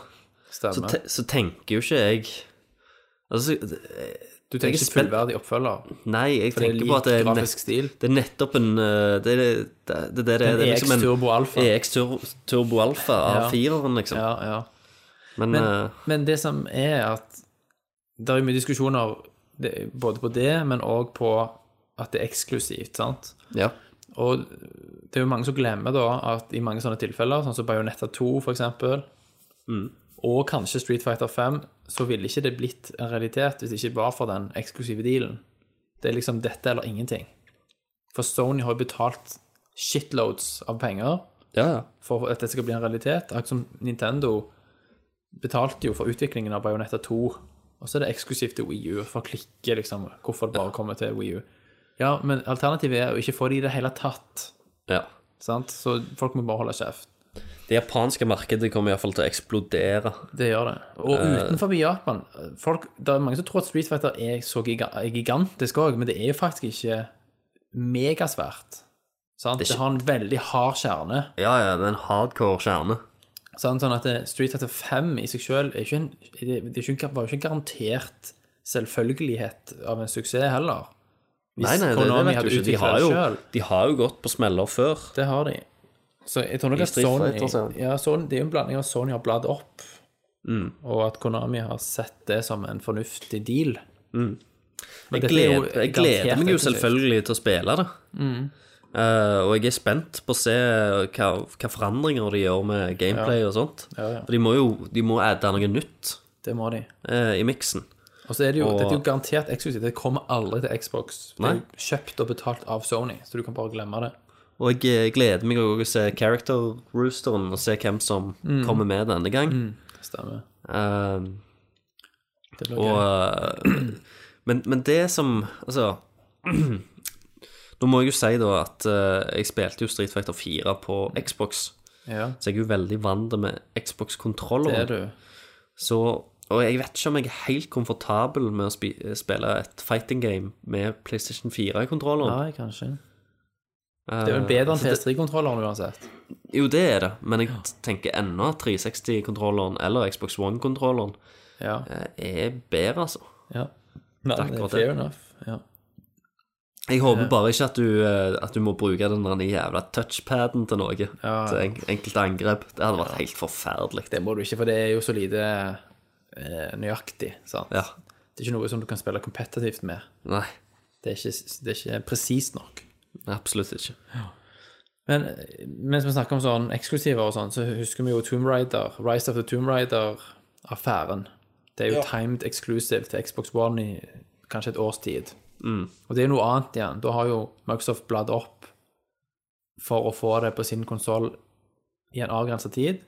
[SPEAKER 6] så,
[SPEAKER 5] Stemmer.
[SPEAKER 6] te, så tenker jo ikke jeg Altså,
[SPEAKER 5] Du
[SPEAKER 6] jeg er
[SPEAKER 5] tenker ikke
[SPEAKER 6] spent-
[SPEAKER 5] fullverdig oppfølger?
[SPEAKER 6] nei, jeg
[SPEAKER 5] For det er
[SPEAKER 6] tenker
[SPEAKER 5] lik
[SPEAKER 6] på at det er,
[SPEAKER 5] grafisk
[SPEAKER 6] nett,
[SPEAKER 5] stil.
[SPEAKER 6] det er nettopp en eh, Det er det det, er det, det, er- det er liksom en
[SPEAKER 5] EX Turbo Alpha.
[SPEAKER 6] EX Tur- Turbo Alpha av
[SPEAKER 5] Ja.
[SPEAKER 6] fireren, liksom.
[SPEAKER 5] Ja, ja.
[SPEAKER 6] Men,
[SPEAKER 5] Men,
[SPEAKER 6] eh,
[SPEAKER 5] men det som er at det er jo mye diskusjoner det- både på det, men òg på at det er eksklusivt, sant?
[SPEAKER 6] ja.
[SPEAKER 5] Og det er jo mange som glemmer da at i mange sånne tilfeller, sånn som Bayonetta 2 for eksempel, og kanskje Street Fighter 5, så ville ikke det blitt en realitet hvis det ikke var for den eksklusive dealen. Det er liksom dette eller ingenting. For Sony har jo betalt shitloads av penger
[SPEAKER 6] ja, ja.
[SPEAKER 5] for at dette skal bli en realitet. Akkurat som Nintendo betalte jo for utviklingen av Bayonetta 2, og så er det eksklusivt til Wii U, for å klikke liksom hvorfor det bare kommer til Wii U. Ja, men alternativet er å ikke få det i det hele tatt.
[SPEAKER 6] ja.
[SPEAKER 5] Sant? Så folk må bare holde kjeft.
[SPEAKER 6] Det japanske markedet kommer iallfall til å eksplodere.
[SPEAKER 5] Det gjør det. Og utenfor Japan folk, Det er mange som tror at Street Fighter er så giga er gigantisk òg, men det er jo faktisk ikke megasvært. Sant? Det,
[SPEAKER 6] ikke-
[SPEAKER 5] har en veldig hard kjerne.
[SPEAKER 6] Ja, ja, det er en hardcore kjerne.
[SPEAKER 5] Sant? Sånn at eh, Street Fighter 5 i seg sjøl var jo ikke en garantert selvfølgelighet av en suksess heller.
[SPEAKER 6] Nei, nei, det, det
[SPEAKER 5] Konami
[SPEAKER 6] vet
[SPEAKER 5] hadde
[SPEAKER 6] du ikke. De
[SPEAKER 5] utviklet
[SPEAKER 6] har,
[SPEAKER 5] det
[SPEAKER 6] jo,
[SPEAKER 5] selv.
[SPEAKER 6] de har jo gått på smeller før.
[SPEAKER 5] Det har de. Så jeg tror nok
[SPEAKER 6] I
[SPEAKER 5] at
[SPEAKER 6] Street
[SPEAKER 5] Sony,
[SPEAKER 6] Fighter, så-
[SPEAKER 5] ja, Sony Det er jo en blanding av at Sony har bladd opp,
[SPEAKER 6] Mm.
[SPEAKER 5] og at Konami har sett det som en fornuftig deal. Men
[SPEAKER 6] Jeg
[SPEAKER 5] dette er jo
[SPEAKER 6] gleder, jeg gleder
[SPEAKER 5] garantert
[SPEAKER 6] meg jo
[SPEAKER 5] eksklusivt.
[SPEAKER 6] selvfølgelig til å spille det. Eh, og jeg er spent på å se hva, hva forandringer de gjør med gameplay og sånt.
[SPEAKER 5] ja.
[SPEAKER 6] For de må jo de må adde noe nytt
[SPEAKER 5] Det må de.
[SPEAKER 6] eh, i miksen.
[SPEAKER 5] Og så er det jo,
[SPEAKER 6] Og-
[SPEAKER 5] dette er jo garantert eksklusivt. Det kommer aldri til Xbox. Det
[SPEAKER 6] Nei.
[SPEAKER 5] er jo kjøpt og betalt av Sony, så du kan bare glemme det.
[SPEAKER 6] Og jeg, jeg gleder meg også å se Character Roosteren og se hvem som
[SPEAKER 5] Mm.
[SPEAKER 6] kommer med denne gang.
[SPEAKER 5] Stemmer.
[SPEAKER 6] Eh,
[SPEAKER 5] Det blir
[SPEAKER 6] Og,
[SPEAKER 5] gøy.
[SPEAKER 6] eh, men, men det som Altså Nå må jeg jo si da at eh, jeg spilte jo Street Fighter 4 på Xbox,
[SPEAKER 5] Ja,
[SPEAKER 6] så jeg er jo veldig vant med
[SPEAKER 5] det er
[SPEAKER 6] Xbox-kontrolleren.
[SPEAKER 5] du.
[SPEAKER 6] Så Og jeg vet ikke om jeg er helt komfortabel med å spi spille et fighting game med PlayStation 4-kontrolleren.
[SPEAKER 5] Nei, kanskje. Eh, Det er vel bedre enn PS3-kontrolleren uansett.
[SPEAKER 6] Jo, det er det, men jeg tenker ennå at 360-kontrolleren eller Xbox One-kontrolleren eh,
[SPEAKER 5] Ja.
[SPEAKER 6] er bedre, altså.
[SPEAKER 5] ja. Nei,
[SPEAKER 6] er
[SPEAKER 5] det er
[SPEAKER 6] akkurat det.
[SPEAKER 5] fair enough. Ja.
[SPEAKER 6] Jeg håper bare ikke at du, eh, at du må bruke den der jævla touchpaden til noe.
[SPEAKER 5] ja.
[SPEAKER 6] Til en, enkelte angrep. Det hadde vært helt forferdelig.
[SPEAKER 5] Det må du ikke, for det er jo så lite eh, nøyaktig. Sant?
[SPEAKER 6] Ja.
[SPEAKER 5] Det er ikke noe som du kan spille kompetitivt med.
[SPEAKER 6] Nei,
[SPEAKER 5] Det er ikke, det er ikke presist nok.
[SPEAKER 6] absolutt ikke.
[SPEAKER 5] Men eh, mens vi snakker om sånn eksklusiver og sånn, så husker vi jo Tomb Raider, Rise of the Tomb Raider-affæren. Det er jo timed exclusive til Xbox One i kanskje et års tid. Og det er jo noe annet igjen. Da har jo Microsoft bladd opp for å få det på sin konsoll i en avgrensa tid.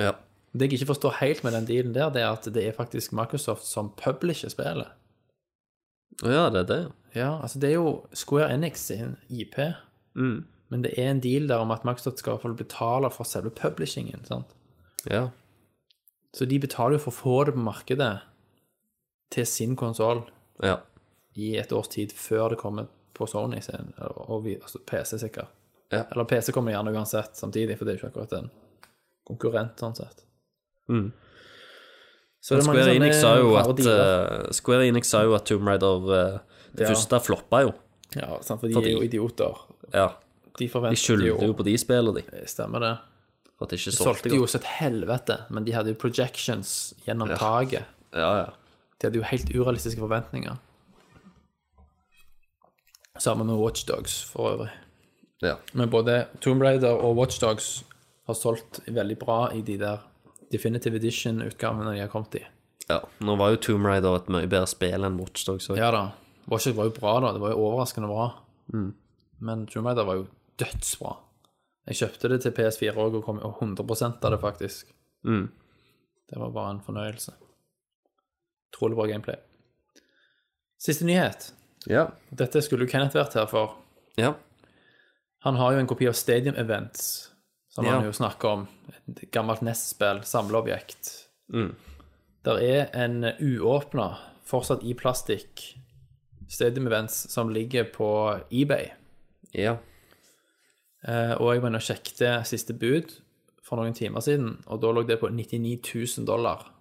[SPEAKER 6] Ja.
[SPEAKER 5] Det jeg ikke forstår helt med den dealen der, det er at det er faktisk Microsoft som publisher spillet.
[SPEAKER 6] Å ja, det er det.
[SPEAKER 5] Ja, altså det er jo Square Enix sin IP, men det er en deal der om at Microsoft skal i hvert fall betale for selve publishingen, sant?
[SPEAKER 6] Ja.
[SPEAKER 5] Så de betaler jo for å få det på markedet til sin konsoll
[SPEAKER 6] ja.
[SPEAKER 5] i et års tid før det kommer på Sony sin, og vi, altså PC sikkert.
[SPEAKER 6] Ja.
[SPEAKER 5] Eller PC kommer gjerne uansett samtidig, for det er jo ikke akkurat en konkurrent sånn sett.
[SPEAKER 6] Mm.
[SPEAKER 5] Så det er mange
[SPEAKER 6] Square
[SPEAKER 5] sånne
[SPEAKER 6] Enix sa jo
[SPEAKER 5] rare
[SPEAKER 6] at
[SPEAKER 5] dealer.
[SPEAKER 6] eh, Square Enix sa jo at Tomb Raider eh, Det
[SPEAKER 5] Ja.
[SPEAKER 6] første floppa jo.
[SPEAKER 5] Ja, sant, for de
[SPEAKER 6] fordi-
[SPEAKER 5] er jo idioter.
[SPEAKER 6] Ja.
[SPEAKER 5] De
[SPEAKER 6] De
[SPEAKER 5] forventer
[SPEAKER 6] skyldte jo
[SPEAKER 5] jo
[SPEAKER 6] på de spillene, de.
[SPEAKER 5] Stemmer det.
[SPEAKER 6] For at de ikke
[SPEAKER 5] De
[SPEAKER 6] solgte
[SPEAKER 5] solgte jo
[SPEAKER 6] godt.
[SPEAKER 5] så et helvete, men de hadde jo projections gjennom taket.
[SPEAKER 6] Ja, ja.
[SPEAKER 5] De hadde jo helt urealistiske forventninger. Sammen med Watchdogs, for øvrig.
[SPEAKER 6] Ja.
[SPEAKER 5] Men både Tomb Raider og Watchdogs har solgt veldig bra i de der Definitive Edition-utgavene de har kommet i.
[SPEAKER 6] ja. Nå var jo Tomb Raider et mye bedre spill enn Watchdog, så
[SPEAKER 5] Ja da. Watchdogs var jo bra, da. Det var jo overraskende bra. Men Tomb Raider var jo dødsbra. Jeg kjøpte det til PS4 òg og kom og 100 av det, faktisk.
[SPEAKER 6] Mm.
[SPEAKER 5] Det var bare en fornøyelse. Utrolig bra gameplay. Siste nyhet.
[SPEAKER 6] Ja.
[SPEAKER 5] Dette skulle jo Kenneth vært her for.
[SPEAKER 6] ja.
[SPEAKER 5] Han har jo en kopi av Stadium Events, som
[SPEAKER 6] Ja.
[SPEAKER 5] han jo snakker om. Et gammelt NES-spill, samleobjekt.
[SPEAKER 6] Mm.
[SPEAKER 5] Der er en uåpna, fortsatt i plastikk, Stadium Events som ligger på eBay.
[SPEAKER 6] ja.
[SPEAKER 5] Eh, og jeg var inne og sjekket siste bud for noen timer siden, og da lå det på 99 000 dollar.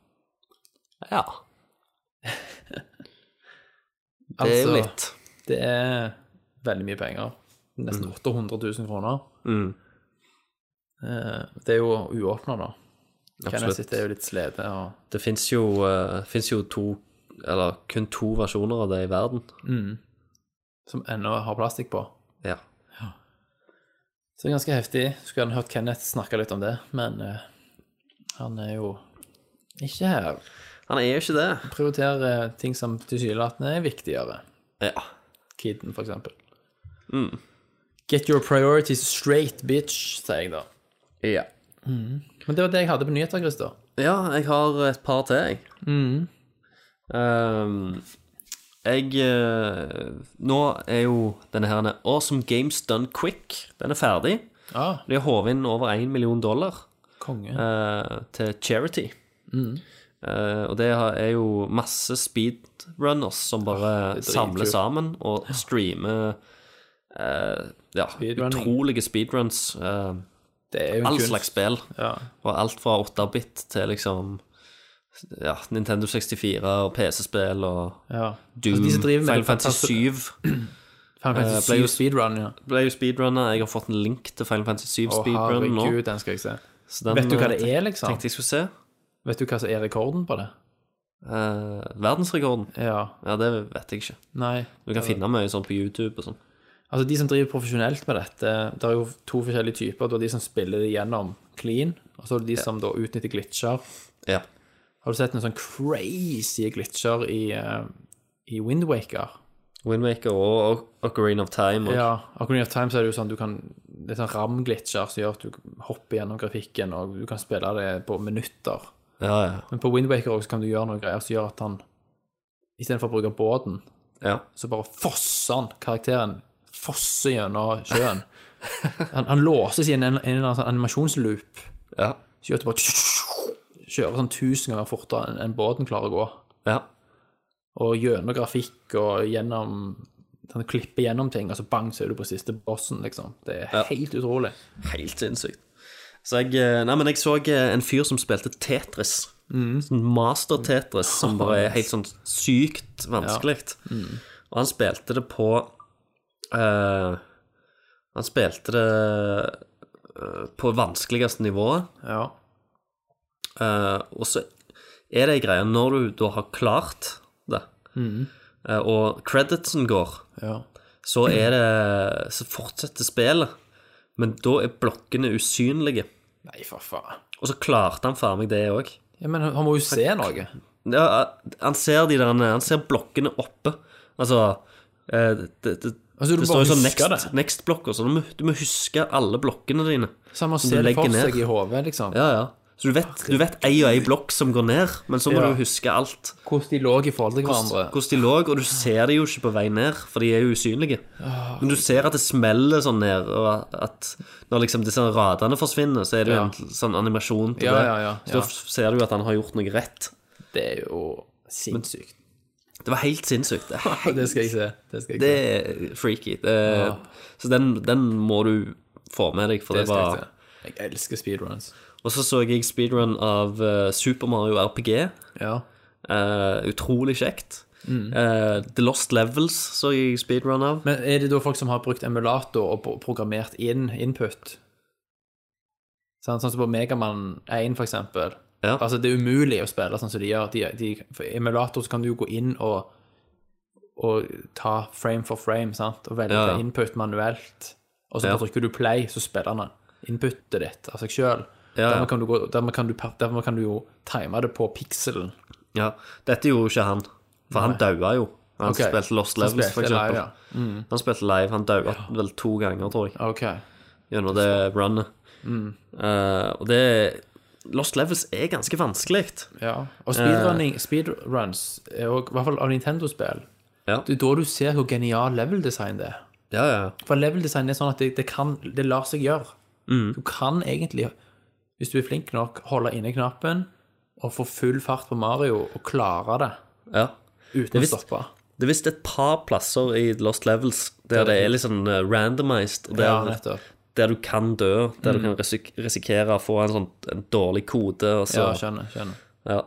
[SPEAKER 6] Ja. Det er jo
[SPEAKER 5] Altså-
[SPEAKER 6] litt
[SPEAKER 5] Det er veldig mye penger. Nesten 800 000 kroner.
[SPEAKER 6] Mm.
[SPEAKER 5] Eh, Det er jo uåpna, da. Kenneth
[SPEAKER 6] Absolutt.
[SPEAKER 5] sitt er jo litt slede. Og...
[SPEAKER 6] Det fins jo, eh, finnes jo to Eller kun to versjoner av det i verden.
[SPEAKER 5] Som ennå har plastikk på.
[SPEAKER 6] Ja.
[SPEAKER 5] Så det er ganske heftig. Skulle gjerne hørt Kenneth snakke litt om det, men eh, han er jo ikke her.
[SPEAKER 6] Han er jo ikke det.
[SPEAKER 5] Prioriterer eh, ting som tilsynelatende er viktigere.
[SPEAKER 6] Ja.
[SPEAKER 5] Kiden, for eksempel.
[SPEAKER 6] Mm.
[SPEAKER 5] Get your priorities straight, bitch, sier jeg da.
[SPEAKER 6] ja.
[SPEAKER 5] Men det var det jeg hadde på nyheter, Christer.
[SPEAKER 6] jeg har et par til, jeg. Ehm, jeg eh, Nå er jo denne her Awesome Games Done Quick. Den er ferdig.
[SPEAKER 5] Ah,
[SPEAKER 6] De har håvet inn over én million dollar.
[SPEAKER 5] konge.
[SPEAKER 6] eh, til charity.
[SPEAKER 5] Mm.
[SPEAKER 6] Eh, og det har- er jo masse speedrunners som bare
[SPEAKER 5] det er
[SPEAKER 6] samler
[SPEAKER 5] dritkult.
[SPEAKER 6] sammen og streamer eh, ja,
[SPEAKER 5] Speedrunning.
[SPEAKER 6] utrolige speedruns. eh,
[SPEAKER 5] det er jo en
[SPEAKER 6] all
[SPEAKER 5] kunst.
[SPEAKER 6] slags spill.
[SPEAKER 5] Ja.
[SPEAKER 6] Og alt fra 8-bit til liksom ja, Nintendo 64 og PC-spill og
[SPEAKER 5] Ja. Altså,
[SPEAKER 6] Doom.
[SPEAKER 5] de som driver med
[SPEAKER 6] Final
[SPEAKER 5] det
[SPEAKER 6] Fantasy
[SPEAKER 5] fantas-
[SPEAKER 6] 7
[SPEAKER 5] Final
[SPEAKER 6] Eh,
[SPEAKER 5] Fantasy
[SPEAKER 6] ble
[SPEAKER 5] 7
[SPEAKER 6] jo-
[SPEAKER 5] speedrun, ja.
[SPEAKER 6] ble jo speedrunner. Jeg har fått en link til Final Fantasy 7
[SPEAKER 5] Å,
[SPEAKER 6] speedrun nå.
[SPEAKER 5] herregud, den skal jeg se.
[SPEAKER 6] Så den,
[SPEAKER 5] Vet du hva det
[SPEAKER 6] eh,
[SPEAKER 5] er, liksom?
[SPEAKER 6] Tenkte jeg skulle se.
[SPEAKER 5] Vet du hva som er rekorden på det?
[SPEAKER 6] Eh, verdensrekorden.
[SPEAKER 5] Ja.
[SPEAKER 6] Ja, det vet jeg ikke.
[SPEAKER 5] Nei.
[SPEAKER 6] Du kan finne mye sånn på YouTube og sånn.
[SPEAKER 5] Altså, de som driver profesjonelt med dette, det er jo to forskjellige typer. Du har de som spiller det gjennom clean, og så er det de som da utnytter glitcher.
[SPEAKER 6] Ja.
[SPEAKER 5] Har du sett noen sånn crazy glitcher i, eh, i Windwaker?
[SPEAKER 6] Windmaker og O- Ocarina of Time. Og,
[SPEAKER 5] Ja, akkurat i Time så er det jo sånn du kan Det er sånn RAM-glitcher som gjør at du hopper gjennom grafikken, og du kan spille det på minutter.
[SPEAKER 6] ja, ja.
[SPEAKER 5] Men på Windwaker også kan du gjøre noen greier som gjør at han Istedenfor å bruke båten,
[SPEAKER 6] ja.
[SPEAKER 5] så bare fosser han karakteren fosser gjennom sjøen. Han, han låses i en, en, eller annen sånn animasjonsloop.
[SPEAKER 6] ja.
[SPEAKER 5] Så gjør at du bare kjører sånn tusen ganger fortere enn enn båten klarer å gå.
[SPEAKER 6] ja.
[SPEAKER 5] Og gjennom grafikk og gjennom sånn, Klippe gjennom ting, og så bang, så er du på siste bossen, liksom. Det er helt utrolig.
[SPEAKER 6] Helt sinnssykt. Så jeg eh, Nei, men jeg så eh, en fyr som spilte Tetris. Sånn Master Tetris, som bare er helt sånn sykt vanskelig. Og han spilte det på eh, Han spilte det eh, på vanskeligste nivået.
[SPEAKER 5] Ja.
[SPEAKER 6] Eh, og så er det ei greie når du da har klart det,
[SPEAKER 5] Mm.
[SPEAKER 6] eh, og creditsen går,
[SPEAKER 5] ja.
[SPEAKER 6] så er det Så fortsetter spillet, men da er blokkene usynlige.
[SPEAKER 5] Nei, for faen.
[SPEAKER 6] Og så klarte han faen meg det òg.
[SPEAKER 5] Ja, men han må jo se noe.
[SPEAKER 6] Ja, han ser de der Han ser blokkene oppe. Altså eh, Det, det,
[SPEAKER 5] Altså, du
[SPEAKER 6] det
[SPEAKER 5] må
[SPEAKER 6] står jo sånn
[SPEAKER 5] huske
[SPEAKER 6] next-
[SPEAKER 5] det.
[SPEAKER 6] next-blokker, så du må, du må huske alle blokkene dine.
[SPEAKER 5] Så han må
[SPEAKER 6] Som
[SPEAKER 5] se
[SPEAKER 6] du
[SPEAKER 5] det for
[SPEAKER 6] legger
[SPEAKER 5] seg
[SPEAKER 6] ned.
[SPEAKER 5] i hodet, liksom.
[SPEAKER 6] Ja, ja. Så du vet, du vet ei og ei blokk som går ned, men så må
[SPEAKER 5] Ja.
[SPEAKER 6] du huske alt.
[SPEAKER 5] Hvordan de lå i forhold til hverandre.
[SPEAKER 6] Hvordan de lå, og du ser de jo ikke på vei ned, for de er jo usynlige.
[SPEAKER 5] Ah.
[SPEAKER 6] Men du ser at det smeller sånn ned, og at når liksom disse radene forsvinner, så er det jo
[SPEAKER 5] Ja.
[SPEAKER 6] en sånn animasjon til
[SPEAKER 5] Ja,
[SPEAKER 6] det.
[SPEAKER 5] ja, ja, ja.
[SPEAKER 6] Så da f- ser du jo at han har gjort noe rett.
[SPEAKER 5] Det er jo sinnssykt.
[SPEAKER 6] Det var helt sinnssykt. Det, er helt-
[SPEAKER 5] Det skal jeg se. Det skal jeg se.
[SPEAKER 6] det er freaky. Det, er- Så den, den må du få med deg, for det,
[SPEAKER 5] Det skal jeg
[SPEAKER 6] var
[SPEAKER 5] se. Jeg elsker speedruns.
[SPEAKER 6] Og så så jeg speedrun av eh, Super Mario RPG.
[SPEAKER 5] Ja.
[SPEAKER 6] Eh, utrolig kjekt.
[SPEAKER 5] Mm.
[SPEAKER 6] Eh, The Lost Levels så jeg speedrun av.
[SPEAKER 5] Men er det da folk som har brukt emulator og pro- programmert inn input? Sånn, sånn som på Megaman 1, for eksempel.
[SPEAKER 6] Ja.
[SPEAKER 5] Altså, det er umulig å spille sånn som de gjør. De, de, for i emulator så kan du jo gå inn og, og ta frame for frame, sant, og velge
[SPEAKER 6] Ja, ja.
[SPEAKER 5] input manuelt. Og så
[SPEAKER 6] Ja.
[SPEAKER 5] bare trykker du play, så spiller den inputet ditt av seg sjøl.
[SPEAKER 6] Ja, ja.
[SPEAKER 5] Dermed, kan du gå- dermed, kan du per- dermed kan du jo time det på pikselen.
[SPEAKER 6] Ja, dette gjorde ikke han, for han daua jo. Han
[SPEAKER 5] Ok.
[SPEAKER 6] spilte Lost
[SPEAKER 5] Han
[SPEAKER 6] Levels, for
[SPEAKER 5] spilte live, Mm.
[SPEAKER 6] eksempel. Han spilte live, han daua vel to ganger, tror jeg,
[SPEAKER 5] OK.
[SPEAKER 6] gjennom det runnet.
[SPEAKER 5] Mm.
[SPEAKER 6] Eh, og det Lost Levels er ganske vanskelig.
[SPEAKER 5] Ja. Og
[SPEAKER 6] Eh.
[SPEAKER 5] speedrunning, speedruns, er jo- i hvert fall av Nintendo-spill,
[SPEAKER 6] Ja.
[SPEAKER 5] Det er da du ser hvor genial leveldesign det er.
[SPEAKER 6] ja, ja.
[SPEAKER 5] For leveldesign er sånn at det, det, kan, det lar seg gjøre.
[SPEAKER 6] Mm.
[SPEAKER 5] Du kan egentlig, hvis du er flink nok, holde inne knappen og få full fart på Mario og klare det
[SPEAKER 6] ja.
[SPEAKER 5] uten å
[SPEAKER 6] visst-
[SPEAKER 5] stoppe.
[SPEAKER 6] Det er visst et par plasser i Lost Levels der det er litt sånn eh, randomized, og der,
[SPEAKER 5] Ja, nettopp. Mm.
[SPEAKER 6] der du kan dø, der du kan risik risikere å få en sånn en dårlig kode, og
[SPEAKER 5] Ja,
[SPEAKER 6] så
[SPEAKER 5] skjønner, skjønner.
[SPEAKER 6] ja,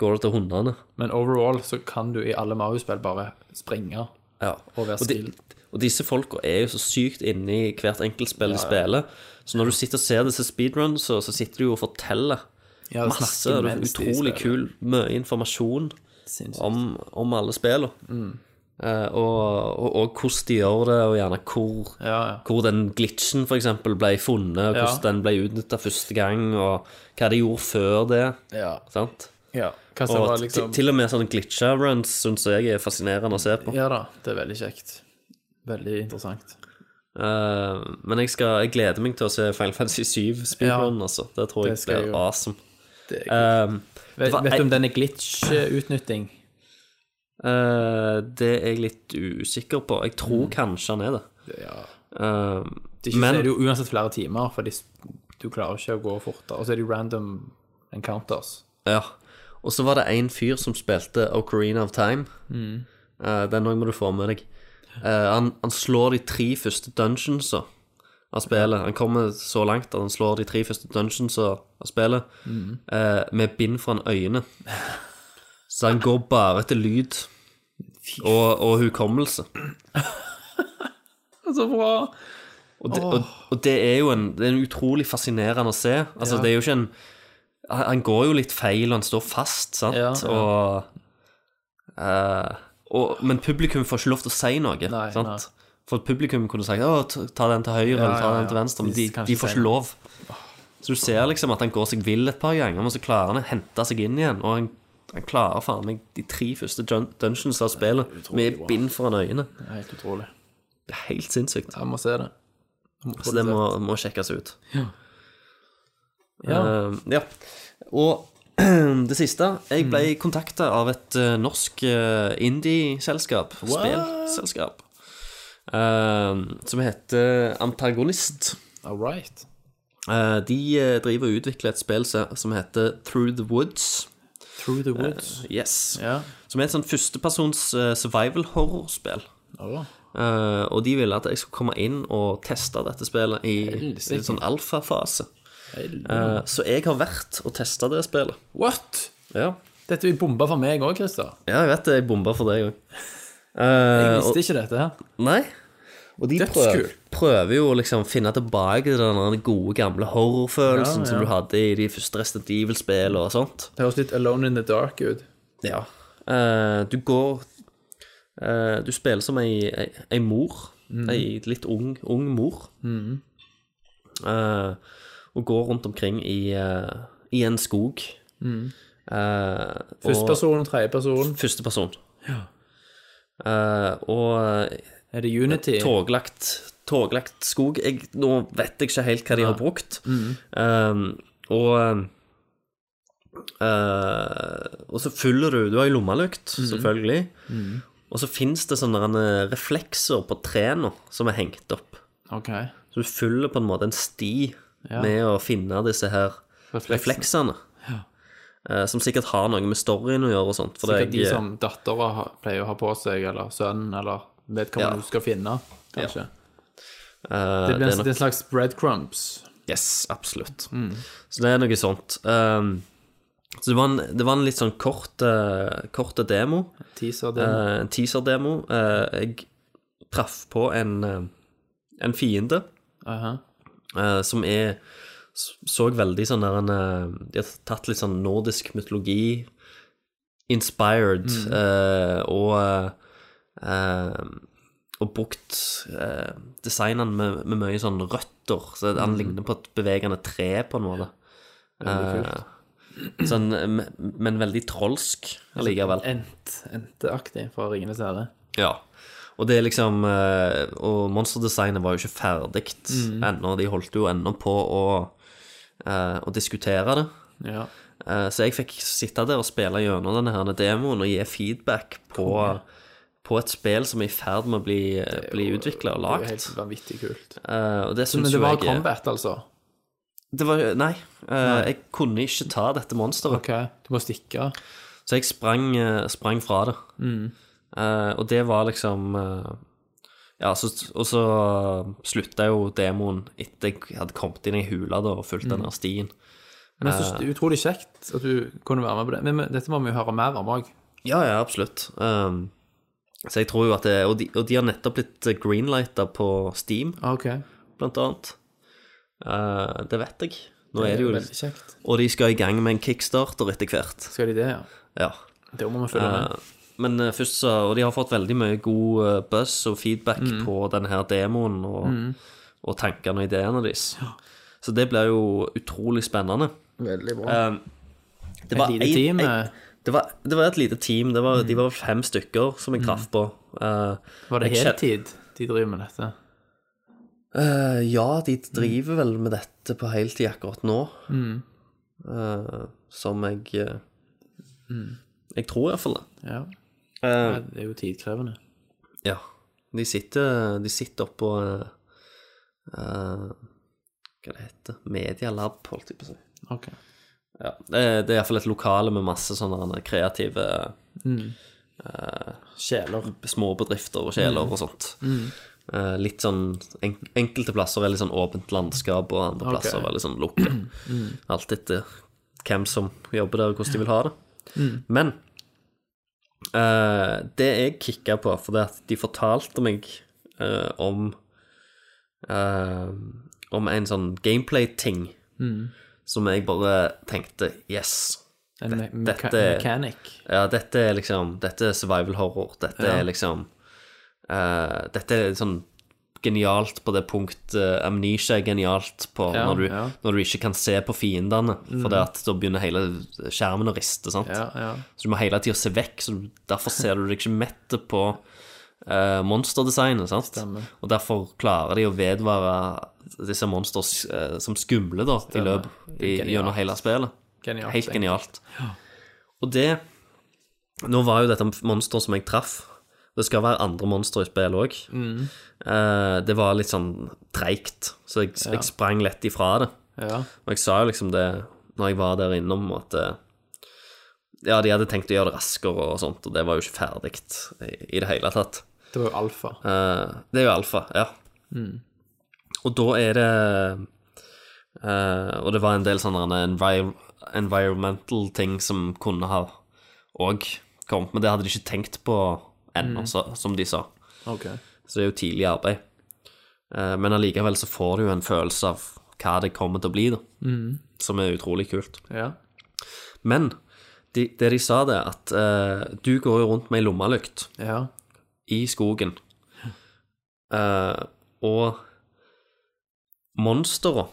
[SPEAKER 6] går det til hundene.
[SPEAKER 5] Men overall så kan du i alle Mario-spill bare springe.
[SPEAKER 6] Ja.
[SPEAKER 5] Og være
[SPEAKER 6] de,
[SPEAKER 5] skilled.
[SPEAKER 6] og disse folka er jo så sykt inne i hvert enkelt spill de spiller. Så når du sitter og ser disse speedruns, så, så sitter du jo og forteller
[SPEAKER 5] Ja, og
[SPEAKER 6] masse.
[SPEAKER 5] snakke
[SPEAKER 6] Det er
[SPEAKER 5] mens de spiller.
[SPEAKER 6] utrolig kul, mye informasjon
[SPEAKER 5] Sinnssykt. Mm.
[SPEAKER 6] om, om alle spillene. Eh, og, og, og hvordan de gjør det, og gjerne hvor,
[SPEAKER 5] Ja, ja.
[SPEAKER 6] hvor den glitchen for eksempel ble funnet, og hvordan
[SPEAKER 5] Ja.
[SPEAKER 6] den ble utnytta første gang, og hva de gjorde før det.
[SPEAKER 5] Ja.
[SPEAKER 6] Sant?
[SPEAKER 5] ja. Hva som
[SPEAKER 6] Og
[SPEAKER 5] var liksom
[SPEAKER 6] ti- til og med sånne glitcha runs syns jeg er fascinerende å se på.
[SPEAKER 5] Ja da, det er veldig kjekt. Veldig interessant.
[SPEAKER 6] Eh, men jeg, skal, jeg gleder meg til å se Final Fantasy 7 speedrun, altså. Det tror jeg
[SPEAKER 5] Det skal
[SPEAKER 6] blir
[SPEAKER 5] jeg jo.
[SPEAKER 6] awesome.
[SPEAKER 5] Det er kult.
[SPEAKER 6] Um,
[SPEAKER 5] vet,
[SPEAKER 6] hva-
[SPEAKER 5] vet du om den er glitch-utnytting?
[SPEAKER 6] eh, det er jeg litt usikker på. Jeg tror kanskje han er det.
[SPEAKER 5] Mm. Ja.
[SPEAKER 6] Um,
[SPEAKER 5] Det er ikke,
[SPEAKER 6] Men-
[SPEAKER 5] så er det jo uansett flere timer, for de, du klarer ikke å gå fortere. Og så er det jo random encounters.
[SPEAKER 6] ja. Og så var det en fyr som spilte Ocarina of Time. Eh, den òg må du få med deg. Eh, han, han slår de tre første dungeonsa av spillet. Han kommer så langt at han slår de tre første dungeonsa av spillet eh, med bind foran øynene. Så han går bare etter lyd og, og hukommelse.
[SPEAKER 5] Så bra!
[SPEAKER 6] Og det, og, og det er jo en, det er en utrolig fascinerende å se. Altså, det er jo ikke en han- Han går jo litt feil, og han står fast, sant?
[SPEAKER 5] Ja, ja.
[SPEAKER 6] Og, eh, og Men publikum får ikke lov til å si noe,
[SPEAKER 5] Nei,
[SPEAKER 6] sant? For publikum kunne sagt Å, ta ta den til høyre eller ta
[SPEAKER 5] ja,
[SPEAKER 6] den til
[SPEAKER 5] ja.
[SPEAKER 6] venstre, men
[SPEAKER 5] De
[SPEAKER 6] de,
[SPEAKER 5] kan
[SPEAKER 6] de
[SPEAKER 5] ikke
[SPEAKER 6] får
[SPEAKER 5] si
[SPEAKER 6] ikke
[SPEAKER 5] det.
[SPEAKER 6] lov. Så du ser liksom at han går seg vill et par ganger, men så klarer han å hente seg inn igjen. Og han, han klarer faen meg de tre første dun dungeons av spillet med bind foran øynene.
[SPEAKER 5] Det er helt utrolig.
[SPEAKER 6] Det er helt sinnssykt.
[SPEAKER 5] Jeg må se det. Jeg må få
[SPEAKER 6] Så det
[SPEAKER 5] se.
[SPEAKER 6] må, må sjekkes ut.
[SPEAKER 5] ja.
[SPEAKER 6] Eh, ja. Og det siste Jeg ble
[SPEAKER 5] Mm.
[SPEAKER 6] kontakta av et eh, norsk eh, indie-selskap. Spillselskap. eh, som heter Antagonist.
[SPEAKER 5] All right.
[SPEAKER 6] Eh, de eh, driver og utvikler et spill se- som heter Through the Woods.
[SPEAKER 5] Through the Woods.
[SPEAKER 6] Yes.
[SPEAKER 5] Ja.
[SPEAKER 6] Som er et sånn førstepersons eh, survival horror-spill.
[SPEAKER 5] Å,
[SPEAKER 6] Eh, og de ville at jeg skulle komme inn og teste dette spillet i
[SPEAKER 5] Helsike.
[SPEAKER 6] en sånn alfafase.
[SPEAKER 5] hel-
[SPEAKER 6] Uh, så jeg har vært og testa det spillet.
[SPEAKER 5] What?
[SPEAKER 6] Ja.
[SPEAKER 5] Dette er bomba for meg òg, Christer.
[SPEAKER 6] Ja, jeg vet det. Jeg bomba for deg òg.
[SPEAKER 5] Jeg visste ikke dette her.
[SPEAKER 6] Nei. Og de prøver,
[SPEAKER 5] Dødskult.
[SPEAKER 6] prøver jo å liksom finne tilbake til den der gode, gamle horrorfølelsen
[SPEAKER 5] Ja, ja.
[SPEAKER 6] som du hadde i de første Resident Evil-spillene og sånt.
[SPEAKER 5] Det høres litt Alone in the Dark ut.
[SPEAKER 6] Ja. Eh, du går eh, Du spiller som ei, ei, ei mor. Ei litt ung, ung mor. Mm. Eh, og går rundt omkring i, eh, i en skog. Mm. Eh,
[SPEAKER 5] Første
[SPEAKER 6] og-
[SPEAKER 5] person, tredje person.
[SPEAKER 6] Første person. Eh, og
[SPEAKER 5] Er det Unity?
[SPEAKER 6] toglagt, toglagt skog. Jeg, nå vet jeg ikke helt hva de har brukt.
[SPEAKER 5] Mm.
[SPEAKER 6] Eh, og eh, Og så fyller du Du har jo lommelykt,
[SPEAKER 5] Mm.
[SPEAKER 6] selvfølgelig. Og så fins det sånne eh, reflekser på trærne som er hengt opp.
[SPEAKER 5] Ok.
[SPEAKER 6] Så du fyller på en måte en sti
[SPEAKER 5] Ja.
[SPEAKER 6] med å finne disse her
[SPEAKER 5] Refleksene.
[SPEAKER 6] refleksene. Eh, som sikkert har noe med storyen å gjøre og sånt. For
[SPEAKER 5] Sikkert
[SPEAKER 6] jeg- eh,
[SPEAKER 5] de som dattera ha- pleier å ha på seg, eller sønnen, eller vedkommende
[SPEAKER 6] Ja.
[SPEAKER 5] hun skal finne, kanskje.
[SPEAKER 6] eh,
[SPEAKER 5] Det blir
[SPEAKER 6] er
[SPEAKER 5] en,
[SPEAKER 6] nok-
[SPEAKER 5] det er en slags breadcrumbs.
[SPEAKER 6] Yes, absolutt. Så det er noe sånt. Um, så det var, en, det var en litt sånn kort, eh, korte demo,
[SPEAKER 5] Teaser,
[SPEAKER 6] eh,
[SPEAKER 5] det.
[SPEAKER 6] en teaser-demo. Eh, jeg traff på en, eh, en fiende
[SPEAKER 5] Aha.
[SPEAKER 6] eh, som er s- så veldig sånn der en eh, De har tatt litt sånn nordisk mytologi inspired eh, og eh, eh, og brukt eh, designen med, med mye sånn røtter, så han ligner på et bevegende tre på en måte. Eh, sånn, men, men veldig trolsk allikevel.
[SPEAKER 5] Ent, enteaktig fra Ringenes herre.
[SPEAKER 6] Ja. Og det er liksom eh, Og monsterdesignet var jo ikke ferdig
[SPEAKER 5] Mm.
[SPEAKER 6] ennå. De holdt jo ennå på å, eh, å diskutere det.
[SPEAKER 5] Ja.
[SPEAKER 6] Eh, Så jeg fikk sitte der og spille gjennom denne her demoen og gi feedback på, på et spill som er i ferd med å bli, eh, bli
[SPEAKER 5] Det er
[SPEAKER 6] utvikla og
[SPEAKER 5] jo
[SPEAKER 6] lagd.
[SPEAKER 5] helt vanvittig kult.
[SPEAKER 6] Eh, Og det
[SPEAKER 5] Men
[SPEAKER 6] syns
[SPEAKER 5] det
[SPEAKER 6] jo
[SPEAKER 5] var
[SPEAKER 6] jeg er-
[SPEAKER 5] combat, altså?
[SPEAKER 6] Det var, nei, eh, jeg kunne ikke ta dette monsteret.
[SPEAKER 5] Ok, du må stikke.
[SPEAKER 6] Så jeg sprang, eh, sprang fra det. Eh, og det var liksom eh, Ja, så, og så slutta jo demoen etter jeg hadde kommet inn i hula da, og fulgt den her stien.
[SPEAKER 5] Men jeg synes
[SPEAKER 6] Eh.
[SPEAKER 5] det er utrolig kjekt at du kunne være med på det. Men, men dette må vi jo høre mer om òg.
[SPEAKER 6] Ja, ja, absolutt. Um, så jeg tror jo at det, og, de, og de har nettopp blitt greenlighta på Steam,
[SPEAKER 5] Ah, Ok.
[SPEAKER 6] blant annet. Uh, det vet jeg. Nå er det jo
[SPEAKER 5] veldig kjekt.
[SPEAKER 6] Og de skal i gang med en kickstarter etter hvert.
[SPEAKER 5] Skal de det, ja?
[SPEAKER 6] Ja.
[SPEAKER 5] Da må vi følge med.
[SPEAKER 6] Uh, men uh, først så Og de har fått veldig mye god uh, buzz og feedback
[SPEAKER 5] Mm.
[SPEAKER 6] på denne her demoen og, og tankene og ideene deres. Så det blir jo utrolig spennende.
[SPEAKER 5] Eh, Veldig bra.
[SPEAKER 6] Um, det
[SPEAKER 5] Mm. Et lite
[SPEAKER 6] en-
[SPEAKER 5] team.
[SPEAKER 6] en-
[SPEAKER 5] eh, Mm.
[SPEAKER 6] det var, det var et lite team. Det var, De var fem stykker som jeg traff på. Eh,
[SPEAKER 5] Var det
[SPEAKER 6] jeg kjen-
[SPEAKER 5] heltid de driver med dette?
[SPEAKER 6] Eh, ja, de driver vel med dette på heltid akkurat nå.
[SPEAKER 5] Mm.
[SPEAKER 6] Eh, som jeg eh,
[SPEAKER 5] Mm.
[SPEAKER 6] Jeg tror iallfall det.
[SPEAKER 5] Ja.
[SPEAKER 6] Eh,
[SPEAKER 5] Nei, Det er jo tidkrevende.
[SPEAKER 6] ja. De sitter, de sitter oppå uh, Hva det heter Medialab, holdt jeg på å si.
[SPEAKER 5] Ok.
[SPEAKER 6] Ja, det, det er iallfall et lokale med masse sånne kreative eh,
[SPEAKER 5] Sjeler.
[SPEAKER 6] småbedrifter og kjeler og sånt. Eh, litt sånn en, Enkelte plasser er litt sånn åpent landskap, og andre plasser er litt sånn lukket. Alt etter hvem som jobber der, og hvordan de vil ha det. Men eh, det jeg kicka på, for det at de fortalte meg eh, om eh, Om en sånn gameplay-ting som jeg bare tenkte Yes.
[SPEAKER 5] En me meka
[SPEAKER 6] dette er-
[SPEAKER 5] mechanic.
[SPEAKER 6] Ja, dette er liksom Dette er survival horror. Dette
[SPEAKER 5] Ja.
[SPEAKER 6] er liksom eh, Dette er sånn genialt på det punkt eh, Amnesia er genialt på
[SPEAKER 5] Ja,
[SPEAKER 6] når, du,
[SPEAKER 5] ja. Mm.
[SPEAKER 6] når du ikke kan se på fiendene, for det at da begynner hele skjermen å riste. sant?
[SPEAKER 5] Ja, ja.
[SPEAKER 6] Så du må hele tida se vekk, så du- derfor ser du deg ikke mett på eh, monsterdesignet. sant? Og derfor klarer de å vedvare disse monster eh, som skumle da, i løp i,
[SPEAKER 5] Det er genialt.
[SPEAKER 6] gjennom hele spillet.
[SPEAKER 5] Genialt,
[SPEAKER 6] Helt
[SPEAKER 5] egentlig.
[SPEAKER 6] genialt. Og det Nå var jo dette monsteret som jeg traff. Det skal være andre monstre i spillet òg.
[SPEAKER 5] Mm.
[SPEAKER 6] det var litt sånn treigt, så jeg, jeg sprang lett ifra det.
[SPEAKER 5] Ja.
[SPEAKER 6] Og jeg sa jo liksom det når jeg var der innom, at eh, ja, de hadde tenkt å gjøre det raskere og sånt, og det var jo ikke ferdig i, i det hele tatt.
[SPEAKER 5] Det var jo alfa.
[SPEAKER 6] Eh, det er jo alfa, ja. Og da er det eh, Og det var en del sånne envir environmental ting som kunne ha òg kommet, men det hadde de ikke tenkt på ennå, så- som de sa.
[SPEAKER 5] Ok.
[SPEAKER 6] Så det er jo tidlig arbeid. Eh, men allikevel så får du jo en følelse av hva det kommer til å bli, da. Som er utrolig kult.
[SPEAKER 5] Ja.
[SPEAKER 6] Men de, det de sa, det er at eh, du går jo rundt med ei lommelykt
[SPEAKER 5] Ja.
[SPEAKER 6] i skogen. Eh, og monstera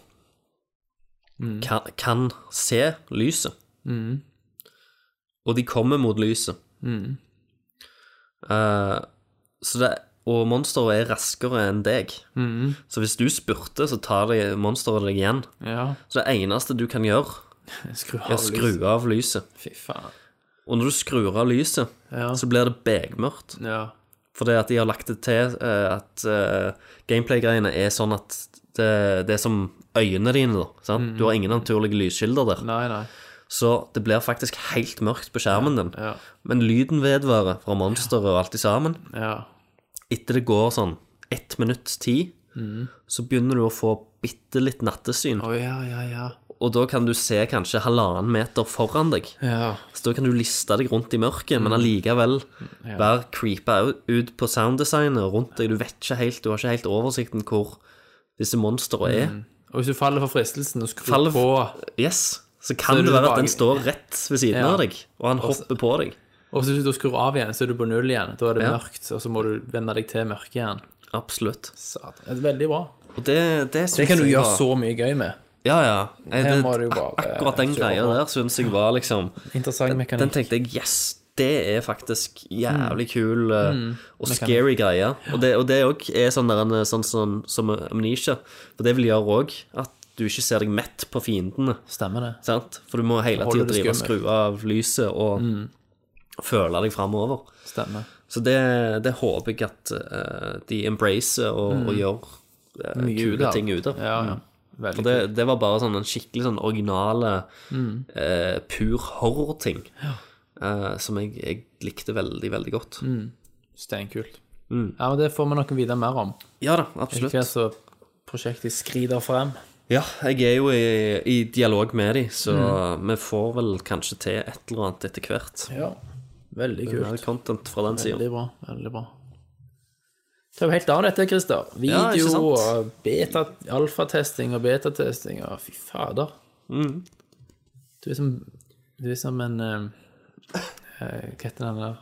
[SPEAKER 5] Mm.
[SPEAKER 6] kan, kan se lyset. Og de kommer mot lyset.
[SPEAKER 5] Mm.
[SPEAKER 6] Eh, så det, og monstera er raskere enn deg.
[SPEAKER 5] Mm.
[SPEAKER 6] Så hvis du spurter, så tar de monsteret deg igjen.
[SPEAKER 5] ja.
[SPEAKER 6] Så det eneste du kan gjøre,
[SPEAKER 5] Skru av
[SPEAKER 6] er å skru
[SPEAKER 5] lyset.
[SPEAKER 6] av lyset.
[SPEAKER 5] Fy faen.
[SPEAKER 6] Og når du skrur av lyset,
[SPEAKER 5] Ja.
[SPEAKER 6] så blir det begmørkt.
[SPEAKER 5] Ja.
[SPEAKER 6] Fordi at de har lagt det til eh, at eh, gameplay-greiene er sånn at det, det er som øynene dine, da. Sant? Du har ingen naturlige lyskilder der.
[SPEAKER 5] Mm, Nei, nei.
[SPEAKER 6] Så det blir faktisk helt mørkt på skjermen din.
[SPEAKER 5] ja.
[SPEAKER 6] Men lyden vedvarer fra monsteret og alt i sammen.
[SPEAKER 5] Ja.
[SPEAKER 6] Etter det går sånn ett minutt ti,
[SPEAKER 5] Mm.
[SPEAKER 6] så begynner du å få bitte litt nattesyn.
[SPEAKER 5] Å ja, ja, ja.
[SPEAKER 6] Og da kan du se kanskje halvannen meter foran deg.
[SPEAKER 5] Ja.
[SPEAKER 6] Så da kan du liste deg rundt i mørket,
[SPEAKER 5] Mm.
[SPEAKER 6] men allikevel være creepa ut- ut på sounddesignet rundt deg. Du vet ikke helt, du har ikke helt oversikten hvor disse monstrene er.
[SPEAKER 5] Og hvis du faller for fristelsen og skrur
[SPEAKER 6] Faller
[SPEAKER 5] på
[SPEAKER 6] for- Yes. Så kan
[SPEAKER 5] Så er
[SPEAKER 6] det
[SPEAKER 5] du
[SPEAKER 6] være at den
[SPEAKER 5] tilbake.
[SPEAKER 6] står rett ved siden
[SPEAKER 5] Ja.
[SPEAKER 6] av deg, og han hopper på deg.
[SPEAKER 5] Og så hvis du skrur av igjen, så er du på null igjen. Da er det
[SPEAKER 6] Ja.
[SPEAKER 5] mørkt, og så må du venne deg til mørket igjen.
[SPEAKER 6] Absolutt.
[SPEAKER 5] Satan. Det er veldig bra.
[SPEAKER 6] Og det, det syns
[SPEAKER 5] Det kan du
[SPEAKER 6] jeg
[SPEAKER 5] gjøre
[SPEAKER 6] var-
[SPEAKER 5] så mye gøy med.
[SPEAKER 6] Ja, ja. Jeg,
[SPEAKER 5] Her
[SPEAKER 6] det,
[SPEAKER 5] må du bare-
[SPEAKER 6] akkurat den greia der syns jeg var liksom
[SPEAKER 5] Interessant
[SPEAKER 6] Den
[SPEAKER 5] mekanikk.
[SPEAKER 6] tenkte jeg yes, det er faktisk jævlig kul eh, og scary greie. Og det, og det også er sånn, der, en, sånn, sånn som amnesia. For det vil gjøre òg at du ikke ser deg mett på fiendene.
[SPEAKER 5] Stemmer det.
[SPEAKER 6] Sant? For du må hele
[SPEAKER 5] Holder
[SPEAKER 6] tida
[SPEAKER 5] det
[SPEAKER 6] drive og skru
[SPEAKER 5] skummelt.
[SPEAKER 6] av lyset og føle deg framover.
[SPEAKER 5] Stemmer.
[SPEAKER 6] Så det, det håper jeg at eh, de embracer og, og gjør eh,
[SPEAKER 5] Mye ut
[SPEAKER 6] kule
[SPEAKER 5] av.
[SPEAKER 6] ting ut av.
[SPEAKER 5] Ja, ja.
[SPEAKER 6] For
[SPEAKER 5] Veldig
[SPEAKER 6] det,
[SPEAKER 5] kult.
[SPEAKER 6] det var bare sånn en skikkelig sånn originale, eh, pur horror-ting. eh, som jeg, jeg likte veldig, veldig godt.
[SPEAKER 5] Steinkult. Ja, men det får vi noe videre mer om.
[SPEAKER 6] Ja da,
[SPEAKER 5] Hva
[SPEAKER 6] absolutt.
[SPEAKER 5] så prosjektet skrider frem.
[SPEAKER 6] Ja, jeg er jo i, i dialog med de, så vi får vel kanskje til et eller annet etter hvert.
[SPEAKER 5] Ja. Veldig
[SPEAKER 6] Mer
[SPEAKER 5] kult.
[SPEAKER 6] content fra den sida.
[SPEAKER 5] Veldig bra. Veldig bra. Det er jo helt annet dette, Christer. Video
[SPEAKER 6] Ja, ikke sant?
[SPEAKER 5] og beta, alfatesting og betatesting og fy fader.
[SPEAKER 6] Mm.
[SPEAKER 5] Du er som Du er som en eh, eh, Hva heter den der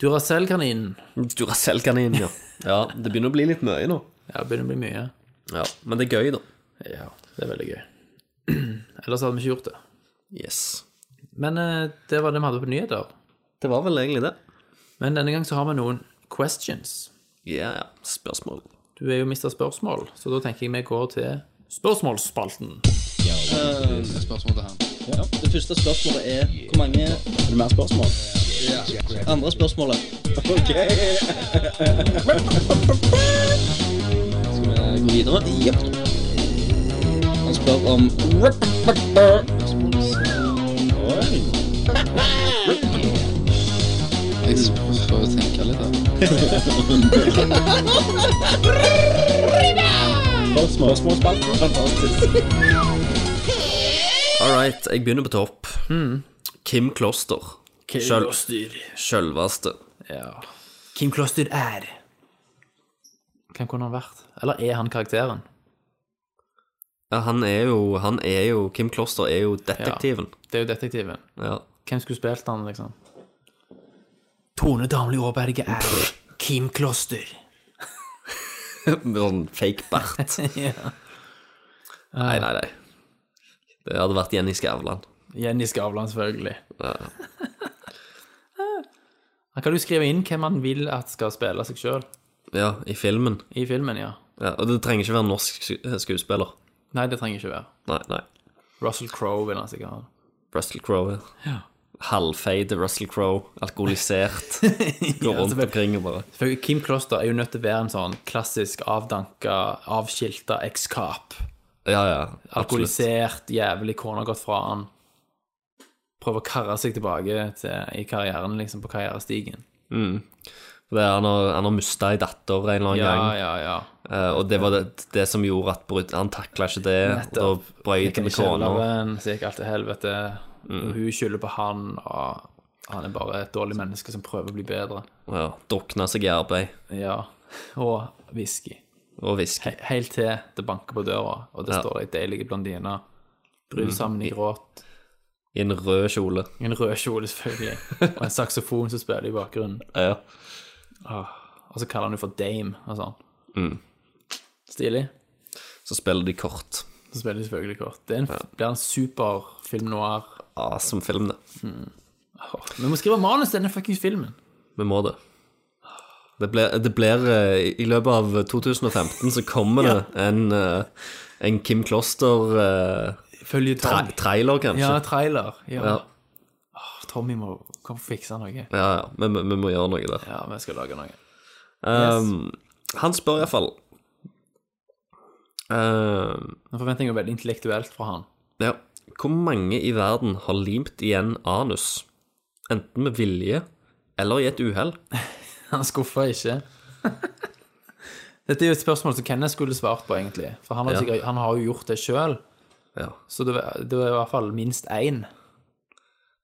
[SPEAKER 5] Duracell-kaninen.
[SPEAKER 6] Duracell-kanin, ja. ja. Det begynner å bli litt mye nå.
[SPEAKER 5] Ja, det begynner å bli mye.
[SPEAKER 6] Ja, Men det er gøy, da.
[SPEAKER 5] Ja, det er veldig gøy. Ellers hadde vi ikke gjort det.
[SPEAKER 6] Yes.
[SPEAKER 5] Men eh, det var det vi hadde på nyheter.
[SPEAKER 6] Det var vel egentlig det.
[SPEAKER 5] Men denne gang så har vi noen questions.
[SPEAKER 6] Ja, ja. Spørsmål.
[SPEAKER 5] Du er jo mista spørsmål, så da tenker jeg vi går til spørsmålsspalten.
[SPEAKER 8] Det første spørsmålet er hvor mange Er det mer spørsmål? Ja. Andre spørsmålet. OK. Skal vi gå videre? Jepp. Han spør om Oi. Jeg får tenke litt her. Spørsmål. Fantastisk.
[SPEAKER 6] All right, jeg begynner på topp. Kim Mm. Kloster. Sjøl- Sjølvaste.
[SPEAKER 5] Ja. Kim Kloster er Hvem kunne han vært? Eller er han karakteren?
[SPEAKER 6] Ja, han er jo, han er jo Kim Kloster er jo detektiven.
[SPEAKER 5] Det er jo detektiven.
[SPEAKER 6] Ja.
[SPEAKER 5] Hvem skulle spilt han, liksom? Tone Damli Aaberge er Kim Kloster.
[SPEAKER 6] Med sånn fake bart. Nei, nei, nei. Det hadde vært Jenny Skavlan.
[SPEAKER 5] Jenny Skavlan, selvfølgelig.
[SPEAKER 6] Ja.
[SPEAKER 5] Her kan du skrive inn hvem man vil at skal spille seg sjøl
[SPEAKER 6] ja, i filmen.
[SPEAKER 5] i filmen, ja.
[SPEAKER 6] Ja, og det trenger ikke være norsk sku- eh, skuespiller.
[SPEAKER 5] Nei, det trenger ikke være.
[SPEAKER 6] Nei, nei.
[SPEAKER 5] Russell Crowe vil han sikkert ha.
[SPEAKER 6] Russell Crowe.
[SPEAKER 5] Ja.
[SPEAKER 6] Halvfeid Russell Crowe. Alkoholisert. Går rundt
[SPEAKER 5] selvfølgelig.
[SPEAKER 6] omkring og bare
[SPEAKER 5] For Kim Kloster er jo nødt til å være en sånn klassisk avdanka, avskilta ekskap.
[SPEAKER 6] Ja, ja. absolutt.
[SPEAKER 5] Alkoholisert, jævlig kona gått fra han. Prøver å karre seg tilbake til, i karrieren, liksom, på karrierestigen.
[SPEAKER 6] For Det er, han har, han har mista ei datter en eller annen
[SPEAKER 5] Ja,
[SPEAKER 6] gang,
[SPEAKER 5] ja, ja.
[SPEAKER 6] eh, og det var det, det som gjorde at brud, han takla ikke det.
[SPEAKER 5] Nettopp.
[SPEAKER 6] Og da brøyt
[SPEAKER 5] Gikk
[SPEAKER 6] han
[SPEAKER 5] han i
[SPEAKER 6] Mm. med kona.
[SPEAKER 5] kjelleren, så gikk alt til helvete. Og Hun skylder på han, og han er bare et dårlig menneske som prøver å bli bedre.
[SPEAKER 6] Ja, Drukna seg i arbeid
[SPEAKER 5] Ja. Og whisky.
[SPEAKER 6] og whisky.
[SPEAKER 5] He helt til det banker på døra, og det
[SPEAKER 6] Ja. Mm.
[SPEAKER 5] står ei deilig blondine. Bryr sammen i gråt.
[SPEAKER 6] I en rød kjole.
[SPEAKER 5] En rød kjole, selvfølgelig. Og en saksofon som spiller i bakgrunnen.
[SPEAKER 6] Ja.
[SPEAKER 5] Og så kaller han henne for Dame og sånn. Mm. Stilig.
[SPEAKER 6] Så spiller de kort.
[SPEAKER 5] Så spiller de selvfølgelig kort. Det er en, blir en super film noir.
[SPEAKER 6] Awesome film, det.
[SPEAKER 5] Åh, Vi må skrive manus til denne fuckings filmen.
[SPEAKER 6] Vi må det. Det blir, det blir eh, I løpet av 2015 så kommer det en, eh, en Kim Kloster-trailer,
[SPEAKER 5] Følge Tom.
[SPEAKER 6] kanskje.
[SPEAKER 5] Ja, trailer. Ja.
[SPEAKER 6] Ja.
[SPEAKER 5] Åh, Tommy må kom og fikse noe.
[SPEAKER 6] ja, ja. Vi, vi- vi må gjøre noe der.
[SPEAKER 5] Ja, vi skal lage noe.
[SPEAKER 6] Um, Han spør iallfall um,
[SPEAKER 5] Nå forventer jeg noe veldig intellektuelt fra han.
[SPEAKER 6] Ja. Hvor mange i verden har limt igjen anus? Enten med vilje eller i et uhell?
[SPEAKER 5] Han skuffa ikke. Dette er jo et spørsmål som Kenneth skulle svart på, egentlig. For han har,
[SPEAKER 6] Ja.
[SPEAKER 5] sikkert, han har jo gjort det sjøl,
[SPEAKER 6] Ja.
[SPEAKER 5] så det, var- det var i hvert fall minst én.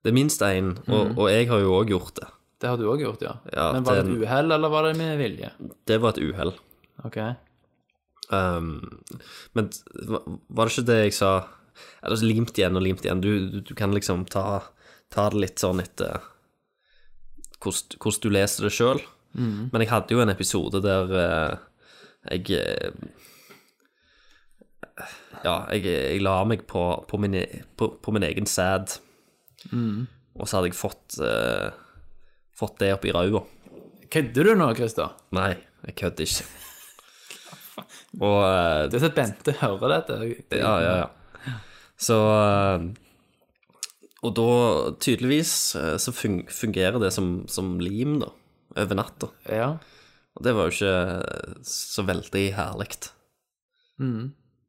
[SPEAKER 6] Det er minst én, og, og jeg har jo òg gjort det.
[SPEAKER 5] Det har du òg gjort, ja.
[SPEAKER 6] Ja,
[SPEAKER 5] Men var det
[SPEAKER 6] den-
[SPEAKER 5] et uhell, eller var det med vilje?
[SPEAKER 6] Det var et uhell.
[SPEAKER 5] Ok.
[SPEAKER 6] Um, men hva- var det ikke det jeg sa Eller limt igjen og limt igjen. Du, du, du kan liksom ta, ta det litt sånn etter hvordan hvordan du leser det sjøl. Men jeg hadde jo en episode der eh, jeg eh, Ja, jeg, jeg la meg på, på, min, e- på, på min egen sæd. Og så hadde jeg fått, eh, fått det opp i ræva.
[SPEAKER 5] Kødder du nå, Christer?
[SPEAKER 6] Nei, jeg kødder ikke. Og eh,
[SPEAKER 5] Det er så at Bente hører dette.
[SPEAKER 6] ja, ja, ja. Så eh, Og da, tydeligvis, eh, så fun- fungerer det som, som lim, da. Over natta.
[SPEAKER 5] ja.
[SPEAKER 6] Og det var jo ikke eh, så veldig herlig,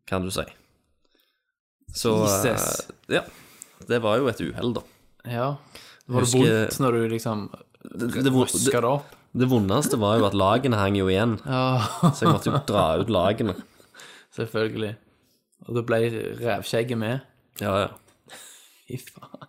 [SPEAKER 6] kan du si. Så eh,
[SPEAKER 5] Jesus.
[SPEAKER 6] Ja. Det var jo et uhell, da.
[SPEAKER 5] ja. Var det
[SPEAKER 6] Husker-
[SPEAKER 5] vondt når du liksom
[SPEAKER 6] Det, det, vo-
[SPEAKER 5] røska
[SPEAKER 6] det,
[SPEAKER 5] det opp?
[SPEAKER 6] det vondeste var jo at lagene hang jo igjen,
[SPEAKER 5] Ja.
[SPEAKER 6] så jeg måtte jo dra ut lagene.
[SPEAKER 5] Selvfølgelig. Og da ble revskjegget med.
[SPEAKER 6] Ja, ja.
[SPEAKER 5] Fy faen.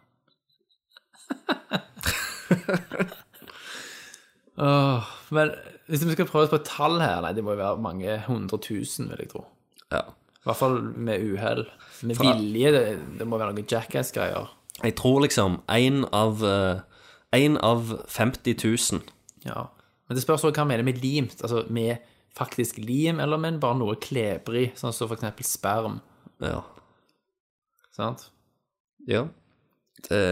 [SPEAKER 5] Åh, men hvis vi skal prøve oss på et tall her, nei, det må jo være mange hundre tusen, vil jeg tro.
[SPEAKER 6] ja.
[SPEAKER 5] I hvert fall med uhell. Med
[SPEAKER 6] Fra-
[SPEAKER 5] vilje, det, det må være noen jackass-greier.
[SPEAKER 6] Jeg tror liksom én av Én av 50 000
[SPEAKER 5] Ja. Men det spørs også hva man mener med limt. Altså med faktisk lim, eller med bare noe klebrig, sånn som for eksempel sperm.
[SPEAKER 6] Ja.
[SPEAKER 5] Sant?
[SPEAKER 6] ja. Det,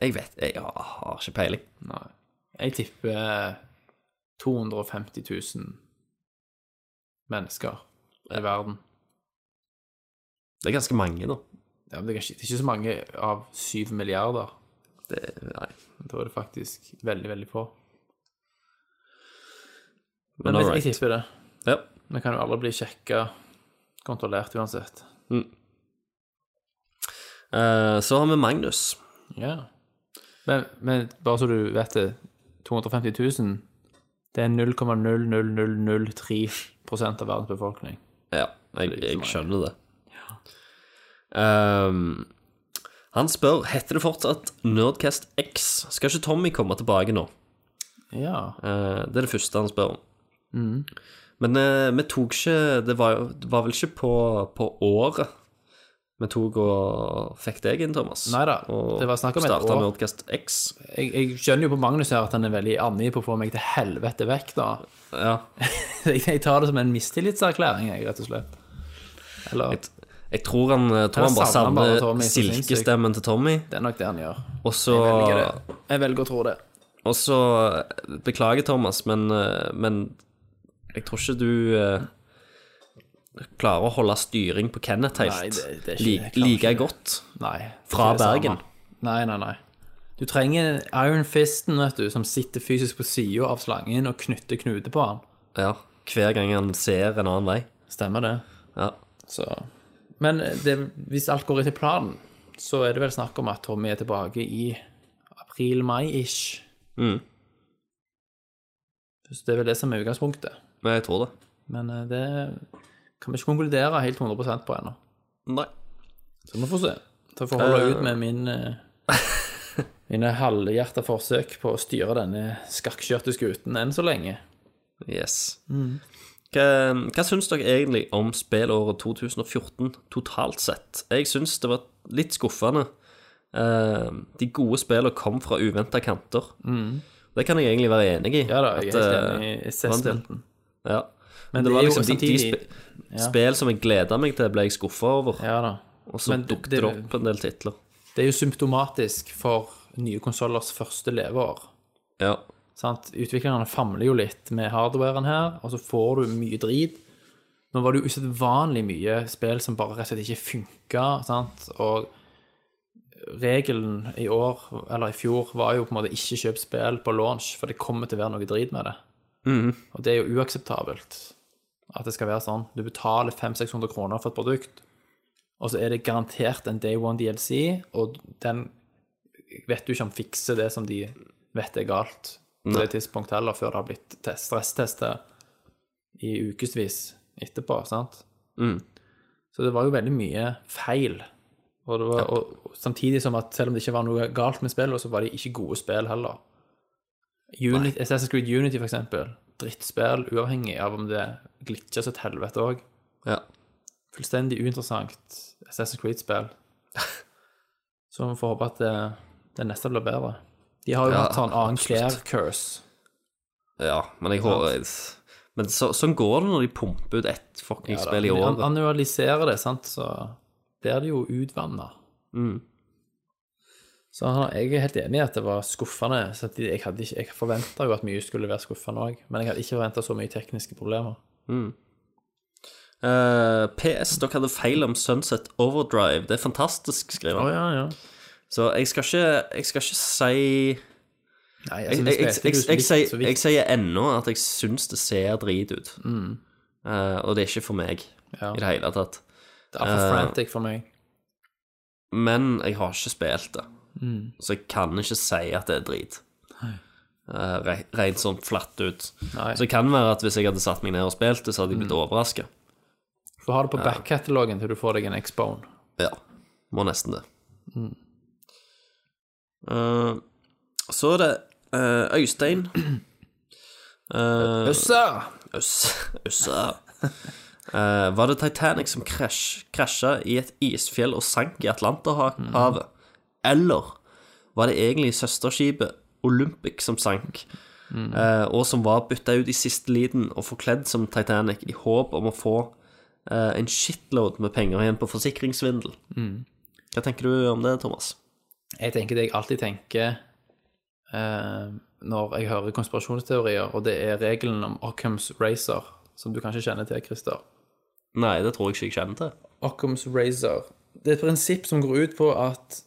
[SPEAKER 6] jeg vet Jeg har ikke peiling.
[SPEAKER 5] Nei. Jeg tipper 250 000 mennesker i verden.
[SPEAKER 6] Det er ganske mange, da.
[SPEAKER 5] Ja, men det er ikke, det er ikke så mange av 7 milliarder.
[SPEAKER 6] Det, nei.
[SPEAKER 5] Da er det faktisk veldig, veldig få.
[SPEAKER 6] Men
[SPEAKER 5] Men jeg,
[SPEAKER 6] alright.
[SPEAKER 5] jeg tipper det.
[SPEAKER 6] Ja.
[SPEAKER 5] Vi kan jo aldri bli sjekka, kontrollert uansett.
[SPEAKER 6] Eh, så har vi Magnus.
[SPEAKER 5] Ja. Men, men bare så du vet det, 250 000, det er 0,00003 av verdens befolkning.
[SPEAKER 6] Ja, jeg,
[SPEAKER 5] Det er ikke så
[SPEAKER 6] jeg
[SPEAKER 5] mange.
[SPEAKER 6] skjønner det. Ehm, han spør heter det fortsatt Nerdcast X. Skal ikke Tommy komme tilbake nå?
[SPEAKER 5] Ja.
[SPEAKER 6] Eh, det er det første han spør om.
[SPEAKER 5] Mm.
[SPEAKER 6] Men eh, vi tok ikke Det var, jo- det var vel ikke på, på året vi tok og fikk deg inn, Thomas.
[SPEAKER 5] Neida,
[SPEAKER 6] og
[SPEAKER 5] det var snakk om et
[SPEAKER 6] startet
[SPEAKER 5] år.
[SPEAKER 6] Nerdcast X.
[SPEAKER 5] Jeg, jeg skjønner jo på Magnus her at han er veldig angi på å få meg til helvete vekk, da.
[SPEAKER 6] Ja.
[SPEAKER 5] Jeg, jeg tar det som en mistillitserklæring, jeg, rett og slett. Eller
[SPEAKER 6] Jeg tror han, jeg
[SPEAKER 5] Eller
[SPEAKER 6] tror han bare
[SPEAKER 5] savner bare
[SPEAKER 6] savner
[SPEAKER 5] Tommy, så sinnssykt.
[SPEAKER 6] silkestemmen til Tommy.
[SPEAKER 5] det er nok det han gjør.
[SPEAKER 6] Og så
[SPEAKER 5] Jeg velger å tro det.
[SPEAKER 6] Og så eh, Beklager, Thomas, men, eh, men jeg tror ikke du eh, klarer å holde styring på Kenneth helt
[SPEAKER 5] Nei, det- det er ikke-
[SPEAKER 6] li-
[SPEAKER 5] jeg klarer
[SPEAKER 6] like
[SPEAKER 5] ikke.
[SPEAKER 6] godt.
[SPEAKER 5] Nei.
[SPEAKER 6] Fra
[SPEAKER 5] ikke det samme.
[SPEAKER 6] Bergen.
[SPEAKER 5] Nei, nei, nei. Du trenger Iron Fisten, vet du, som sitter fysisk på sida av slangen og knytter knute på han.
[SPEAKER 6] Ja, hver gang han ser en annen vei.
[SPEAKER 5] Stemmer det.
[SPEAKER 6] Ja.
[SPEAKER 5] Så. Men det, hvis alt går etter planen, så er det vel snakk om at Tommy er tilbake i april-mai-ish.
[SPEAKER 6] Mm.
[SPEAKER 5] Så det er vel det som er utgangspunktet.
[SPEAKER 6] Men jeg tror det.
[SPEAKER 5] Men eh, det kan vi ikke konkludere helt 100 på ennå.
[SPEAKER 6] Nei.
[SPEAKER 5] Så vi får se. Så får jeg holde
[SPEAKER 6] Eh.
[SPEAKER 5] ut med min, eh, mine halvhjerta forsøk på å styre denne skakkskjørte skuten enn så lenge.
[SPEAKER 6] Yes. Hva, hva syns dere egentlig om spillåret 2014 totalt sett? Jeg syns det var litt skuffende. Eh, de gode spillene kom fra uventa kanter. Det kan jeg egentlig være enig i.
[SPEAKER 5] Ja da, jeg er
[SPEAKER 6] At,
[SPEAKER 5] helt enig
[SPEAKER 6] eh,
[SPEAKER 5] i assessmenten.
[SPEAKER 6] Ja.
[SPEAKER 5] Men
[SPEAKER 6] Men det,
[SPEAKER 5] det
[SPEAKER 6] var
[SPEAKER 5] er jo
[SPEAKER 6] liksom de, de
[SPEAKER 5] samtidig-
[SPEAKER 6] sp spill som jeg gleda meg til, ble jeg skuffa over.
[SPEAKER 5] Ja da.
[SPEAKER 6] Og så
[SPEAKER 5] Men det-
[SPEAKER 6] dukket
[SPEAKER 5] det-
[SPEAKER 6] det opp en del titler.
[SPEAKER 5] Det er jo symptomatisk for nye konsollers første leveår.
[SPEAKER 6] Ja.
[SPEAKER 5] Sant? Utviklerne famler jo litt med hardwaren her, og så får du mye drit. Nå var det jo usedvanlig mye spill som bare rett og slett ikke funka, sant, og regelen i år, eller i fjor, var jo på en måte ikke kjøp spill på launch, for det kommer til å være noe drit med det. Og det er jo uakseptabelt at det skal være sånn. Du betaler 500-600 kroner for et produkt, og så er det garantert en day one DLC, og den vet du ikke om fikser det som de vet er galt på det tidspunktet heller, før det har blitt test- stresstestet i ukevis etterpå, sant?
[SPEAKER 6] Mm.
[SPEAKER 5] Så det var jo veldig mye feil. Og, det var, og, og samtidig som at selv om det ikke var noe galt med spillet, så var det ikke gode spill heller. Unit, Assassin's Creed Unity, for eksempel. Drittspill, uavhengig av om det glitcher som et helvete òg.
[SPEAKER 6] ja.
[SPEAKER 5] Fullstendig uinteressant Assassin's Creed-spill. Så vi får håpe at det, det neste blir bedre. De har jo
[SPEAKER 6] Ja,
[SPEAKER 5] hatt sånn annen
[SPEAKER 6] absolutt.
[SPEAKER 5] Claire-curse.
[SPEAKER 6] ja men jeg håper Men så, sånn går det når de pumper ut ett fucking spill i
[SPEAKER 5] Men an-
[SPEAKER 6] året.
[SPEAKER 5] Annualisere det, sant, så blir det jo utvanna.
[SPEAKER 6] Mm.
[SPEAKER 5] Så han- jeg er helt enig i at det var skuffende. Så at de- jeg, hadde ikke- jeg forventa jo at mye skulle være skuffende òg, men jeg hadde ikke forventa så mye tekniske problemer.
[SPEAKER 6] Eh, PS, dere hadde feil om Sunset Overdrive. Det er fantastisk, skriver han.
[SPEAKER 5] ja, ja.
[SPEAKER 6] Så jeg skal ikke, jeg skal ikke si
[SPEAKER 5] Nei,
[SPEAKER 6] Jeg,
[SPEAKER 5] altså, vi
[SPEAKER 6] jeg, jeg,
[SPEAKER 5] spilte
[SPEAKER 6] jeg,
[SPEAKER 5] jo
[SPEAKER 6] jeg,
[SPEAKER 5] litt så
[SPEAKER 6] sier-
[SPEAKER 5] vidt.
[SPEAKER 6] jeg sier ennå at jeg syns det ser drit ut. Eh, og det er ikke for meg
[SPEAKER 5] Mm. Ja.
[SPEAKER 6] i det hele tatt. Eh,
[SPEAKER 5] Det er for frantic for meg.
[SPEAKER 6] Men jeg har ikke spilt det, så jeg kan ikke si at det er drit. Eh, re- Rent sånn flatt ut.
[SPEAKER 5] Nei.
[SPEAKER 6] Så det kan være at hvis jeg hadde satt meg ned og spilt det, så hadde jeg blitt overraska.
[SPEAKER 5] Du får ha det på back-katalogen til du får deg en X-bone.
[SPEAKER 6] Ja, må nesten det. Eh, så er det eh, Øystein. Uh,
[SPEAKER 5] Øssa!
[SPEAKER 6] Øssa. Eh, var det Titanic som krasj- krasja i et isfjell og sank i Atlanterhavet? Eller var det egentlig søsterskipet Olympic som sank, eh, og som var bytta ut i siste liten og forkledd som Titanic i håp om å få eh, en shitload med penger igjen på forsikringssvindel? Hva tenker du om det, Thomas?
[SPEAKER 5] Jeg tenker det jeg alltid tenker eh, når jeg hører konspirasjonsteorier, og det er regelen om Occam's Razor, som du kanskje kjenner til, Christer.
[SPEAKER 6] Nei, det tror jeg ikke jeg kjenner til.
[SPEAKER 5] Occam's Razor. Det er et prinsipp som går ut på at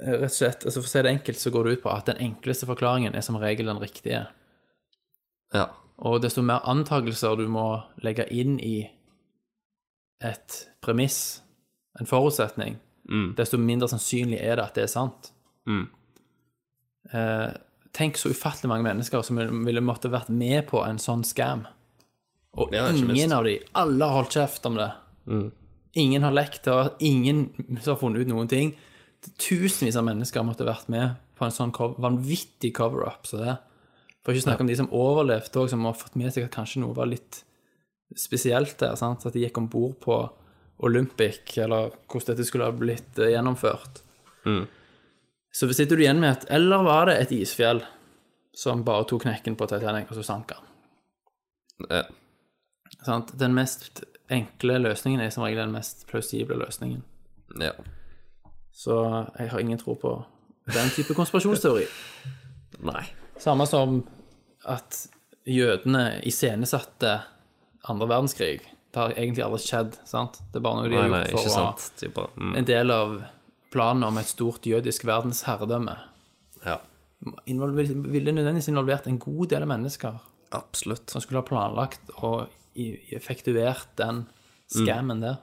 [SPEAKER 5] eh, Rett og slett, altså For å si det enkelt, så går det ut på at den enkleste forklaringen er som regel den riktige.
[SPEAKER 6] Ja.
[SPEAKER 5] Og desto mer antakelser du må legge inn i et premiss, en forutsetning,
[SPEAKER 6] Mm.
[SPEAKER 5] desto mindre sannsynlig er det at det er sant.
[SPEAKER 6] Mm.
[SPEAKER 5] Eh, tenk så ufattelig mange mennesker som ville måtte vært med på en sånn scam. Og
[SPEAKER 6] Ja, ikke Mm. minst.
[SPEAKER 5] ingen av de, alle har holdt kjeft om det. Ingen har lekt, det har ingen som har funnet ut noen ting. Tusenvis av mennesker måtte vært med på en sånn cover, vanvittig cover-up. Så det. For ikke å snakke om de som overlevde òg, som har fått med seg at kanskje noe var litt spesielt der. Sant? At de gikk om bord på Olympic, eller hvordan dette skulle ha blitt eh, gjennomført.
[SPEAKER 6] Mm.
[SPEAKER 5] Så sitter du igjen med at Eller var det et isfjell som bare tok knekken på Titanic, og så sank han?
[SPEAKER 6] Ja.
[SPEAKER 5] Sant? Den mest enkle løsningen er som regel den mest plausible løsningen.
[SPEAKER 6] ja.
[SPEAKER 5] Så jeg har ingen tro på den type konspirasjonsteori.
[SPEAKER 6] Nei.
[SPEAKER 5] Samme som at jødene iscenesatte andre verdenskrig. Det har egentlig aldri skjedd, sant? Det er bare noe de
[SPEAKER 6] Nei,
[SPEAKER 5] har
[SPEAKER 6] nei,
[SPEAKER 5] gjort
[SPEAKER 6] ikke
[SPEAKER 5] for å
[SPEAKER 6] sant. Det er bare, mm,
[SPEAKER 5] en del av planen om et stort jødisk verdensherredømme.
[SPEAKER 6] ja.
[SPEAKER 5] Involver, ville nødvendigvis involvert en god del mennesker
[SPEAKER 6] Absolutt.
[SPEAKER 5] som skulle ha planlagt og i- effektuert den scammen der.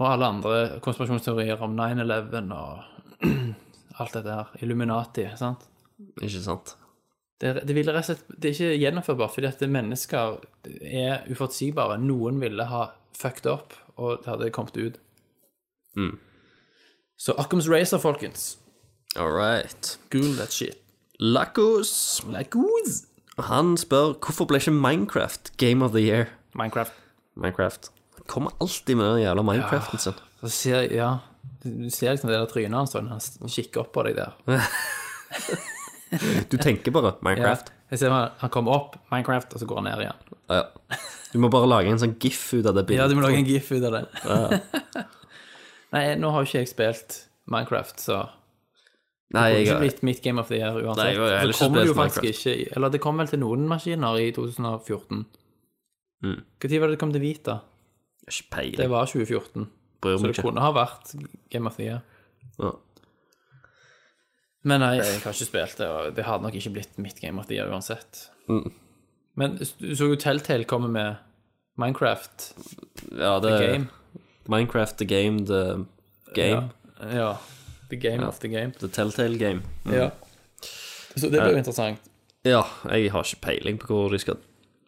[SPEAKER 5] Og alle andre konspirasjonsteorier om 9-11 og alt dette her. Illuminati, sant?
[SPEAKER 6] Ikke sant.
[SPEAKER 5] Det, det, vil rett og slett, det er ikke gjennomførbart, fordi at mennesker er uforutsigbare. Noen ville ha fucked up, og det hadde kommet ut. Mm. Så Occam's Razor, folkens.
[SPEAKER 6] All right.
[SPEAKER 5] Google that shit.
[SPEAKER 6] Lakos.
[SPEAKER 5] Like who's?
[SPEAKER 6] Han spør hvorfor ble ikke Minecraft Game of the Year?
[SPEAKER 5] Minecraft.
[SPEAKER 6] Minecraft. Han kommer alltid med den jævla Minecraften sin.
[SPEAKER 5] Så ser jeg, ja, du ser liksom det der trynet hans, og han kikker opp på deg der.
[SPEAKER 6] Du tenker bare
[SPEAKER 5] Ja.
[SPEAKER 6] Minecraft.
[SPEAKER 5] Jeg ser han, han kommer opp, Minecraft, og så går han ned igjen.
[SPEAKER 6] Ja. Du må bare lage en sånn gif ut av det bildet.
[SPEAKER 5] Ja, du må lage en gif ut av det. Nei, nå har jo ikke jeg spilt Minecraft, så
[SPEAKER 6] Nei,
[SPEAKER 5] Det
[SPEAKER 6] jeg
[SPEAKER 5] har ikke blitt mitt Game of the Year
[SPEAKER 6] Nei, jeg
[SPEAKER 5] uansett.
[SPEAKER 6] har heller
[SPEAKER 5] så
[SPEAKER 6] ikke
[SPEAKER 5] kommer det jo
[SPEAKER 6] spilt
[SPEAKER 5] faktisk ikke i- Eller det kom vel til noen maskiner i 2014. Når tid var det det kom til Vita?
[SPEAKER 6] har ikke
[SPEAKER 5] Det
[SPEAKER 6] peiling.
[SPEAKER 5] var 2014.
[SPEAKER 6] Bryr
[SPEAKER 5] Så
[SPEAKER 6] meg
[SPEAKER 5] det
[SPEAKER 6] ikke.
[SPEAKER 5] kunne ha vært Game of the Year.
[SPEAKER 6] Ja.
[SPEAKER 5] Men nei, jeg har ikke spilt det, og det hadde nok ikke blitt mitt Game of the Year uansett. Mm. Men du så jo Telltale komme med Minecraft
[SPEAKER 6] ja, det
[SPEAKER 5] The Game.
[SPEAKER 6] Minecraft the game, the game.
[SPEAKER 5] Ja. ja. Mm. The Game of the Game.
[SPEAKER 6] The Telltale game.
[SPEAKER 5] Ja. Så det ble jo interessant.
[SPEAKER 6] Ja, jeg har ikke peiling på hvor de skal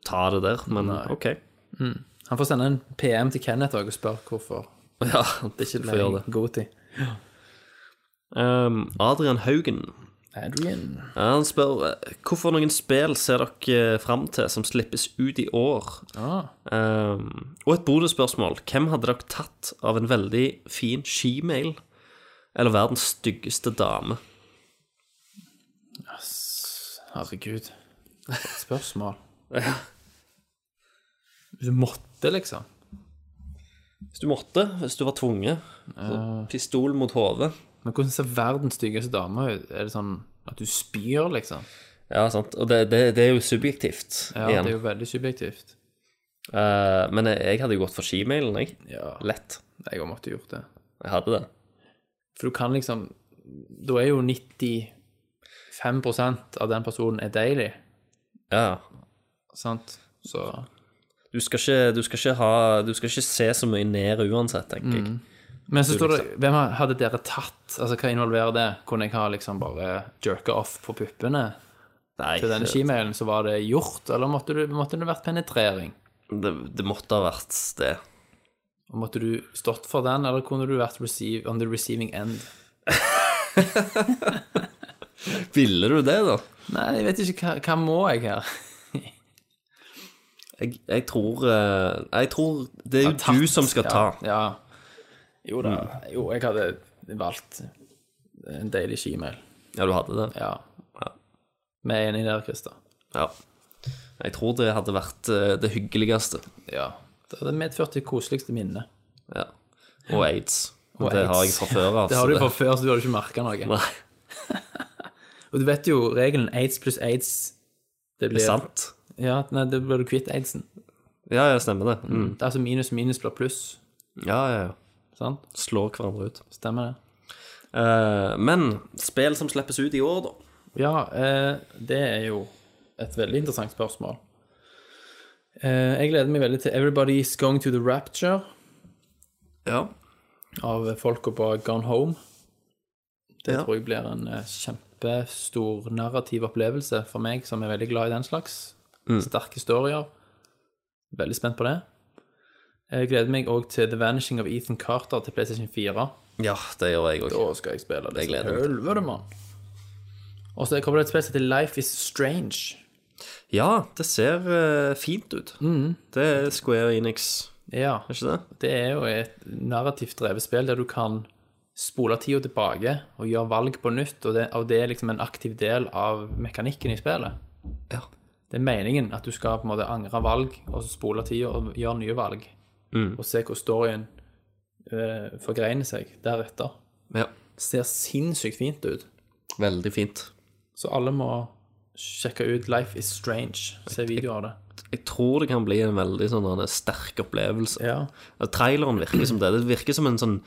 [SPEAKER 6] ta det der, men OK.
[SPEAKER 5] Han får sende en PM til Kenneth også og spørre hvorfor
[SPEAKER 6] Ja,
[SPEAKER 5] det ikke
[SPEAKER 6] får gjøre
[SPEAKER 5] ble
[SPEAKER 6] det.
[SPEAKER 5] god tid.
[SPEAKER 6] Um, Adrian Haugen
[SPEAKER 5] Adrian.
[SPEAKER 6] han spør eh, hvorfor noen spill ser dere fram til som slippes ut i år.
[SPEAKER 5] Ah.
[SPEAKER 6] Um, og et bonusspørsmål. Hvem hadde dere tatt av en veldig fin shemale eller verdens styggeste dame?
[SPEAKER 5] Herregud. For et Spørsmål. Hvis du måtte, liksom.
[SPEAKER 6] Hvis du måtte, hvis du var tvunget. så Pistol mot hodet.
[SPEAKER 5] Men hvordan ser verdens styggeste dame ut? Er det sånn at du spyr, liksom?
[SPEAKER 6] Ja, sant. Og det, det, det er jo subjektivt.
[SPEAKER 5] Ja,
[SPEAKER 6] igjen.
[SPEAKER 5] det er jo veldig subjektivt.
[SPEAKER 6] Eh, men jeg, jeg hadde jo gått for shemalen, jeg.
[SPEAKER 5] Ja.
[SPEAKER 6] Lett.
[SPEAKER 5] Jeg har måttet gjort det.
[SPEAKER 6] Jeg hadde det.
[SPEAKER 5] For du kan liksom Da er jo 95 av den personen er deilig,
[SPEAKER 6] Ja.
[SPEAKER 5] sant? Så
[SPEAKER 6] Du skal ikke, du skal ikke, ha, du skal ikke se så mye ned uansett, tenker jeg.
[SPEAKER 5] Mm. Men så står det Hvem hadde dere tatt? Altså, hva involverer det? Kunne jeg ha liksom bare jerka off på puppene
[SPEAKER 6] Nei,
[SPEAKER 5] til denne
[SPEAKER 6] det,
[SPEAKER 5] shemailen, så var det gjort? Eller måtte, du, måtte det vært penetrering?
[SPEAKER 6] det, det måtte ha vært det.
[SPEAKER 5] Og Måtte du stått for den, eller kunne du vært receive, on the receiving end?
[SPEAKER 6] Ville du det, da?
[SPEAKER 5] Nei, jeg vet ikke. Hva, hva må jeg her?
[SPEAKER 6] Jeg, jeg tror eh, Jeg tror det er jo du som skal ta. Mm.
[SPEAKER 5] Ja. Jo da. Jo, jeg hadde valgt en deilig skimail.
[SPEAKER 6] Ja, du hadde det?
[SPEAKER 5] Ja. Vi er enige der, Christer.
[SPEAKER 6] Ja. Jeg tror det hadde vært eh, det hyggeligste.
[SPEAKER 5] Ja. Det hadde medført det koseligste minnet.
[SPEAKER 6] Ja. Og aids. Og,
[SPEAKER 5] Og
[SPEAKER 6] det har jeg
[SPEAKER 5] AIDS.
[SPEAKER 6] fra før av.
[SPEAKER 5] Det
[SPEAKER 6] så
[SPEAKER 5] har du fra før, så du hadde ikke merka noe.
[SPEAKER 6] Altså, Nei,
[SPEAKER 5] Og du vet jo regelen aids pluss aids Det
[SPEAKER 6] det
[SPEAKER 5] blir
[SPEAKER 6] er sant.
[SPEAKER 5] Ja, nei, da blir du kvitt aidsen.
[SPEAKER 6] Ja, ja, stemmer det. Mm.
[SPEAKER 5] Det er altså minus minus blir pluss.
[SPEAKER 6] Ja, ja, ja.
[SPEAKER 5] Sant?
[SPEAKER 6] Slår hverandre ut.
[SPEAKER 5] Stemmer det?
[SPEAKER 6] Eh, men spill som slippes ut i år, da.
[SPEAKER 5] Ja, eh, det er jo et veldig interessant spørsmål. Eh, jeg gleder meg veldig til Everybody's Going to the Rapture
[SPEAKER 6] Ja.
[SPEAKER 5] av folka på Gone Home. Det
[SPEAKER 6] Ja.
[SPEAKER 5] tror jeg blir en eh, kjempestor narrativ opplevelse for meg, som er veldig glad i den slags.
[SPEAKER 6] Mm.
[SPEAKER 5] Sterke historier. Veldig spent på det. Jeg gleder meg òg til The Vanishing of Ethan Carter til PlayStation 4.
[SPEAKER 6] ja, det gjør jeg òg.
[SPEAKER 5] Da skal jeg spille det.
[SPEAKER 6] Jeg gleder meg til
[SPEAKER 5] Helvete, mann. Og så kommer det et spill som heter Life Is Strange.
[SPEAKER 6] Mm. Ja, det ser eh, fint ut. Det er Square Enix.
[SPEAKER 5] Ja.
[SPEAKER 6] Er ikke det?
[SPEAKER 5] Det er jo et narrativt drevet spill der du kan spole tida tilbake og gjøre valg på nytt, og det, og det er liksom en aktiv del av mekanikken i spillet.
[SPEAKER 6] Ja.
[SPEAKER 5] Det er meningen at du skal på en måte angre valg, og så spole tida og gjøre nye valg.
[SPEAKER 6] Mm.
[SPEAKER 5] Og se hvor storyen eh, forgreiner seg deretter.
[SPEAKER 6] Ja.
[SPEAKER 5] Ser sinnssykt fint ut.
[SPEAKER 6] Veldig fint.
[SPEAKER 5] Så alle må sjekke ut Life is Strange. Se video av det.
[SPEAKER 6] Jeg tror det kan bli en veldig sånn en sterk opplevelse.
[SPEAKER 5] Ja,
[SPEAKER 6] At Traileren virker som det. Det virker som en sånn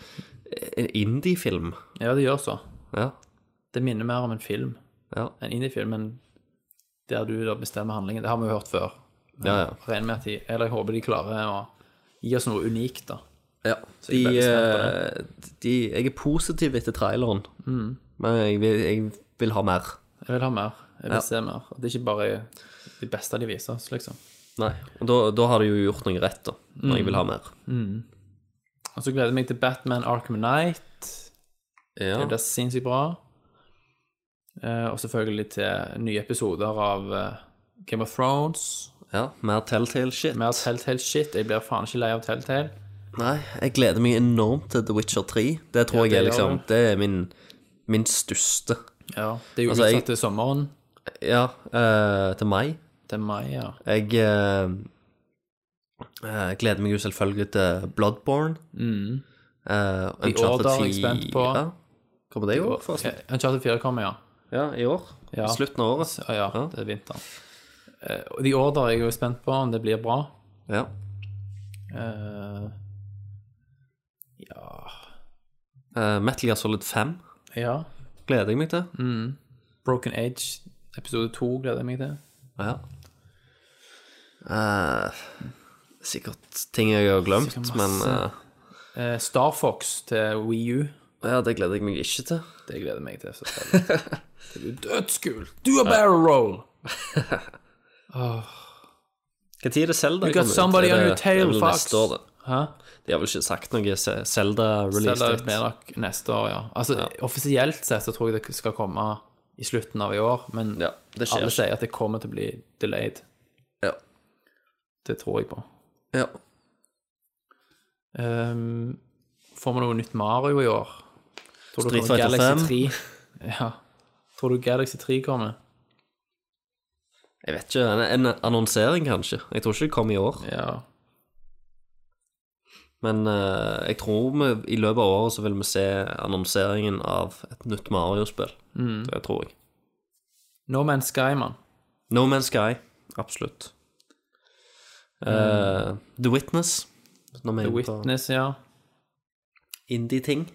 [SPEAKER 6] en indie-film.
[SPEAKER 5] ja det gjør så.
[SPEAKER 6] Ja.
[SPEAKER 5] Det minner mer om en film.
[SPEAKER 6] Ja.
[SPEAKER 5] En indie-film men der du da bestemmer handlingen. Det har vi jo hørt før.
[SPEAKER 6] ja, ja.
[SPEAKER 5] Regner med at de, eller jeg håper de klarer å gi oss noe unikt, da.
[SPEAKER 6] Ja, de,
[SPEAKER 5] jeg er veldig
[SPEAKER 6] eh, de, jeg er positiv etter traileren,
[SPEAKER 5] Mm.
[SPEAKER 6] men jeg vil, jeg vil ha mer.
[SPEAKER 5] Jeg vil ha mer. Jeg vil
[SPEAKER 6] Ja.
[SPEAKER 5] se mer. Det er ikke bare de beste de viser oss, liksom.
[SPEAKER 6] Nei. Og da, da har de jo gjort noe rett, da, når jeg vil ha mer.
[SPEAKER 5] Og så gleder jeg meg til Batman Arkham Knight.
[SPEAKER 6] Ja.
[SPEAKER 5] Det blir sinnssykt bra. Eh, og selvfølgelig til nye episoder av eh, Game of Thrones.
[SPEAKER 6] ja. Mer Telltale-shit.
[SPEAKER 5] Mer Telltale-shit. Jeg blir faen ikke lei av Telltale.
[SPEAKER 6] Nei, jeg gleder meg enormt til The Witcher 3. Det tror
[SPEAKER 5] det
[SPEAKER 6] jeg er
[SPEAKER 5] gjør
[SPEAKER 6] liksom
[SPEAKER 5] det.
[SPEAKER 6] Det er min, min største.
[SPEAKER 5] Ja, det er jo
[SPEAKER 6] Altså, jeg-
[SPEAKER 5] utsatt til sommeren.
[SPEAKER 6] Ja, eh, til meg.
[SPEAKER 5] Til mai, ja.
[SPEAKER 6] Jeg eh, eh, gleder meg jo selvfølgelig til Bloodborne.
[SPEAKER 5] Mm.
[SPEAKER 6] Eh, Uncharted
[SPEAKER 5] Order er jeg
[SPEAKER 6] 10,
[SPEAKER 5] spent på.
[SPEAKER 6] Ja. Kommer det i år, forresten?
[SPEAKER 5] Uncharted 4 kommer, ja.
[SPEAKER 6] Ja, i år.
[SPEAKER 5] Ja.
[SPEAKER 6] Slutten av året.
[SPEAKER 5] Ja, ja, det er vinteren. Eh, og de Order er jeg jo spent på om det blir bra.
[SPEAKER 6] Ja.
[SPEAKER 5] Eh, ja
[SPEAKER 6] Eh, Metal Gear Solid 5
[SPEAKER 5] Ja.
[SPEAKER 6] gleder jeg meg til.
[SPEAKER 5] Mm. Broken Age episode 2 gleder jeg meg til.
[SPEAKER 6] Ja. Eh, sikkert ting jeg har glemt,
[SPEAKER 5] Sikkert
[SPEAKER 6] men
[SPEAKER 5] masse.
[SPEAKER 6] eh,
[SPEAKER 5] Eh, Star Fox til Wii U.
[SPEAKER 6] ja, det gleder jeg meg ikke til.
[SPEAKER 5] Det gleder jeg meg til. selvfølgelig. det blir dødskult! Do a barrel roll!
[SPEAKER 6] Når er det Zelda
[SPEAKER 5] got somebody
[SPEAKER 6] Er
[SPEAKER 5] on
[SPEAKER 6] det-
[SPEAKER 5] your tail,
[SPEAKER 6] det er vel
[SPEAKER 5] Fox.
[SPEAKER 6] neste år, det.
[SPEAKER 5] Hæ?
[SPEAKER 6] De har vel ikke sagt noe Se- Zelda release
[SPEAKER 5] Selger
[SPEAKER 6] date.
[SPEAKER 5] mer nok neste år, ja. Altså, Offisielt sett så tror jeg det skal komme i slutten av i år, men
[SPEAKER 6] Ja, det skjer
[SPEAKER 5] alle
[SPEAKER 6] ikke.
[SPEAKER 5] sier at det kommer til å bli delayed.
[SPEAKER 6] Ja.
[SPEAKER 5] Det tror jeg på.
[SPEAKER 6] Ja.
[SPEAKER 5] Ehm, får vi noe nytt Mario i år? Tror
[SPEAKER 6] Street
[SPEAKER 5] kommer
[SPEAKER 6] Fighter
[SPEAKER 5] Galaxy 3? Ja. Tror du Galaxy 3 kommer?
[SPEAKER 6] Jeg vet ikke. En, en annonsering, kanskje. Jeg tror ikke det kom i år.
[SPEAKER 5] Ja.
[SPEAKER 6] Men eh, jeg tror vi, i løpet av året så vil vi se annonseringen av et nytt Mario-spill.
[SPEAKER 5] Mm.
[SPEAKER 6] Det tror jeg.
[SPEAKER 5] No Man's Sky, mann.
[SPEAKER 6] No Man's Sky. Absolutt. Eh, The Witness. Når vi er
[SPEAKER 5] Mm. The
[SPEAKER 6] inne på
[SPEAKER 5] Witness, ja.
[SPEAKER 6] indie-ting.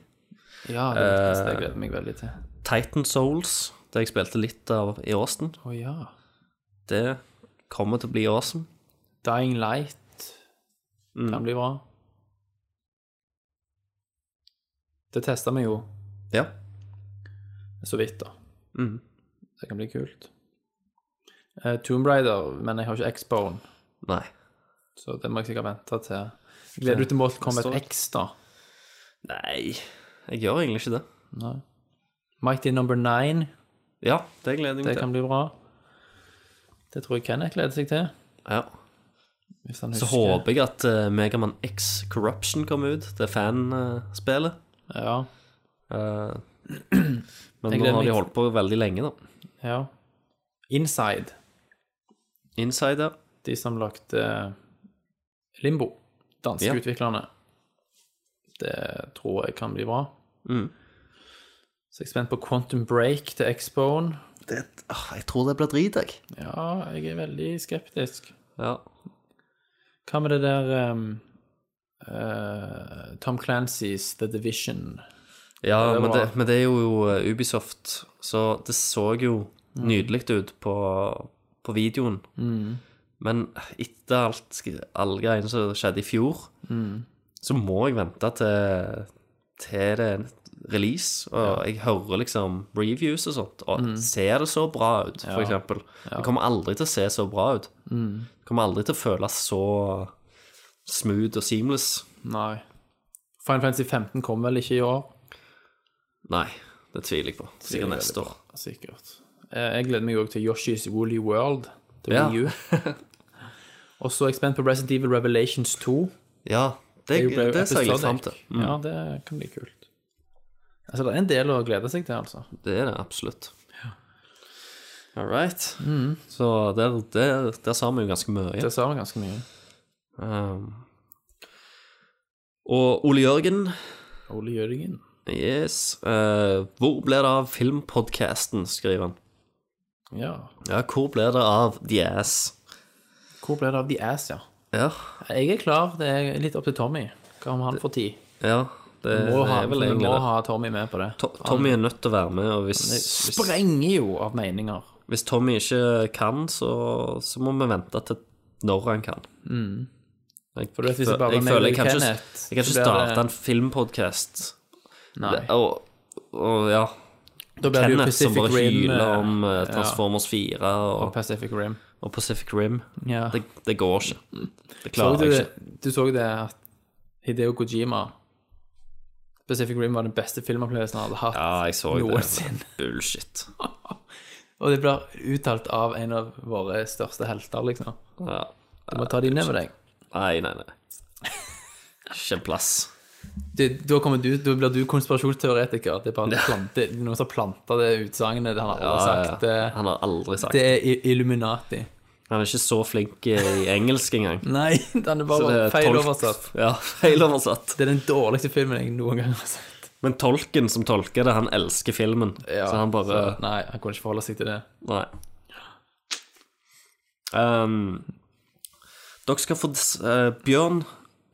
[SPEAKER 5] Ja, The Witness,
[SPEAKER 6] Eh.
[SPEAKER 5] det gleder jeg meg veldig til.
[SPEAKER 6] Titan Souls, det jeg spilte litt av i Austin.
[SPEAKER 5] Å ja.
[SPEAKER 6] Det kommer til å bli awesome. Mm.
[SPEAKER 5] Dying Light kan bli bra. Det testa vi jo
[SPEAKER 6] Ja.
[SPEAKER 5] så vidt, da.
[SPEAKER 6] Mm.
[SPEAKER 5] Det kan bli kult. Eh, Tomb Raider, men jeg har ikke X-Bone,
[SPEAKER 6] Nei.
[SPEAKER 5] så det må jeg sikkert vente til. Jeg Gleder du til Mortal Kombat X, da?
[SPEAKER 6] Nei, jeg gjør egentlig ikke det.
[SPEAKER 5] Nei. Mighty Number Nine,
[SPEAKER 6] Ja, det gleder
[SPEAKER 5] det
[SPEAKER 6] jeg meg
[SPEAKER 5] kan
[SPEAKER 6] til.
[SPEAKER 5] bli bra. Det tror jeg Kenneth gleder seg til.
[SPEAKER 6] Ja.
[SPEAKER 5] Hvis han
[SPEAKER 6] Så
[SPEAKER 5] husker.
[SPEAKER 6] håper jeg at eh, Mega Megaman X Corruption kommer ut, det fanspillet.
[SPEAKER 5] Ja.
[SPEAKER 6] Uh, men
[SPEAKER 5] Jeg
[SPEAKER 6] nå
[SPEAKER 5] gleder
[SPEAKER 6] har
[SPEAKER 5] meg
[SPEAKER 6] de
[SPEAKER 5] til-
[SPEAKER 6] holdt på veldig lenge, da.
[SPEAKER 5] ja. Inside,
[SPEAKER 6] Insider.
[SPEAKER 5] de som lagde Limbo, danske
[SPEAKER 6] Ja.
[SPEAKER 5] utviklerne. Det tror jeg kan bli bra.
[SPEAKER 6] Mm.
[SPEAKER 5] Så jeg er spent på Quantum Break til X-Bone.
[SPEAKER 6] Det, ah, jeg tror det blir drit, jeg.
[SPEAKER 5] Ja, jeg er veldig skeptisk.
[SPEAKER 6] Ja.
[SPEAKER 5] Hva med det der um, eh, Tom Clancy's The Division?
[SPEAKER 6] Ja,
[SPEAKER 5] det
[SPEAKER 6] men,
[SPEAKER 5] var-
[SPEAKER 6] det, men det er jo eh, Ubisoft, så det så jo nydelig ut på, på videoen. Mm. Men etter alt, sk- alle greiene som skjedde i fjor, Mm. så må jeg vente til, til det er release. Og jeg hører liksom reviews og sånt, og ser det så bra ut, for eksempel. Det kommer aldri til å se så bra ut. Det kommer aldri til å føles så smooth og seamless.
[SPEAKER 5] Nei. Final Fantasy 15 kom vel ikke i år?
[SPEAKER 6] Nei, det tviler jeg på. Sikkert neste år.
[SPEAKER 5] Sikkert. Eh, Jeg gleder meg òg til Yoshi's Woolly World til
[SPEAKER 6] Ja.
[SPEAKER 5] Wii U. Og så er jeg spent på Resident Evil Revelations 2.
[SPEAKER 6] Ja, det,
[SPEAKER 5] jo
[SPEAKER 6] det, ser jeg
[SPEAKER 5] episodic.
[SPEAKER 6] litt fram til. Mm.
[SPEAKER 5] Ja, det kan bli kult. Altså, det er en del å glede seg til, altså.
[SPEAKER 6] Det er det absolutt. Mm. All right. Så der, der, der sa vi jo ganske mye.
[SPEAKER 5] Det sa han ganske mye.
[SPEAKER 6] Um, og Ole Jørgen,
[SPEAKER 5] Ole Jørgen.
[SPEAKER 6] yes eh, Hvor ble det av filmpodcasten, skriver han.
[SPEAKER 5] Ja.
[SPEAKER 6] Ja, hvor ble det av The Ass?
[SPEAKER 5] Hvor ble det av The Ass, ja?
[SPEAKER 6] Ja,
[SPEAKER 5] Jeg er klar. Det er litt opp til Tommy. Hva om han får tid?
[SPEAKER 6] ja det,
[SPEAKER 5] Vi må,
[SPEAKER 6] det
[SPEAKER 5] ha,
[SPEAKER 6] er vel
[SPEAKER 5] vi
[SPEAKER 6] egentlig
[SPEAKER 5] må
[SPEAKER 6] det.
[SPEAKER 5] ha Tommy med på det.
[SPEAKER 6] To- Tommy er nødt til å være med, og hvis,
[SPEAKER 5] Det
[SPEAKER 6] hvis,
[SPEAKER 5] sprenger jo av meninger.
[SPEAKER 6] hvis Tommy ikke kan, så, så må vi vente til når han kan. Jeg,
[SPEAKER 5] Mm. For du vet, hvis det bare var
[SPEAKER 6] fø- jeg
[SPEAKER 5] meg
[SPEAKER 6] føler
[SPEAKER 5] og
[SPEAKER 6] jeg kan ikke,
[SPEAKER 5] Kenneth,
[SPEAKER 6] jeg kan ikke
[SPEAKER 5] så blir det-
[SPEAKER 6] starte en filmpodcast.
[SPEAKER 5] Nei.
[SPEAKER 6] Det- Og, og ja,
[SPEAKER 5] Da blir det jo
[SPEAKER 6] Kenneth som
[SPEAKER 5] Pacific
[SPEAKER 6] bare
[SPEAKER 5] Rim.
[SPEAKER 6] hyler
[SPEAKER 5] eh,
[SPEAKER 6] om eh, Transformers 4
[SPEAKER 5] og
[SPEAKER 6] og,
[SPEAKER 5] Pacific Rim.
[SPEAKER 6] og Pacific Rim.
[SPEAKER 5] Ja.
[SPEAKER 6] Det, det går ikke.
[SPEAKER 5] Så
[SPEAKER 6] Det klarer
[SPEAKER 5] du,
[SPEAKER 6] jeg ikke.
[SPEAKER 5] du så det at Hideo Kojima Pacific Rim var den beste filmopplevelsen han hadde hatt.
[SPEAKER 6] Ja, jeg så jo det.
[SPEAKER 5] Noensinne.
[SPEAKER 6] Bullshit.
[SPEAKER 5] Og det blir uttalt av en av våre største helter, liksom.
[SPEAKER 6] Ja.
[SPEAKER 5] Du må ta de ned med deg.
[SPEAKER 6] Nei, nei, nei. Ikke en plass.
[SPEAKER 5] Du, da, kommer du, da blir du konspirasjonsteoretiker. Det er bare plante, det er noen som har planta det utsagnet det han aldri har sagt. Det,
[SPEAKER 6] Han har aldri sagt
[SPEAKER 5] det
[SPEAKER 6] det.
[SPEAKER 5] er i- Illuminati.
[SPEAKER 6] Han er ikke så flink i engelsk engang.
[SPEAKER 5] Nei, den er
[SPEAKER 6] Så
[SPEAKER 5] bare
[SPEAKER 6] det er
[SPEAKER 5] feil
[SPEAKER 6] tolk-
[SPEAKER 5] oversatt.
[SPEAKER 6] Ja, feil oversatt.
[SPEAKER 5] Det er den dårligste filmen jeg noen gang har sett.
[SPEAKER 6] Men tolken som tolker det, han elsker filmen. så han bare
[SPEAKER 5] så- Nei, han kunne ikke forholde seg til det.
[SPEAKER 6] Nei. Ehm, dere skal få eh, Bjørn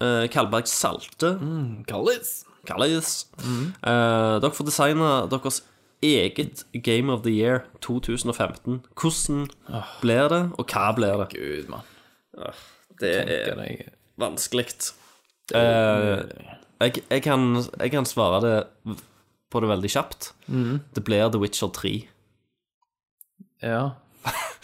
[SPEAKER 6] eh, Kalberg Salte.
[SPEAKER 5] Mm. Kallis.
[SPEAKER 6] Kallis.
[SPEAKER 5] Mm.
[SPEAKER 6] Eh, dere får designe deres eget Game of the Year 2015. Hvordan blir det, og hva blir det?
[SPEAKER 5] Gud, mann.
[SPEAKER 6] Det
[SPEAKER 5] Tenker
[SPEAKER 6] er
[SPEAKER 5] deg.
[SPEAKER 6] vanskelig. Eh, jeg, jeg, kan, jeg kan svare det på det veldig kjapt.
[SPEAKER 5] Mm.
[SPEAKER 6] Det blir The Witcher 3.
[SPEAKER 5] Ja.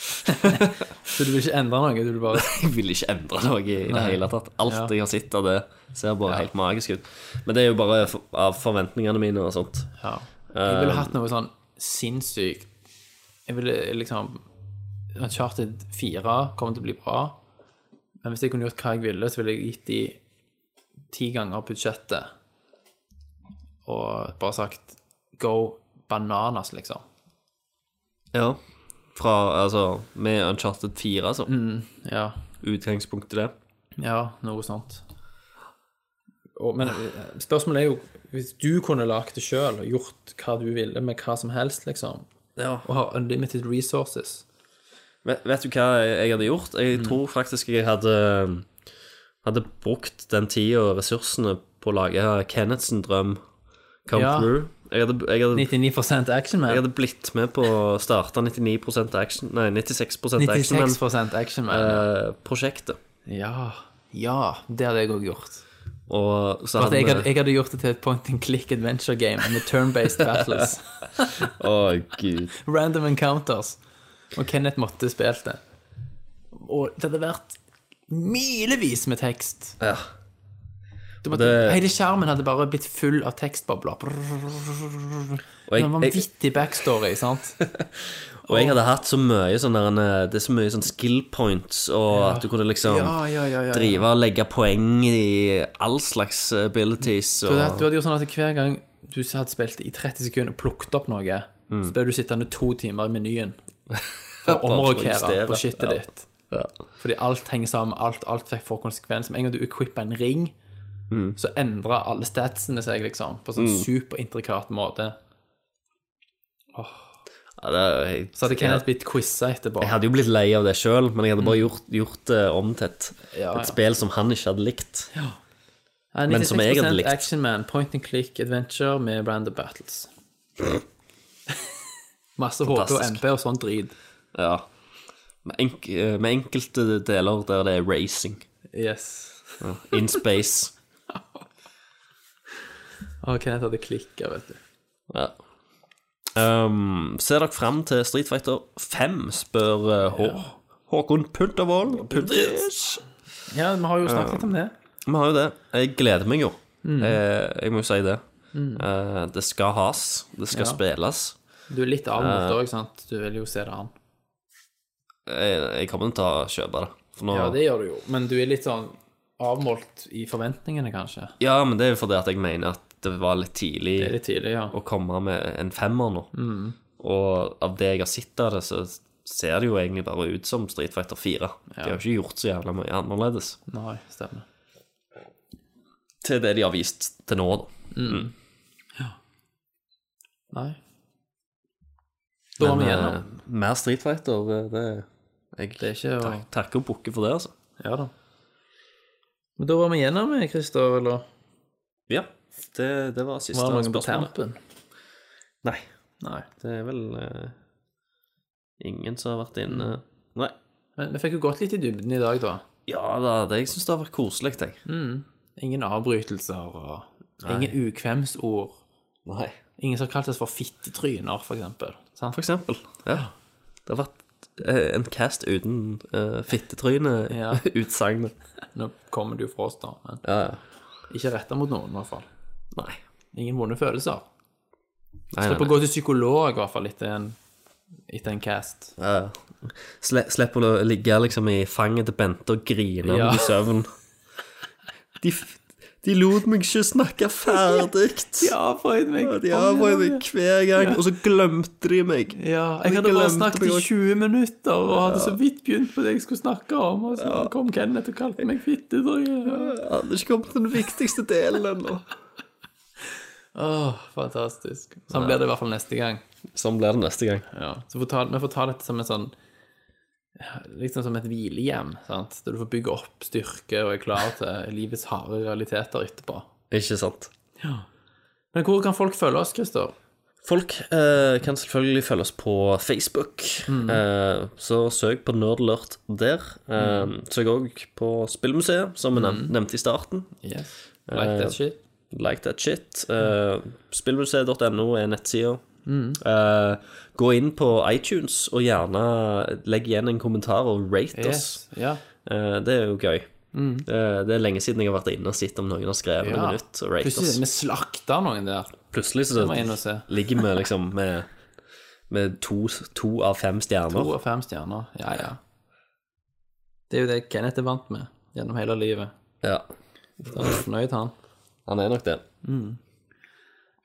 [SPEAKER 5] så du vil ikke endre noe? Du vil bare
[SPEAKER 6] Jeg vil ikke endre noe i det
[SPEAKER 5] Nei.
[SPEAKER 6] hele tatt. Alt
[SPEAKER 5] Ja.
[SPEAKER 6] jeg har sett av det, ser bare helt magisk ut. Men det er jo bare for, av forventningene mine og sånt.
[SPEAKER 5] Ja. Jeg ville hatt noe sånn sinnssykt Jeg ville liksom Uncharted 4 kommer til å bli bra, men hvis jeg kunne gjort hva jeg ville, så ville jeg gitt de ti ganger budsjettet og bare sagt go bananas, liksom.
[SPEAKER 6] Ja. Fra, altså, med Uncharted 4, altså.
[SPEAKER 5] Mm. Ja.
[SPEAKER 6] Utgangspunktet det.
[SPEAKER 5] ja noe sånt. Og, men eh, spørsmålet er jo Hvis du kunne lagd det sjøl og gjort hva du ville med hva som helst, liksom, og har unlimited resources
[SPEAKER 6] Vet, vet du hva jeg, jeg hadde gjort?
[SPEAKER 5] Mm.
[SPEAKER 6] Jeg tror faktisk jeg hadde, hadde brukt den tida og ressursene på å lage Kenneth sin drøm come
[SPEAKER 5] Ja.
[SPEAKER 6] through. Jeg hadde, jeg, hadde,
[SPEAKER 5] 99 action, man.
[SPEAKER 6] jeg hadde blitt med på å starte 99 action, nei, 96 action, men
[SPEAKER 5] 96 action man.
[SPEAKER 6] eh, prosjektet.
[SPEAKER 5] ja. ja, det hadde jeg òg gjort.
[SPEAKER 6] Og så
[SPEAKER 5] At
[SPEAKER 6] hadde
[SPEAKER 5] jeg, hadde, jeg hadde gjort det til et point and click adventure game med turn-based battles.
[SPEAKER 6] Å, gud.
[SPEAKER 5] Random encounters. Og Kenneth måtte spilt det. Og det hadde vært milevis med tekst.
[SPEAKER 6] Ja.
[SPEAKER 5] Du måtte,
[SPEAKER 6] Det-
[SPEAKER 5] Hele skjermen hadde bare blitt full av tekstbobler. Brrr,
[SPEAKER 6] Og
[SPEAKER 5] Det
[SPEAKER 6] jeg, Sånn.
[SPEAKER 5] var en
[SPEAKER 6] jeg,
[SPEAKER 5] vanvittig backstory, sant?
[SPEAKER 6] og jeg hadde hatt så mye sånn der en, eh, Det er så mye sånn skill points, og at du kunne liksom
[SPEAKER 5] Ja, ja, ja, ja, ja.
[SPEAKER 6] drive og legge poeng i all slags abilities.
[SPEAKER 5] Du
[SPEAKER 6] Og,
[SPEAKER 5] hadde, du hadde gjort sånn at hver gang du hadde spilt i 30 sekunder og plukket opp noe, så ble du sittende to timer i menyen for å
[SPEAKER 6] Mm. for å
[SPEAKER 5] omrokere
[SPEAKER 6] justere.
[SPEAKER 5] på shitet
[SPEAKER 6] Ja.
[SPEAKER 5] ditt. Fordi alt henger sammen, alt, alt fikk for konsekvens. Med en gang du equippa en ring,
[SPEAKER 6] Mm.
[SPEAKER 5] så endra alle statsene seg, liksom, på sånn superintrikat måte.
[SPEAKER 6] ja, det, er- jeg,
[SPEAKER 5] Så hadde
[SPEAKER 6] jeg,
[SPEAKER 5] Kenneth blitt quiza etterpå.
[SPEAKER 6] jeg hadde jo blitt lei av det sjøl, men jeg hadde bare gjort, gjort det om til et,
[SPEAKER 5] Ja, ja.
[SPEAKER 6] et spill som han ikke hadde likt.
[SPEAKER 5] Nei,
[SPEAKER 6] men som jeg hadde
[SPEAKER 5] 96%
[SPEAKER 6] likt.
[SPEAKER 5] Action Man, point and click adventure med random battles. Masse HP og
[SPEAKER 6] Fantastisk.
[SPEAKER 5] MP og sånn drit.
[SPEAKER 6] Ja. Med, enk, eh, med enkelte deler der det er racing.
[SPEAKER 5] Yes.
[SPEAKER 6] Ja. In space.
[SPEAKER 5] Og Kenneth hadde klikka, vet du.
[SPEAKER 6] Ja. Um, ser dere fram til Street Fighter 5, spør eh, Hå Håkon Puntervold. Puntis.
[SPEAKER 5] Ja, vi har jo snakket litt om det.
[SPEAKER 6] Vi har jo det. Jeg gleder meg jo.
[SPEAKER 5] Mm.
[SPEAKER 6] Eh, jeg må jo si det. Eh, det skal has. Det skal
[SPEAKER 5] Ja.
[SPEAKER 6] spilles.
[SPEAKER 5] Du er litt
[SPEAKER 6] Eh.
[SPEAKER 5] avmålt òg, sant? Du vil jo se det an.
[SPEAKER 6] Jeg, jeg kommer til å kjøpe det. For nå
[SPEAKER 5] Ja, det gjør du jo, men du er litt sånn avmålt i forventningene, kanskje.
[SPEAKER 6] Ja, men det er jo fordi at jeg mener at det var litt tidlig
[SPEAKER 5] Det er litt Mm. tidlig, ja.
[SPEAKER 6] å komme med en femmer nå. Og av det jeg har sett av det, så ser det jo egentlig bare ut som Street Fighter 4. De har jo ikke gjort så jævla mye annerledes
[SPEAKER 5] Nei, stemmer.
[SPEAKER 6] til det de har vist til nå, da.
[SPEAKER 5] Nei. Da var vi
[SPEAKER 6] Men,
[SPEAKER 5] gjennom.
[SPEAKER 6] eh, mer Street Fighter, eh, det jeg
[SPEAKER 5] Det er ikke å
[SPEAKER 6] tak- takker og bukker for det, altså.
[SPEAKER 5] Ja da. Men da var vi gjennom, eh, Christer, eller
[SPEAKER 6] Ja, det, det var siste
[SPEAKER 5] var det noen på
[SPEAKER 6] spørsmålet.
[SPEAKER 5] tampen?
[SPEAKER 6] Nei,
[SPEAKER 5] Nei.
[SPEAKER 6] det er vel eh, ingen som har vært inne
[SPEAKER 5] Mm.
[SPEAKER 6] Nei.
[SPEAKER 5] Men vi fikk jo gått litt i dybden i dag, da.
[SPEAKER 6] Ja da, det, jeg syns det har vært koselig, jeg.
[SPEAKER 5] Ingen avbrytelser og ingen ukvemsord.
[SPEAKER 6] Nei.
[SPEAKER 5] Ingen som har kalt oss for fittetryner, for eksempel. Sant?
[SPEAKER 6] For eksempel. Ja. Det har vært eh, en cast uten uh,
[SPEAKER 5] Ja.
[SPEAKER 6] fittetryne-utsagnet.
[SPEAKER 5] Nå kommer det jo fra oss, da. Men
[SPEAKER 6] Ja. ja.
[SPEAKER 5] ikke retta mot noen, i hvert fall.
[SPEAKER 6] Nei.
[SPEAKER 5] Ingen vonde følelser.
[SPEAKER 6] nei,
[SPEAKER 5] Slipp
[SPEAKER 6] nei,
[SPEAKER 5] å gå til psykolog, i hvert fall, etter en, etter en cast.
[SPEAKER 6] nei. Ja, ja. Sle, Slipp å ligge liksom i fanget til Bente og grine
[SPEAKER 5] Ja.
[SPEAKER 6] ja. i søvn. De, f- de lot meg ikke snakke ferdig.
[SPEAKER 5] avbrøt meg.
[SPEAKER 6] De avbrøt meg hver gang, og så glemte de meg.
[SPEAKER 5] Ja,
[SPEAKER 6] Og
[SPEAKER 5] jeg
[SPEAKER 6] de
[SPEAKER 5] hadde bare
[SPEAKER 6] glemte
[SPEAKER 5] snakket
[SPEAKER 6] meg
[SPEAKER 5] i
[SPEAKER 6] også.
[SPEAKER 5] 20 minutter og hadde så vidt begynt på det jeg skulle snakke om, og så kom Kenneth og kalte meg fittetryne.
[SPEAKER 6] Jeg hadde ikke kommet til den viktigste delen ennå.
[SPEAKER 5] Åh, fantastisk. Sånn blir det i hvert fall neste gang.
[SPEAKER 6] Sånn blir det neste gang.
[SPEAKER 5] Ja. Så får ta, vi får ta dette som en sånn Liksom som et hvilehjem, sant? der du får bygge opp styrke og er klar til livets harde realiteter etterpå.
[SPEAKER 6] Ikke sant.
[SPEAKER 5] Men hvor kan folk følge oss, Christer?
[SPEAKER 6] Folk eh, kan selvfølgelig følge oss på Facebook,
[SPEAKER 5] Mm.
[SPEAKER 6] eh, så søk på Nerdlurt der. Eh,
[SPEAKER 5] Mm.
[SPEAKER 6] Søk òg på Spillmuseet, som vi nev nevnte i starten. Eh,
[SPEAKER 5] Yes. Mm. Eh, Like that shit.
[SPEAKER 6] Like that shit. Eh, Spillmuseet.no er nettsida.
[SPEAKER 5] Mm.
[SPEAKER 6] Eh, gå inn på iTunes og gjerne legg igjen en kommentar og rate
[SPEAKER 5] Yes.
[SPEAKER 6] oss.
[SPEAKER 5] Ja.
[SPEAKER 6] Eh, det er jo gøy. Eh, det er lenge siden jeg har vært inne og sett om noen har skrevet
[SPEAKER 5] ja.
[SPEAKER 6] noe nytt og rate
[SPEAKER 5] Plutselig
[SPEAKER 6] oss.
[SPEAKER 5] vi slakta noen der.
[SPEAKER 6] Plutselig så
[SPEAKER 5] må jeg inn og se.
[SPEAKER 6] ligger vi liksom med, med to, to av fem
[SPEAKER 5] To
[SPEAKER 6] stjerner.
[SPEAKER 5] og fem stjerner. Ja, ja. Det er jo det Kenneth er vant med gjennom hele livet.
[SPEAKER 6] Ja,
[SPEAKER 5] Han er fornøyd, han.
[SPEAKER 6] han er nok det.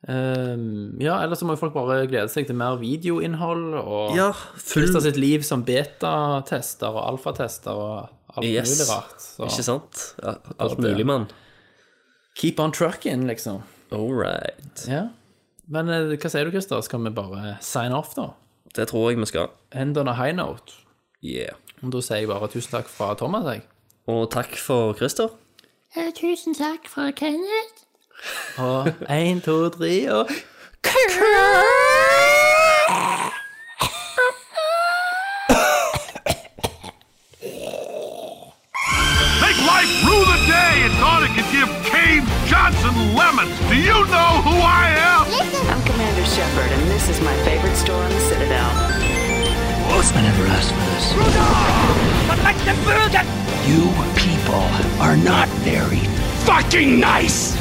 [SPEAKER 5] Ehm, ja, ellers så må jo folk bare glede seg til mer videoinnhold og
[SPEAKER 6] Ja,
[SPEAKER 5] Christer sitt liv som betatester og alfatester og alt
[SPEAKER 6] Yes.
[SPEAKER 5] mulig rart. Så
[SPEAKER 6] Ikke sant? Ja, alt
[SPEAKER 5] det.
[SPEAKER 6] mulig, mann.
[SPEAKER 5] keep on trucking, liksom.
[SPEAKER 6] All right.
[SPEAKER 5] Ja. Men eh, hva sier du, Christer? Skal vi bare sign off, da?
[SPEAKER 6] Det tror jeg vi skal.
[SPEAKER 5] End on a high note.
[SPEAKER 6] Yeah.
[SPEAKER 5] Og Da sier jeg bare tusen takk fra Thomas, jeg.
[SPEAKER 6] Og takk for Christer.
[SPEAKER 9] Eh, Tusen takk fra Kenneth.
[SPEAKER 5] Og én, to, tre, og
[SPEAKER 2] Take life through the day and thought it could give Cave Johnson lemons. Do you know who I am?
[SPEAKER 3] I'm Commander Shepard, and this is my favorite store on the Citadel.
[SPEAKER 4] Horseman never asked for this. You people are not very fucking nice!